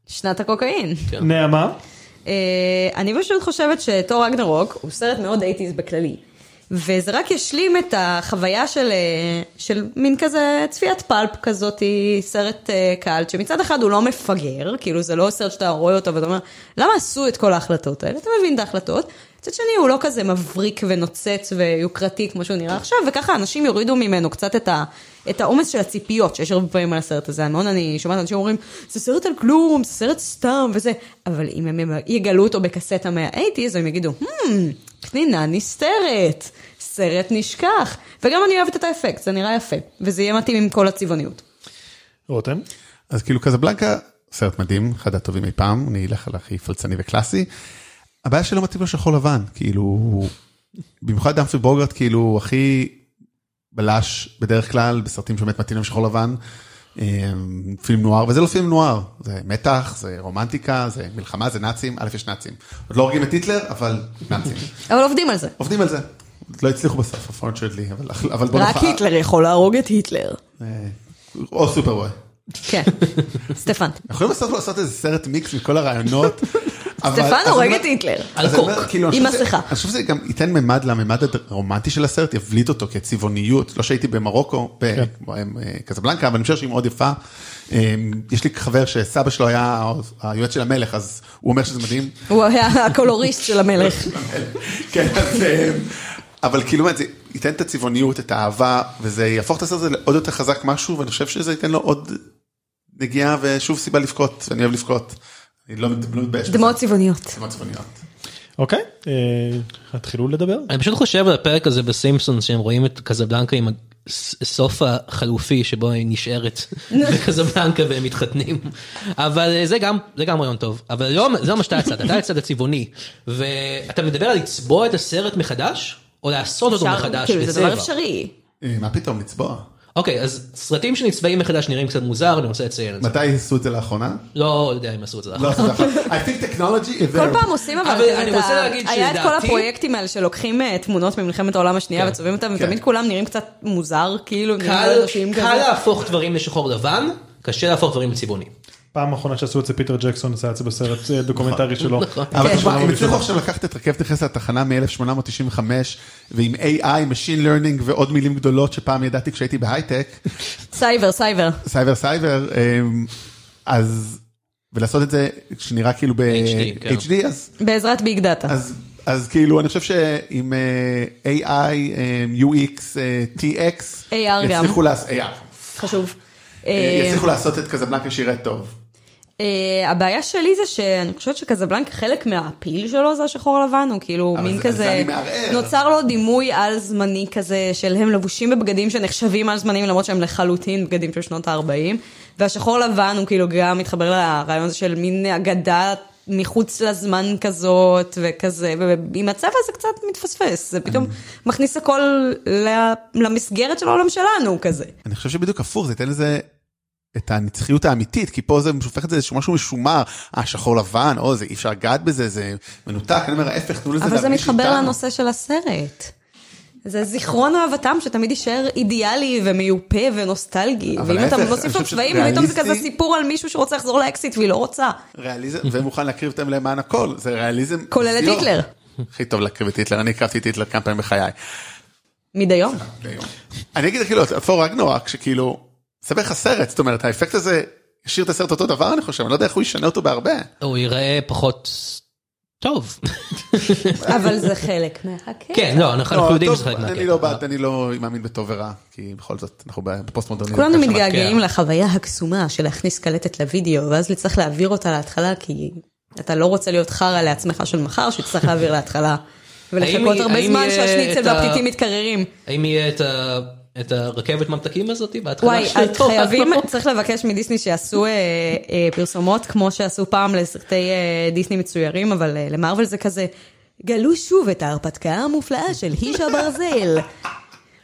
Speaker 6: שנת הקוקאין.
Speaker 4: נעמה?
Speaker 6: אה, אני פשוט חושבת שתור אגנרוק הוא סרט מאוד 80's בכללי. וזה רק ישלים את החוויה של, אה, של מין כזה צפיית פלפ כזאת, סרט אה, קאלט, שמצד אחד הוא לא מפגר, כאילו זה לא סרט שאתה רואה אותו ואתה אומר, למה עשו את כל ההחלטות האלה? אתה מבין את ההחלטות, מצד שני, הוא לא כזה מבריק ונוצץ ויוקרתי כמו שהוא נראה עכשיו, וככה אנשים יורידו ממנו קצת את ה... את העומס של הציפיות שיש הרבה פעמים על הסרט הזה. המון אני שומעת אנשים אומרים, זה סרט על כלום, זה סרט סתם וזה, אבל אם הם יגלו אותו בקסטה מה-80's, הם יגידו, hmm, פנינה נסתרת, סרט נשכח. וגם אני אוהבת את האפקט, זה נראה יפה, וזה יהיה מתאים עם כל הצבעוניות.
Speaker 4: רותם?
Speaker 2: אז כאילו קזבלנקה, סרט מדהים, אחד הטובים אי פעם, אני אלך על הכי פלצני וקלאסי. הבעיה שלא מתאים לו שחור לבן, כאילו, הוא- במיוחד דמפרי בוגרט, כאילו, הוא הכי בלש בדרך כלל בסרטים שבאמת מתאים להם שחור לבן. אמ, פילם נוער וזה לא פילם נוער זה מתח זה רומנטיקה זה מלחמה זה נאצים א' יש נאצים עוד לא הורגים את היטלר אבל נאצים
Speaker 6: אבל עובדים על זה.
Speaker 2: עובדים על זה לא הצליחו בסוף unfortunately אבל אבל בוא
Speaker 6: רק
Speaker 2: נוכל-
Speaker 6: היטלר יכול להרוג את היטלר.
Speaker 2: אה, או סופרבוי
Speaker 6: כן, סטפן.
Speaker 2: אנחנו יכולים בסוף לעשות איזה סרט מיקס מכל הרעיונות. אבל-
Speaker 6: סטפן
Speaker 2: אז
Speaker 6: הורג
Speaker 2: אני
Speaker 6: את
Speaker 2: אומר-
Speaker 6: היטלר.
Speaker 2: אז אני אומר, כאילו, אני
Speaker 6: עם
Speaker 2: חושב שזה-
Speaker 6: מסכה.
Speaker 2: אני חושב שזה גם ייתן ממד לממד הרומנטי של הסרט, יבליט אותו כצבעוניות. לא שהייתי במרוקו, בקזבלנקה, אבל אני חושב שהיא מאוד יפה. אה, יש לי חבר שסבא שלו היה היועץ של המלך, אז הוא אומר שזה מדהים.
Speaker 6: הוא היה הקולוריסט של המלך.
Speaker 2: כן, אז... אה, אבל כאילו, באמת, זה ייתן את הצבעוניות, את האהבה, וזה יהפוך את הסרט הזה לעוד יותר חזק משהו, ואני חושב שזה ייתן לו עוד נגיעה ושוב סיבה לבכות, ואני אוהב לבכות. אני לא מת- לא מתבייש. בזה.
Speaker 6: דמעות צבעוניות.
Speaker 2: דמעות צבעוניות.
Speaker 4: אוקיי, אה, תתחילו לדבר.
Speaker 5: אני פשוט חושב על הפרק הזה בסימפסון שהם רואים את קזבלנקה עם הסוף החלופי שבו היא נשארת בקזבלנקה והם מתחתנים. אבל אה, זה גם, זה גם רעיון טוב. אבל לא, זה לא מה שאתה הצד, אתה הצד הצבעוני. ואתה מדבר על לצבוע את הסרט מחדש? או לעשות אותו מחדש
Speaker 6: כאילו, זה דבר
Speaker 5: בצבע.
Speaker 6: אפשרי.
Speaker 2: אה, מה פתאום לצבוע?
Speaker 5: אוקיי, אז סרטים שנצבעים מחדש נראים קצת מוזר, אני רוצה לציין את זה.
Speaker 2: מתי עשו את זה לאחרונה?
Speaker 5: לא יודע אם עשו את זה.
Speaker 2: לא עשו את זה לאחרונה. I think technology is
Speaker 6: נכון. כל
Speaker 2: there.
Speaker 6: פעם עושים אבל,
Speaker 5: אבל
Speaker 6: כזה
Speaker 5: אני
Speaker 6: את
Speaker 5: רוצה
Speaker 6: ה-
Speaker 5: להגיד
Speaker 6: היה את כל
Speaker 5: שלדעתי-
Speaker 6: הפרויקטים האלה שלוקחים אה, תמונות ממלחמת העולם השנייה
Speaker 5: כן.
Speaker 6: וצובעים אותם,
Speaker 2: כן.
Speaker 6: ותמיד כולם נראים קצת מוזר, כאילו, הם נראים
Speaker 5: קל,
Speaker 6: אנושיים
Speaker 5: קל
Speaker 6: כזה.
Speaker 5: להפוך דברים לשחור לבן, קשה להפוך דברים לצבעוני.
Speaker 4: פעם האחרונה שעשו את זה פיטר ג'קסון עשה את זה בסרט אה, דוקומנטרי
Speaker 5: נכון.
Speaker 4: שלו.
Speaker 2: אבל תשמע,
Speaker 4: כן.
Speaker 2: הם הצליחו עכשיו לקחת את רכבת נכנסת לתחנה מ-1895 ועם AI, Machine Learning ועוד מילים גדולות שפעם ידעתי כשהייתי בהייטק,
Speaker 6: סייבר, סייבר.
Speaker 2: סייבר סייבר, אמ, אז, ולעשות את זה שנראה כאילו
Speaker 5: HD, כן.
Speaker 2: ב-HD, אז,
Speaker 6: בעזרת ביג דאטה.
Speaker 2: אז, אז כאילו אני חושב שעם אה, AI, אמ, UX, אה, TX,
Speaker 6: AR גם.
Speaker 2: יצליחו לעש- AR,
Speaker 6: חשוב.
Speaker 2: אה,
Speaker 6: אה,
Speaker 2: יצליחו לעשות את קזבלנקה שיראה טוב.
Speaker 6: אה, הבעיה שלי זה שאני חושבת שקזבלנק חלק מהפיל שלו זה השחור לבן, הוא כאילו
Speaker 2: אבל
Speaker 6: מין
Speaker 2: זה- זה
Speaker 6: כזה,
Speaker 2: אני מערער.
Speaker 6: נוצר לו דימוי על זמני כזה של הם לבושים בבגדים שנחשבים על זמנים למרות שהם לחלוטין בגדים של שנות ה-40, והשחור לבן הוא כאילו גם מתחבר לרעיון הזה של מין אגדה מחוץ לזמן כזאת וכזה, ועם הצבע זה קצת מתפספס, זה פתאום מכניס הכל ל- למסגרת של העולם שלנו כזה.
Speaker 2: אני חושב שבדיוק הפוך, זה ייתן לזה את הנצחיות האמיתית, כי פה זה הופך את זה לאיזשהו משהו משומר, אה, שחור לבן, או זה אי אפשר לגעת בזה, זה מנותק, אני אומר ההפך, תנו לזה
Speaker 6: אבל זה
Speaker 2: להרגיש
Speaker 6: מתחבר
Speaker 2: איתנו.
Speaker 6: לנושא של הסרט. זה זיכרון אהבתם שתמיד יישאר אידיאלי ומיופה ונוסטלגי.
Speaker 2: אבל
Speaker 6: ואם אתה
Speaker 2: ההפך, אני
Speaker 6: מוסיף לו
Speaker 2: חושב
Speaker 6: צבעים,
Speaker 2: שזה
Speaker 6: פתאום זה כזה
Speaker 2: ריאליסטי.
Speaker 6: סיפור על מישהו שרוצה לחזור לאקסיט והיא לא רוצה.
Speaker 2: ריאליזם, ומוכן להקריב את המילה למען הכל, זה ריאליזם.
Speaker 6: כולל את
Speaker 2: זיו.
Speaker 6: היטלר.
Speaker 2: הכי טוב להקריב את היטלר, אני הקרבתי את היטלר כמה פעמים בחיי.
Speaker 6: מדי יום.
Speaker 2: אני אגיד לך, כאילו, פור רגנורק, שכאילו, סבך לך סרט, זאת אומרת, האפקט הזה, השאיר את הסרט אותו דבר, אני חושב, אני לא יודע איך הוא ישנה אותו בהרבה.
Speaker 5: הוא ייראה פחות טוב.
Speaker 6: אבל זה חלק מהקטע.
Speaker 5: כן, לא, אנחנו אנחנו
Speaker 2: לא,
Speaker 5: יודעים
Speaker 2: טוב,
Speaker 5: שזה חלק מהקטע.
Speaker 2: אני לא בעד, אני לא מאמין בטוב ורע, כי בכל זאת, אנחנו בפוסט מודרניזם.
Speaker 6: כולנו
Speaker 2: כך שאנחנו-
Speaker 6: מתגעגעים לחוויה הקסומה של להכניס קלטת לוידאו, ואז צריך להעביר אותה להתחלה, כי אתה לא רוצה להיות חרא לעצמך של מחר, שתצטרך להעביר להתחלה. ולחכות
Speaker 5: האם-
Speaker 6: הרבה
Speaker 5: האם
Speaker 6: זמן
Speaker 5: יהיה את
Speaker 6: שהשניצל
Speaker 5: ה-
Speaker 6: והפתיתים מתקררים.
Speaker 5: האם יהיה את ה... את הרכבת ממתקים הזאת בהתחלה
Speaker 6: וואי,
Speaker 5: של
Speaker 6: את
Speaker 5: תורת
Speaker 6: חייבים,
Speaker 5: המוח?
Speaker 6: צריך לבקש מדיסני שיעשו אה, אה, פרסומות כמו שעשו פעם לסרטי אה, דיסני מצוירים, אבל אה, למרוויל זה כזה, גלו שוב את ההרפתקה המופלאה של היש הברזל.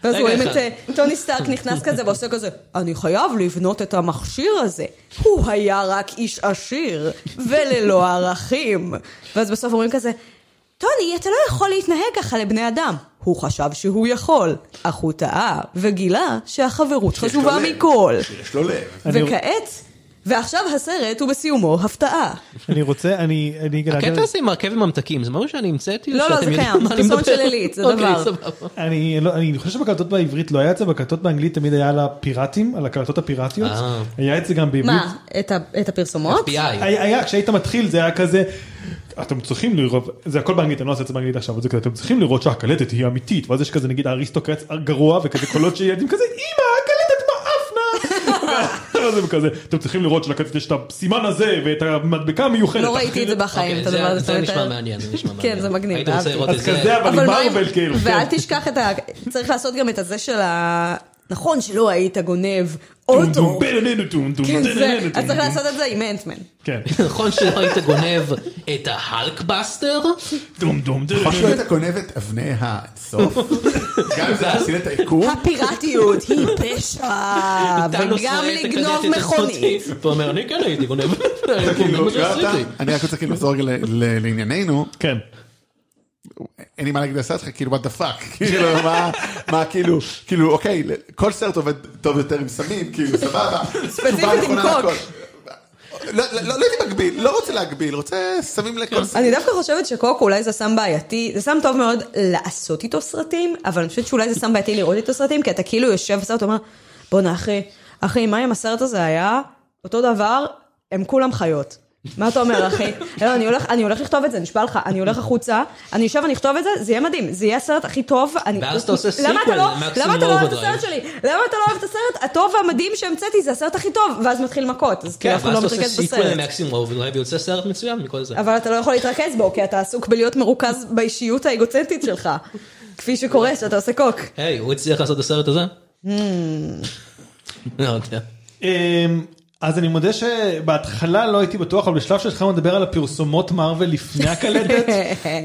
Speaker 6: ואז
Speaker 5: רגע
Speaker 6: רואים
Speaker 5: אחד.
Speaker 6: את אה, טוני סטארק נכנס כזה ועושה כזה, אני חייב לבנות את המכשיר הזה. הוא היה רק איש עשיר וללא ערכים. ואז בסוף אומרים כזה, טוני, אתה לא יכול להתנהג ככה לבני אדם. הוא חשב שהוא יכול, אך הוא טעה וגילה שהחברות חשובה
Speaker 2: לב.
Speaker 6: מכל.
Speaker 2: יש לו לב.
Speaker 4: אני-
Speaker 6: וכעת, ועכשיו הסרט הוא בסיומו הפתעה.
Speaker 4: אני רוצה, אני... אני אגיד-
Speaker 2: אוקיי.
Speaker 5: הקטע הזה עם הרכבת ממתקים זה משהו שאני המצאתי?
Speaker 6: לא, לא,
Speaker 5: שאתם
Speaker 6: זה
Speaker 5: יודעים
Speaker 6: קיים,
Speaker 5: מה
Speaker 6: זה
Speaker 5: אני
Speaker 6: פרסומת
Speaker 5: מדבר?
Speaker 6: של עילית, זה
Speaker 5: אוקיי,
Speaker 6: דבר.
Speaker 5: סבבה.
Speaker 4: אני, לא, אני חושב שבקלטות בעברית לא היה את זה, בקלטות באנגלית תמיד היה על הפיראטים, על הקלטות הפיראטיות.
Speaker 5: אה.
Speaker 4: היה את זה גם בעברית.
Speaker 6: מה, את ה- את הפרסומות?
Speaker 5: FBI.
Speaker 4: היה, היה, כשהיית מתחיל זה היה כזה, אתם צריכים לראות, זה הכל באנגלית, אני לא אעשה את זה באנגלית עכשיו, אבל זה כזה, אתם צריכים לראות שהקלטת היא אמיתית, ואז יש כזה נגיד האריסטוקרט גרוע וכזה קולות של ילדים כזה, אמא, הקלטת מאפנה! ואז הם כזה, אתם צריכים לראות שלקלטת יש את הסימן הזה ואת המדבקה המיוחדת.
Speaker 6: לא ראיתי את זה בחיים, את
Speaker 5: אוקיי,
Speaker 6: הדבר הזה.
Speaker 5: זה-
Speaker 6: זאת
Speaker 5: זה
Speaker 6: אומרת,
Speaker 5: נשמע מעניין, זה נשמע מעניין.
Speaker 6: כן, זה מגניב,
Speaker 5: הייתי רוצה
Speaker 6: אהבתי.
Speaker 5: לראות את
Speaker 4: אז
Speaker 5: זה.
Speaker 2: אוקיי,
Speaker 4: כזה, אבל עם
Speaker 6: לא עם-
Speaker 4: מרוויל כאילו. כן.
Speaker 6: ואל תשכח את ה... צריך לעשות גם את הזה של ה... נכון שלא היית גונב אוטו.
Speaker 4: טום, טום, טום, טום,
Speaker 6: כן, זה.
Speaker 4: טום,
Speaker 6: אז צריך
Speaker 4: טום.
Speaker 6: לעשות את זה עם אנטמן.
Speaker 4: כן.
Speaker 5: נכון שלא היית גונב את ההלקבאסטר?
Speaker 4: דום דום דום.
Speaker 2: או שלא היית גונב את אבני הסוף, גם אם זה להציל את היקום,
Speaker 6: כן, הפיראטיות היא פשע,
Speaker 5: טאנוס
Speaker 6: אה, וגם
Speaker 5: רואה לא את
Speaker 6: לגנוב
Speaker 5: הקלטת הזאת,
Speaker 6: מכונית.
Speaker 5: ואומר, אני כן הייתי גונב. אני גונב
Speaker 2: כאילו,
Speaker 5: מה שעשית לי."
Speaker 2: אני רק רוצה כאילו לחזור רגע ל- ל- לענייננו,
Speaker 4: כן.
Speaker 2: אין לי מה להגיד לסרט שלך, כאילו, what the fuck, כאילו, מה, מה, כאילו, כאילו, אוקיי, כל סרט עובד טוב יותר עם סמים, כאילו, סבבה. תשובה
Speaker 6: עם
Speaker 2: נכונה
Speaker 6: קוק.
Speaker 2: להכל. לא לא- לא הייתי מגביל, לא רוצה להגביל, רוצה סמים לכל סרט.
Speaker 6: אני דווקא חושבת שקוקו אולי זה סם בעייתי, זה סם טוב מאוד לעשות איתו סרטים, אבל אני חושבת שאולי זה סם בעייתי לראות איתו סרטים, כי אתה כאילו יושב בסרט ואומר, בואנה אחי, אחי, מה אם הסרט הזה היה אותו דבר, הם כולם חיות. מה אתה אומר אחי? לא, אני הולך, אני הולך לכתוב את זה, נשבע לך, אני הולך החוצה, אני אשב, אני אכתוב את זה, זה יהיה מדהים, זה יהיה הסרט הכי טוב. אני-
Speaker 5: ואז אתה עושה
Speaker 6: למה אתה
Speaker 5: sequel,
Speaker 6: לא-
Speaker 5: מקסימום
Speaker 6: למה אתה לא אוהב את הסרט
Speaker 5: overdrive.
Speaker 6: שלי? למה אתה לא אוהב את הסרט? הטוב והמדהים שהמצאתי זה הסרט הכי טוב, ואז מתחיל מכות, אז כאילו
Speaker 5: כן,
Speaker 6: אף אחד
Speaker 5: ואז
Speaker 6: לא
Speaker 5: אתה עושה
Speaker 6: מתרכז
Speaker 5: סיקוול
Speaker 6: בסרט.
Speaker 5: למקסימום אוברדרייב ויוצא סרט מצוין מכל זה.
Speaker 6: אבל אתה לא יכול להתרכז בו, כי אתה עסוק בלהיות מרוכז באישיות האגוצנטית שלך. כפי שקורה שאתה עושה קוק.
Speaker 5: היי, הוא הצליח לעשות את הסרט הזה?
Speaker 6: Hmm.
Speaker 5: לא יודע.
Speaker 4: אמ, אז אני מודה שבהתחלה לא הייתי בטוח, אבל בשלב שלך מדבר על הפרסומות מארוול לפני הקלטת,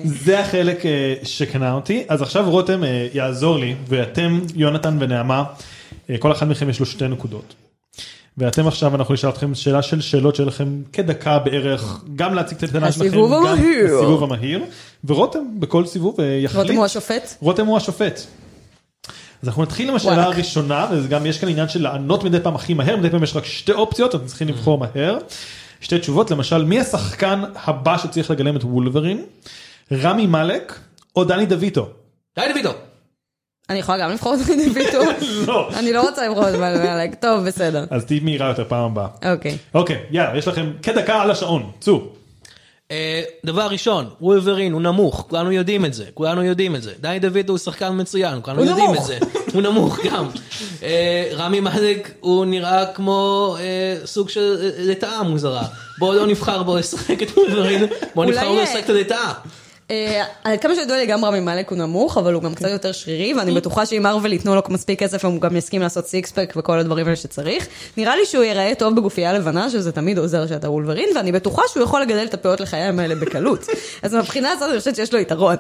Speaker 4: זה החלק אה, שקנה אותי. אז עכשיו רותם אה, יעזור לי, ואתם, יונתן ונעמה, אה, כל אחד מכם יש לו שתי נקודות. ואתם עכשיו, אנחנו נשאל אתכם שאלה של שאלות שיהיה לכם כדקה בערך, גם להציג את הטענה שלכם,
Speaker 6: הסיבוב
Speaker 4: גם
Speaker 6: המהיר.
Speaker 4: הסיבוב המהיר, ורותם בכל סיבוב אה, יחליט.
Speaker 6: רותם הוא השופט?
Speaker 4: רותם הוא השופט. אז אנחנו נתחיל עם השאלה
Speaker 6: וואלכ.
Speaker 4: הראשונה, וגם יש כאן עניין של לענות מדי פעם הכי מהר, מדי פעם יש רק שתי אופציות, אתם צריכים לבחור מהר. שתי תשובות, למשל, מי השחקן הבא שצריך לגלם את וולברין? רמי מאלק או דני דויטו?
Speaker 5: די דוידו.
Speaker 6: אני יכולה גם לבחור את דני ביטון?
Speaker 4: לא.
Speaker 6: אני לא רוצה לבחור את דני מלק. טוב, בסדר.
Speaker 4: אז תהיי מהירה יותר פעם הבאה.
Speaker 6: אוקיי.
Speaker 4: אוקיי, יאללה, יש לכם כדקה על השעון, צאו.
Speaker 5: אה, דבר ראשון, וולברין הוא נמוך, כולנו יודעים את זה, כולנו יודעים את זה. דני דוידו הוא שחקן מצוין, כולנו
Speaker 6: הוא
Speaker 5: יודעים
Speaker 6: נמוך.
Speaker 5: את זה. הוא נמוך גם. אה, רמי מאלק הוא נראה כמו אה, סוג של אה, לטאה מוזרה. בואו לא נבחר בו לשחק את וולברין, בואו
Speaker 6: אולי,
Speaker 5: נבחר בו
Speaker 6: אה,
Speaker 5: לשחק את הלטאה.
Speaker 6: אה, עד כמה שידוע לי גם רמי מלק הוא נמוך, אבל הוא גם קצת יותר שרירי, ואני בטוחה שאם ארוול ייתנו לו מספיק כסף, הוא גם יסכים לעשות סיקספק וכל הדברים האלה שצריך. נראה לי שהוא ייראה טוב בגופייה לבנה, שזה תמיד עוזר שאתה וולברין, ואני בטוחה שהוא יכול לגדל את הפאות לחיים האלה בקלות. אז מבחינה הזאת אני חושבת שיש לו יתרון.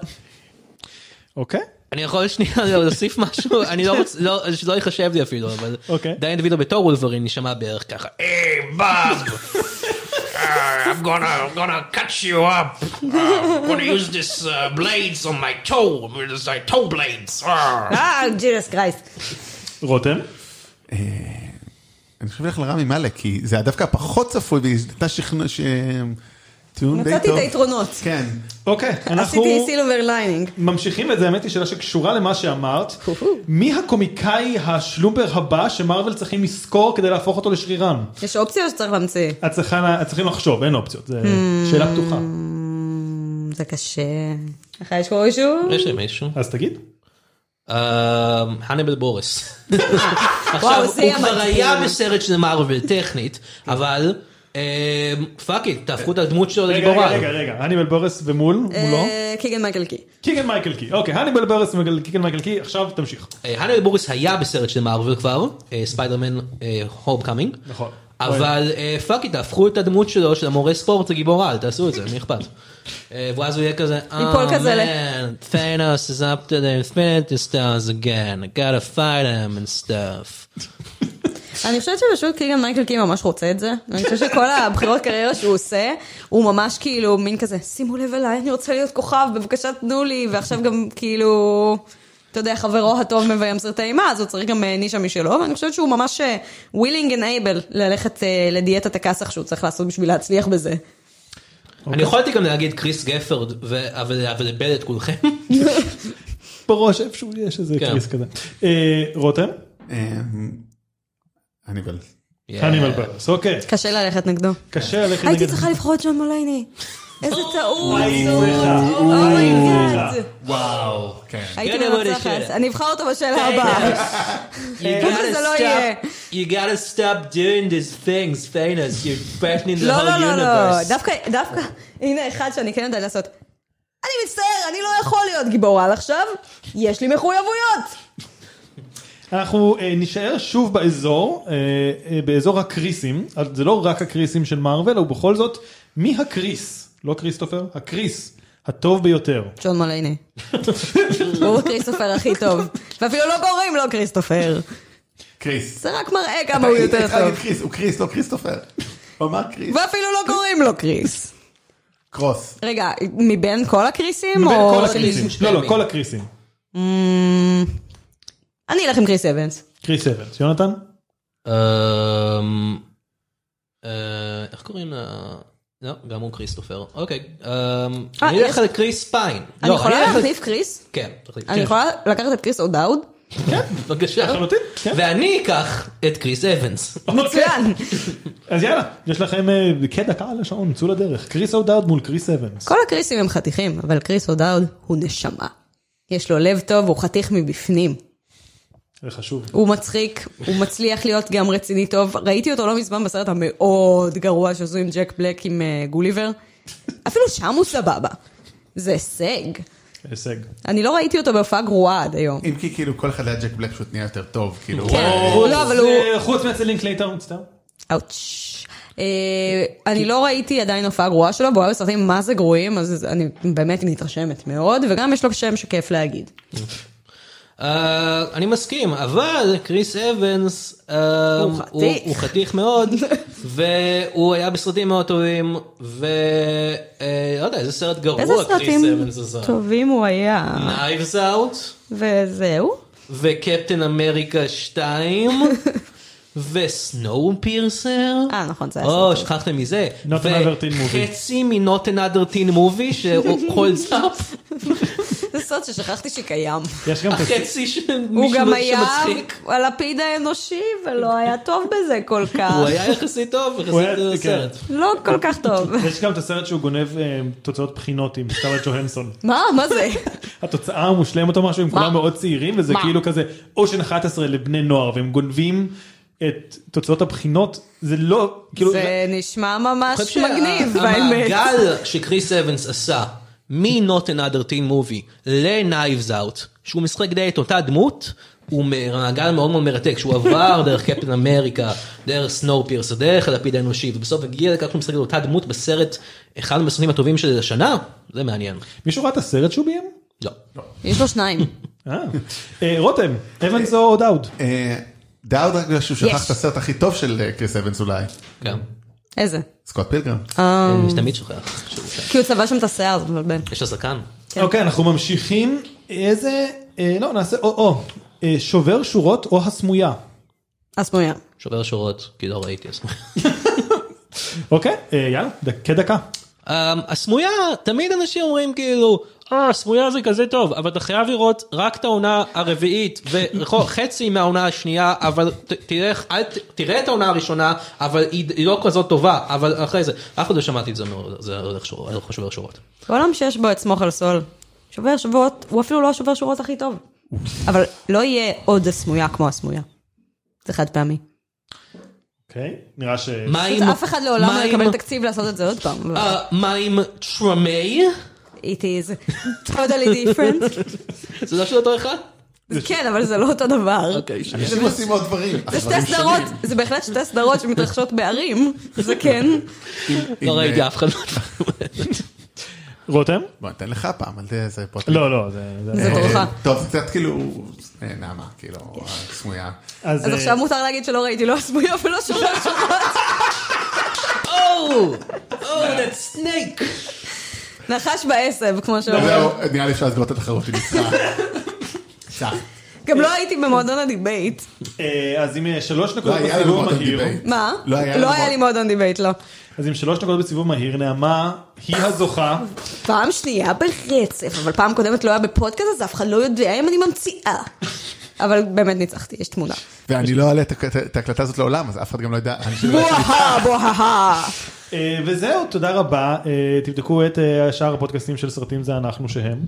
Speaker 4: אוקיי?
Speaker 5: אני יכול שנייה להוסיף משהו? אני לא רוצה, לא, אז שלא ייחשב לי אפילו, אבל
Speaker 4: אוקיי.
Speaker 5: דני דוידו בתור וולברין נשמע בערך ככה.
Speaker 1: Hey, Bob! Uh, I'm gonna, I'm gonna cut you up. Uh, I'm gonna use this uh, blades on my toe. This like toe blades. Uh.
Speaker 6: אה, ג'יזוס קרייסט.
Speaker 4: רותם?
Speaker 2: אני חושב ללכת לרמי מאלק, כי זה היה דווקא פחות צפוי, והיא נתנה שכנוע ש... טיעון די טוב.
Speaker 6: מצאתי את היתרונות.
Speaker 2: כן.
Speaker 4: אוקיי, אנחנו...
Speaker 6: עשיתי סילובר ליינינג.
Speaker 4: ממשיכים את זה, האמת היא שאלה שקשורה למה שאמרת.
Speaker 6: הו-הו.
Speaker 4: מי הקומיקאי השלומבר הבא שמרוויל צריכים לזכור כדי להפוך אותו לשרירן?
Speaker 6: יש אופציה או שצריך להמציא?
Speaker 4: את צריכה- את צריכים לחשוב, אין אופציות, זו שאלה פתוחה.
Speaker 6: אמ, זה קשה. לך יש פה מישהו?
Speaker 5: יש לי מישהו?
Speaker 4: אז תגיד.
Speaker 5: אה, הנבל בורס.
Speaker 6: וואו,
Speaker 5: עכשיו,
Speaker 6: זה
Speaker 5: הוא
Speaker 6: יהיה
Speaker 5: כבר
Speaker 6: מדהים. כן.
Speaker 5: היה בסרט של מארוול טכנית, אבל אמ, פאק איט, תהפכו את הדמות שלו
Speaker 4: רגע, רגע,
Speaker 5: לגיבורה.
Speaker 4: רגע, רגע, הניבל בורס ומול, מולו.
Speaker 6: אה, קיגן מייקל קי.
Speaker 4: קיגן מייקל קי, אוקיי, הניבל בורס וקיגן מייקל קי, עכשיו תמשיך.
Speaker 5: אה, הנבל בורס היה בסרט של מארוול כבר, אה, ספיידרמן הוב קאמינג.
Speaker 4: נכון.
Speaker 5: אבל אה, פאק איט, תהפכו את הדמות שלו של המורה ספורט לגיבור על, תעשו את זה, מי אכפת. אה, ואז הוא יהיה כזה,
Speaker 6: ייפול כזה ל-
Speaker 5: Thanos is up to the infinity stars again, I gotta fight him and stuff.
Speaker 6: אני חושבת שפשוט קיגן מייקל קי ממש רוצה את זה. אני חושבת שכל הבחירות קריירה שהוא עושה, הוא ממש כאילו מין כזה, שימו לב אליי, אני רוצה להיות כוכב, בבקשה תנו לי, ועכשיו גם כאילו... אתה יודע, חברו הטוב מביים סרטי אימה, אז הוא צריך גם אה, נישה משלו, ואני חושבת שהוא ממש אה, willing and able ללכת אה, לדיאטת הכסח שהוא צריך לעשות בשביל להצליח בזה. אוקיי.
Speaker 5: אני יכולתי גם להגיד קריס גפרד, ו- אבל אבל איבד את כולכם.
Speaker 4: בראש איפשהו יש איזה
Speaker 5: כן.
Speaker 4: קריס כזה. אה, רותם?
Speaker 2: אמ, הניבל.
Speaker 5: Yeah.
Speaker 4: הניבל בורס, אוקיי.
Speaker 6: קשה ללכת נגדו.
Speaker 4: קשה ללכת
Speaker 6: הייתי
Speaker 4: נגד...
Speaker 6: צריכה לבחור את ג'ון מולייני. איזה טעות. Oh
Speaker 4: סליחה.
Speaker 6: אומייגאד.
Speaker 5: וואו.
Speaker 4: כן.
Speaker 6: הייתי
Speaker 5: יודע מה
Speaker 6: מנצחת.
Speaker 5: השאלה.
Speaker 6: אני אבחר אותו בשאלה הבאה.
Speaker 5: You
Speaker 6: למה
Speaker 5: gotta
Speaker 6: זה לא
Speaker 5: stop-
Speaker 6: יהיה?
Speaker 5: You gotta stop doing these things, פיינס, you're threatening the
Speaker 6: לא,
Speaker 5: whole
Speaker 6: לא, לא, לא.
Speaker 5: universe.
Speaker 6: דווקא, דווקא, הנה אחד שאני כן יודעת לעשות. אני מצטער, אני לא יכול להיות גיבור על עכשיו. יש לי מחויבויות.
Speaker 4: אנחנו אה, נישאר שוב באזור, אה, אה, באזור הקריסים, אז זה לא רק הקריסים של מארוול, הוא בכל זאת, מי הקריס? לא כריסטופר, הקריס הטוב ביותר.
Speaker 6: ג'ון מולייני. הוא כריסטופר הכי טוב. ואפילו לא קוראים לו כריסטופר.
Speaker 2: קריס.
Speaker 6: זה רק מראה כמה הוא יותר
Speaker 2: התחלתי להגיד
Speaker 6: טוב.
Speaker 2: קריס, הוא קריס, לא כריסטופר. הוא אמר קריס.
Speaker 6: ואפילו לא קוראים לו קריס.
Speaker 2: קרוס.
Speaker 6: רגע, מבין כל הקריסים?
Speaker 4: מבין
Speaker 6: או-
Speaker 4: כל הקריסים.
Speaker 5: של
Speaker 4: לא, לא,
Speaker 5: מי?
Speaker 4: כל הקריסים.
Speaker 6: אמ, אני אלך עם קריס אבנס.
Speaker 4: קריס אבנס. יונתן?
Speaker 5: אמ, אה, איך קוראים לה? לא, גם הוא כריסטופר. אוקיי. אמ,
Speaker 6: אה,
Speaker 5: אני אלך
Speaker 6: יש-
Speaker 5: על קריס פיין.
Speaker 6: אני
Speaker 5: לא,
Speaker 6: יכולה
Speaker 5: אלך על-
Speaker 6: להחליף קריס?
Speaker 5: כן, תחליף.
Speaker 6: אני
Speaker 5: כן,
Speaker 6: יכולה לקחת את קריס אודאוד?
Speaker 5: בבקשה.
Speaker 4: לחלוטין, כן.
Speaker 5: ואני אקח את קריס אבנס.
Speaker 6: מצוין.
Speaker 4: אז יאללה, יש לכם אה, כדקה על השעון, צאו לדרך. קריס אודארד מול קריס אבנס.
Speaker 6: כל הקריסים הם חתיכים, אבל קריס אודאוד הוא נשמה. יש לו לב טוב, הוא חתיך מבפנים.
Speaker 4: זה חשוב.
Speaker 6: הוא מצחיק, הוא מצליח להיות גם רציני טוב. ראיתי אותו לא מזמן בסרט המאוד גרוע שעשו עם ג'ק בלק עם אה, גוליבר. אפילו שם הוא סבבה. זה הישג.
Speaker 4: הישג.
Speaker 6: אני לא ראיתי אותו בהופעה גרועה עד היום.
Speaker 2: אם כי כאילו כל אחד היה ג'ק בלק פשוט נהיה יותר טוב, כאילו.
Speaker 6: לא, אבל הוא...
Speaker 4: אה, חוץ מאצל לינק לייטר, מצטער.
Speaker 6: אאוץ'. אה, אני לא ראיתי עדיין הופעה גרועה שלו, והוא היה בסרטים מה זה גרועים, אז אני באמת מתרשמת מאוד, וגם יש לו שם שכיף להגיד.
Speaker 5: אה, אני מסכים, אבל קריס אבנס אה,
Speaker 6: הוא חתיך.
Speaker 5: הוא חתיך מאוד, והוא היה בסרטים מאוד טובים, ולא יודע, איזה סרט
Speaker 6: איזה
Speaker 5: גרוע
Speaker 6: סרטים
Speaker 5: קריס אבנס עשה.
Speaker 6: טובים הוא היה,
Speaker 5: Knives Out,
Speaker 6: וזהו.
Speaker 5: וקפטן אמריקה 2, וסנואו פירסר.
Speaker 6: אה, נכון, זה היה
Speaker 5: או,
Speaker 6: סרטים.
Speaker 5: שכחתם מזה.
Speaker 4: Not Another Teen Movie.
Speaker 5: וחצי מ-Not Another Teen Movie, ש-Holds up,
Speaker 6: זה סרט ששכחתי שקיים.
Speaker 4: יש גם את הס-
Speaker 5: החצי של
Speaker 6: הוא
Speaker 5: מישהו לא-
Speaker 6: גם היה
Speaker 5: שמצחיק.
Speaker 6: הלפיד האנושי, ולא היה טוב בזה כל כך.
Speaker 5: הוא היה יחסית טוב
Speaker 4: הוא היה- כן.
Speaker 5: יחסית לסרט.
Speaker 6: לא כל כך טוב.
Speaker 4: יש גם את הסרט שהוא גונב אה, תוצאות בחינות עם סטארט ג'והנסון.
Speaker 6: מה? מה זה?
Speaker 4: התוצאה המושלמת או משהו, הם כולם מאוד צעירים, וזה
Speaker 6: מה?
Speaker 4: כאילו כזה אושן 11 לבני נוער, והם גונבים את תוצאות הבחינות, זה לא, כאילו,
Speaker 6: זה נשמע ממש
Speaker 5: אני חושב
Speaker 6: מגניב,
Speaker 5: שה-
Speaker 6: באמת.
Speaker 5: המעגל שקריס אבנס עשה מ-Not Another Teen Movie ל-Knives Out, שהוא משחק די את אותה דמות, הוא מ- מעגל מאוד מאוד מרתק, שהוא עבר דרך קפטן אמריקה, דרך סנואו פירס, דרך הלפיד האנושי, ובסוף הגיע לכך שהוא משחק את אותה דמות בסרט, אחד מהסרטים הטובים של השנה, זה מעניין.
Speaker 4: מישהו ראה את הסרט שהוא ביים?
Speaker 5: לא.
Speaker 6: יש לו שניים.
Speaker 4: אה. אה, רותם, אבנס או דאוד?
Speaker 2: אה, דאוד רק בגלל שהוא
Speaker 6: יש.
Speaker 2: שכח את הסרט הכי טוב של אה, קריס אבנס אולי.
Speaker 5: גם.
Speaker 6: איזה?
Speaker 2: סקוט פילגרם.
Speaker 5: כן.
Speaker 6: אה,
Speaker 5: אני תמיד שוכח. שהוא שם.
Speaker 6: כי הוא צבע שם את השיער, זה מבלבל.
Speaker 5: יש לה זקן.
Speaker 6: כן.
Speaker 4: אוקיי, אנחנו ממשיכים, איזה, אה, לא, נעשה או-או, אה, שובר שורות או הסמויה,
Speaker 6: אז מויה.
Speaker 5: שובר שורות, כי לא ראיתי אז.
Speaker 4: אוקיי? אה, יאללה, דק- כדקה.
Speaker 5: Um, הסמויה, תמיד אנשים אומרים כאילו, אה, הסמויה זה כזה טוב, אבל אתה חייב לראות רק את העונה הרביעית וחצי מהעונה השנייה, אבל ת, תלך, אל, ת, תראה את העונה הראשונה, אבל היא, היא לא כזאת טובה, אבל אחרי זה, אף אחד לא שמעתי את זה מאוד, זה לא הולך שור- הולך שובר שורות.
Speaker 6: בעולם שיש בו את סמוך על סול, שובר שורות, הוא אפילו לא השובר שורות הכי טוב. אבל לא יהיה עוד הסמויה כמו הסמויה. זה חד פעמי.
Speaker 4: אוקיי, נראה ש...
Speaker 5: מה
Speaker 6: פשוט
Speaker 5: עם-
Speaker 6: אף אחד לעולם
Speaker 5: מה
Speaker 6: לא
Speaker 5: עם-
Speaker 6: יקבל תקציב לעשות את זה עוד פעם. אבל
Speaker 5: אה, מה עם טרמי?
Speaker 6: It is totally different.
Speaker 5: זה לא של אותו אחד?
Speaker 6: זה כן, אבל זה לא אותו דבר.
Speaker 5: אוקיי, שנייה.
Speaker 2: אנשים עושים עוד דברים.
Speaker 6: זה שתי סדרות, זה בהחלט שתי סדרות שמתרחשות בערים, זה כן.
Speaker 5: לא ראיתי אף אחד.
Speaker 4: רותם?
Speaker 2: בוא ניתן לך פעם על זה, זה פרוטוקול.
Speaker 4: לא, לא, זה... זה-
Speaker 6: זה
Speaker 2: אה,
Speaker 6: תורך.
Speaker 2: טוב, זה קצת כאילו אה, נעמה, כאילו, סמויה.
Speaker 6: אז
Speaker 4: אה,
Speaker 6: עכשיו מותר להגיד שלא ראיתי לא הסמויה ולא שובר שורות.
Speaker 5: או, או, Oh! that snake.
Speaker 6: נחש בעשב, כמו שאומרים.
Speaker 2: זהו, נראה לי אפשר לסגור את התחרות עם משחק. צח.
Speaker 6: גם לא הייתי במועדון הדיבייט.
Speaker 4: אה, אז עם אה, שלוש נקודות
Speaker 2: לא, היה לנו
Speaker 4: בסיבוב
Speaker 2: עוד
Speaker 4: מהיר,
Speaker 2: דיבייט.
Speaker 6: מה?
Speaker 2: לא היה
Speaker 6: לא
Speaker 2: לנו
Speaker 6: היה
Speaker 2: מועד-
Speaker 6: לי מועדון דיבייט, לא.
Speaker 4: אז עם שלוש נקודות בסיבוב מהיר, נעמה היא הזוכה.
Speaker 6: פעם שנייה ברצף, אבל פעם קודמת לא היה בפודקאסט, אז אף אחד לא יודע אם אני ממציאה. אבל באמת ניצחתי, יש תמונה.
Speaker 2: ואני לא אעלה את הק- את ההקלטה הזאת לעולם, אז אף אחד גם לא ידע. אנשים לא יודעים.
Speaker 6: בוהה, בוהה.
Speaker 4: אה, וזהו, תודה רבה. אה, תבדקו את אה, שאר הפודקאסטים של סרטים זה אנחנו שהם.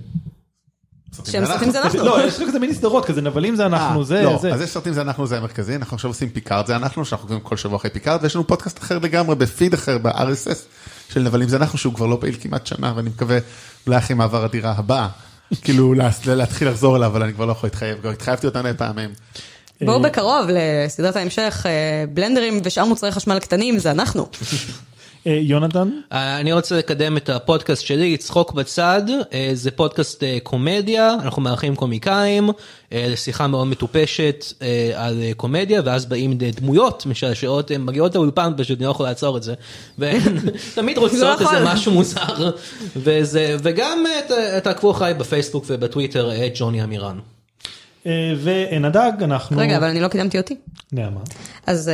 Speaker 6: שם סרטים זה אנחנו. אה,
Speaker 4: לא, יש כזה מיני סדרות כזה, נבלים זה אנחנו, זה,
Speaker 2: לא,
Speaker 4: זה.
Speaker 2: אז יש סרטים זה אנחנו זה המרכזי אנחנו עכשיו עושים פיקארד זה אנחנו שאנחנו עוקבים כל שבוע אחרי פיקארד ויש לנו פודקאסט אחר לגמרי בפיד אחר ב-RSS של נבלים זה אנחנו שהוא כבר לא פעיל כמעט שנה ואני מקווה אולי אחרי מעבר הדירה הבאה כאילו לה- להתחיל לחזור אליו אבל אני כבר לא יכול להתחייב כבר התחייבתי אותה מאה פעמים.
Speaker 6: בואו בקרוב לסדרת ההמשך, אה, בלנדרים ושאר מוצרי חשמל קטנים, זה אנחנו.
Speaker 4: אה, יונתן?
Speaker 5: אה, אני רוצה לקדם את הפודקאסט שלי, צחוק בצד, אה, זה פודקאסט אה, קומדיה, אנחנו מארחים קומיקאים, אה, לשיחה מאוד מטופשת אה, על אה, קומדיה, ואז באים אה, דמויות משעשעות, הן מגיעות לאולפן פשוט, אני לא יכול לעצור את זה, והן תמיד רוצות
Speaker 6: לא יכול.
Speaker 5: איזה משהו מוזר, וזה, וגם אה, ת- תעקבו אחריי בפייסבוק ובטוויטר, אה, ג'וני אמירן.
Speaker 4: אה, ואין הדג, אנחנו...
Speaker 6: רגע, אבל אני לא קידמתי אותי.
Speaker 4: נעמה.
Speaker 6: אז אה,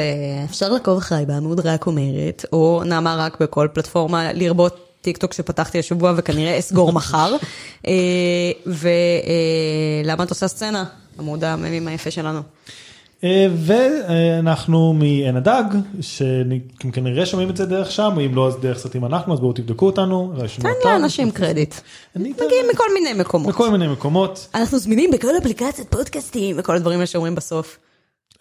Speaker 6: אפשר לעקוב אחריי בעמוד רק אומרת, או נעמה רק בכל פלטפורמה, לרבות טיק טוק שפתחתי השבוע וכנראה אסגור מחר. אה, ולמה את עושה סצנה? עמוד הממים היפה שלנו.
Speaker 4: אה, ואנחנו מעין הדג, שאתם כנראה שומעים את זה דרך שם, אם לא אז דרך סרטים אנחנו, אז בואו תבדקו אותנו. רשמו
Speaker 6: תן
Speaker 4: אותנו.
Speaker 6: לאנשים קרדיט.
Speaker 4: אני אתן-
Speaker 6: מגיעים מכל מיני מקומות.
Speaker 4: מכל מיני מקומות.
Speaker 6: אנחנו זמינים בכל אפליקציות פודקאסטים וכל הדברים האלה שאומרים בסוף.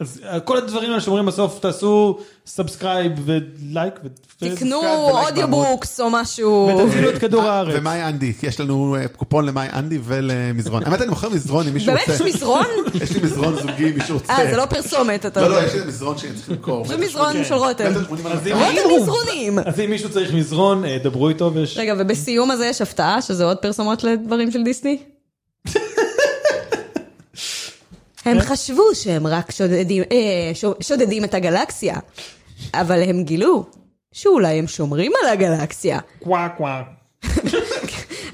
Speaker 4: אז אה, כל הדברים האלה שאומרים בסוף, תעשו סאבסקרייב ולייק. ו-
Speaker 6: תקנו אה,
Speaker 2: ולייק בעמוד.
Speaker 6: אודיובוקס או משהו.
Speaker 4: ותצילו את כדור הארץ.
Speaker 2: ומאי אנדי יש לנו אה, קופון למאי אנדי ולמזרון. האמת אני מוכר מזרון אם מישהו
Speaker 6: באמת יש
Speaker 2: רוצה.
Speaker 6: מזרון?
Speaker 2: יש לי מזרון זוגי אם מישהו רוצה.
Speaker 6: אה, זה לא פרסומת, אתה
Speaker 2: לא לא
Speaker 6: יודע.
Speaker 2: יש לי מזרון שאני צריך למכור.
Speaker 6: זה
Speaker 2: כן.
Speaker 6: מזרון של רותם.
Speaker 2: מטר שמונים על
Speaker 4: אז אם-
Speaker 2: המקרר.
Speaker 6: רותם מזרונים.
Speaker 4: אז אם מישהו צריך מזרון, אה, דברו איתו ויש...
Speaker 6: רגע, ובסיום הזה יש הפתעה שזה עוד פרסומות לדברים של דיסני? הם חשבו שהם רק שודדים, אה, ש- שודדים את הגלקסיה, אבל הם גילו שאולי הם שומרים על הגלקסיה.
Speaker 4: קווה קווה.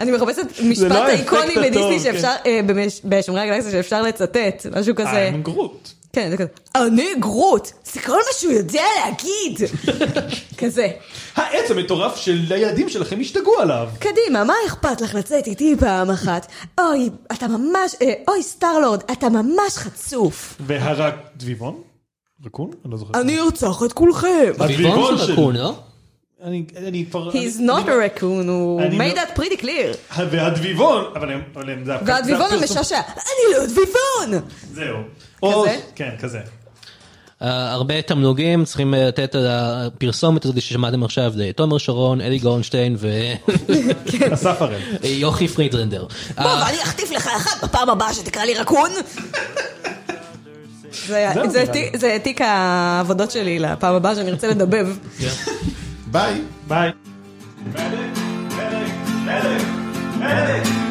Speaker 6: אני מחפשת
Speaker 4: זה
Speaker 6: משפט
Speaker 4: לא
Speaker 6: איקוני
Speaker 4: האפקט הטוב,
Speaker 6: בדיסני
Speaker 4: כן. אה,
Speaker 6: שאפשר, אה, במש- בשומרי הגלקסיה שאפשר לצטט, משהו כזה.
Speaker 4: I'm גרוט.
Speaker 6: כן, זה כזה, אני גרוט, זה כל מה שהוא יודע להגיד. כזה.
Speaker 4: העץ המטורף של הילדים שלכם השתגעו עליו.
Speaker 6: קדימה, מה אכפת לך לצאת איתי פעם אחת? אוי, אתה ממש, אה, אוי סטארלורד, אתה ממש חצוף.
Speaker 4: והרג דביבון? רקון? אני לא זוכר.
Speaker 6: אני ארצח את כולכם.
Speaker 5: דביבון של רקון, לא?
Speaker 4: אני אני כבר...
Speaker 6: He's
Speaker 4: אני-
Speaker 6: not a raccoon, הוא
Speaker 4: אני
Speaker 6: made
Speaker 4: לא-
Speaker 6: that pretty clear.
Speaker 4: והדביבון, אבל הם- אבל הם... זה הפ-
Speaker 6: והדביבון
Speaker 4: זה הפרסום-
Speaker 6: המשעשע, אני לא דביבון!
Speaker 4: זהו. או-
Speaker 6: כזה?
Speaker 4: כן, כזה.
Speaker 5: אה, הרבה תמלוגים צריכים אה, לתת על הפרסומת הזאת ששמעתם עכשיו לתומר שרון, אלי גורנשטיין
Speaker 6: כן.
Speaker 4: אסף הראל.
Speaker 5: ויוכי פרידלנדר.
Speaker 6: בוא, ואני אחטיף לך אחת בפעם הבאה שתקרא לי רקון! זה-
Speaker 4: זהו,
Speaker 6: זה
Speaker 4: נראה
Speaker 6: תיק- זה תיק העבודות שלי לפעם הבאה שאני ארצה לדבב.
Speaker 2: ביי.
Speaker 4: ביי.
Speaker 9: Medic, medic, medic, medic.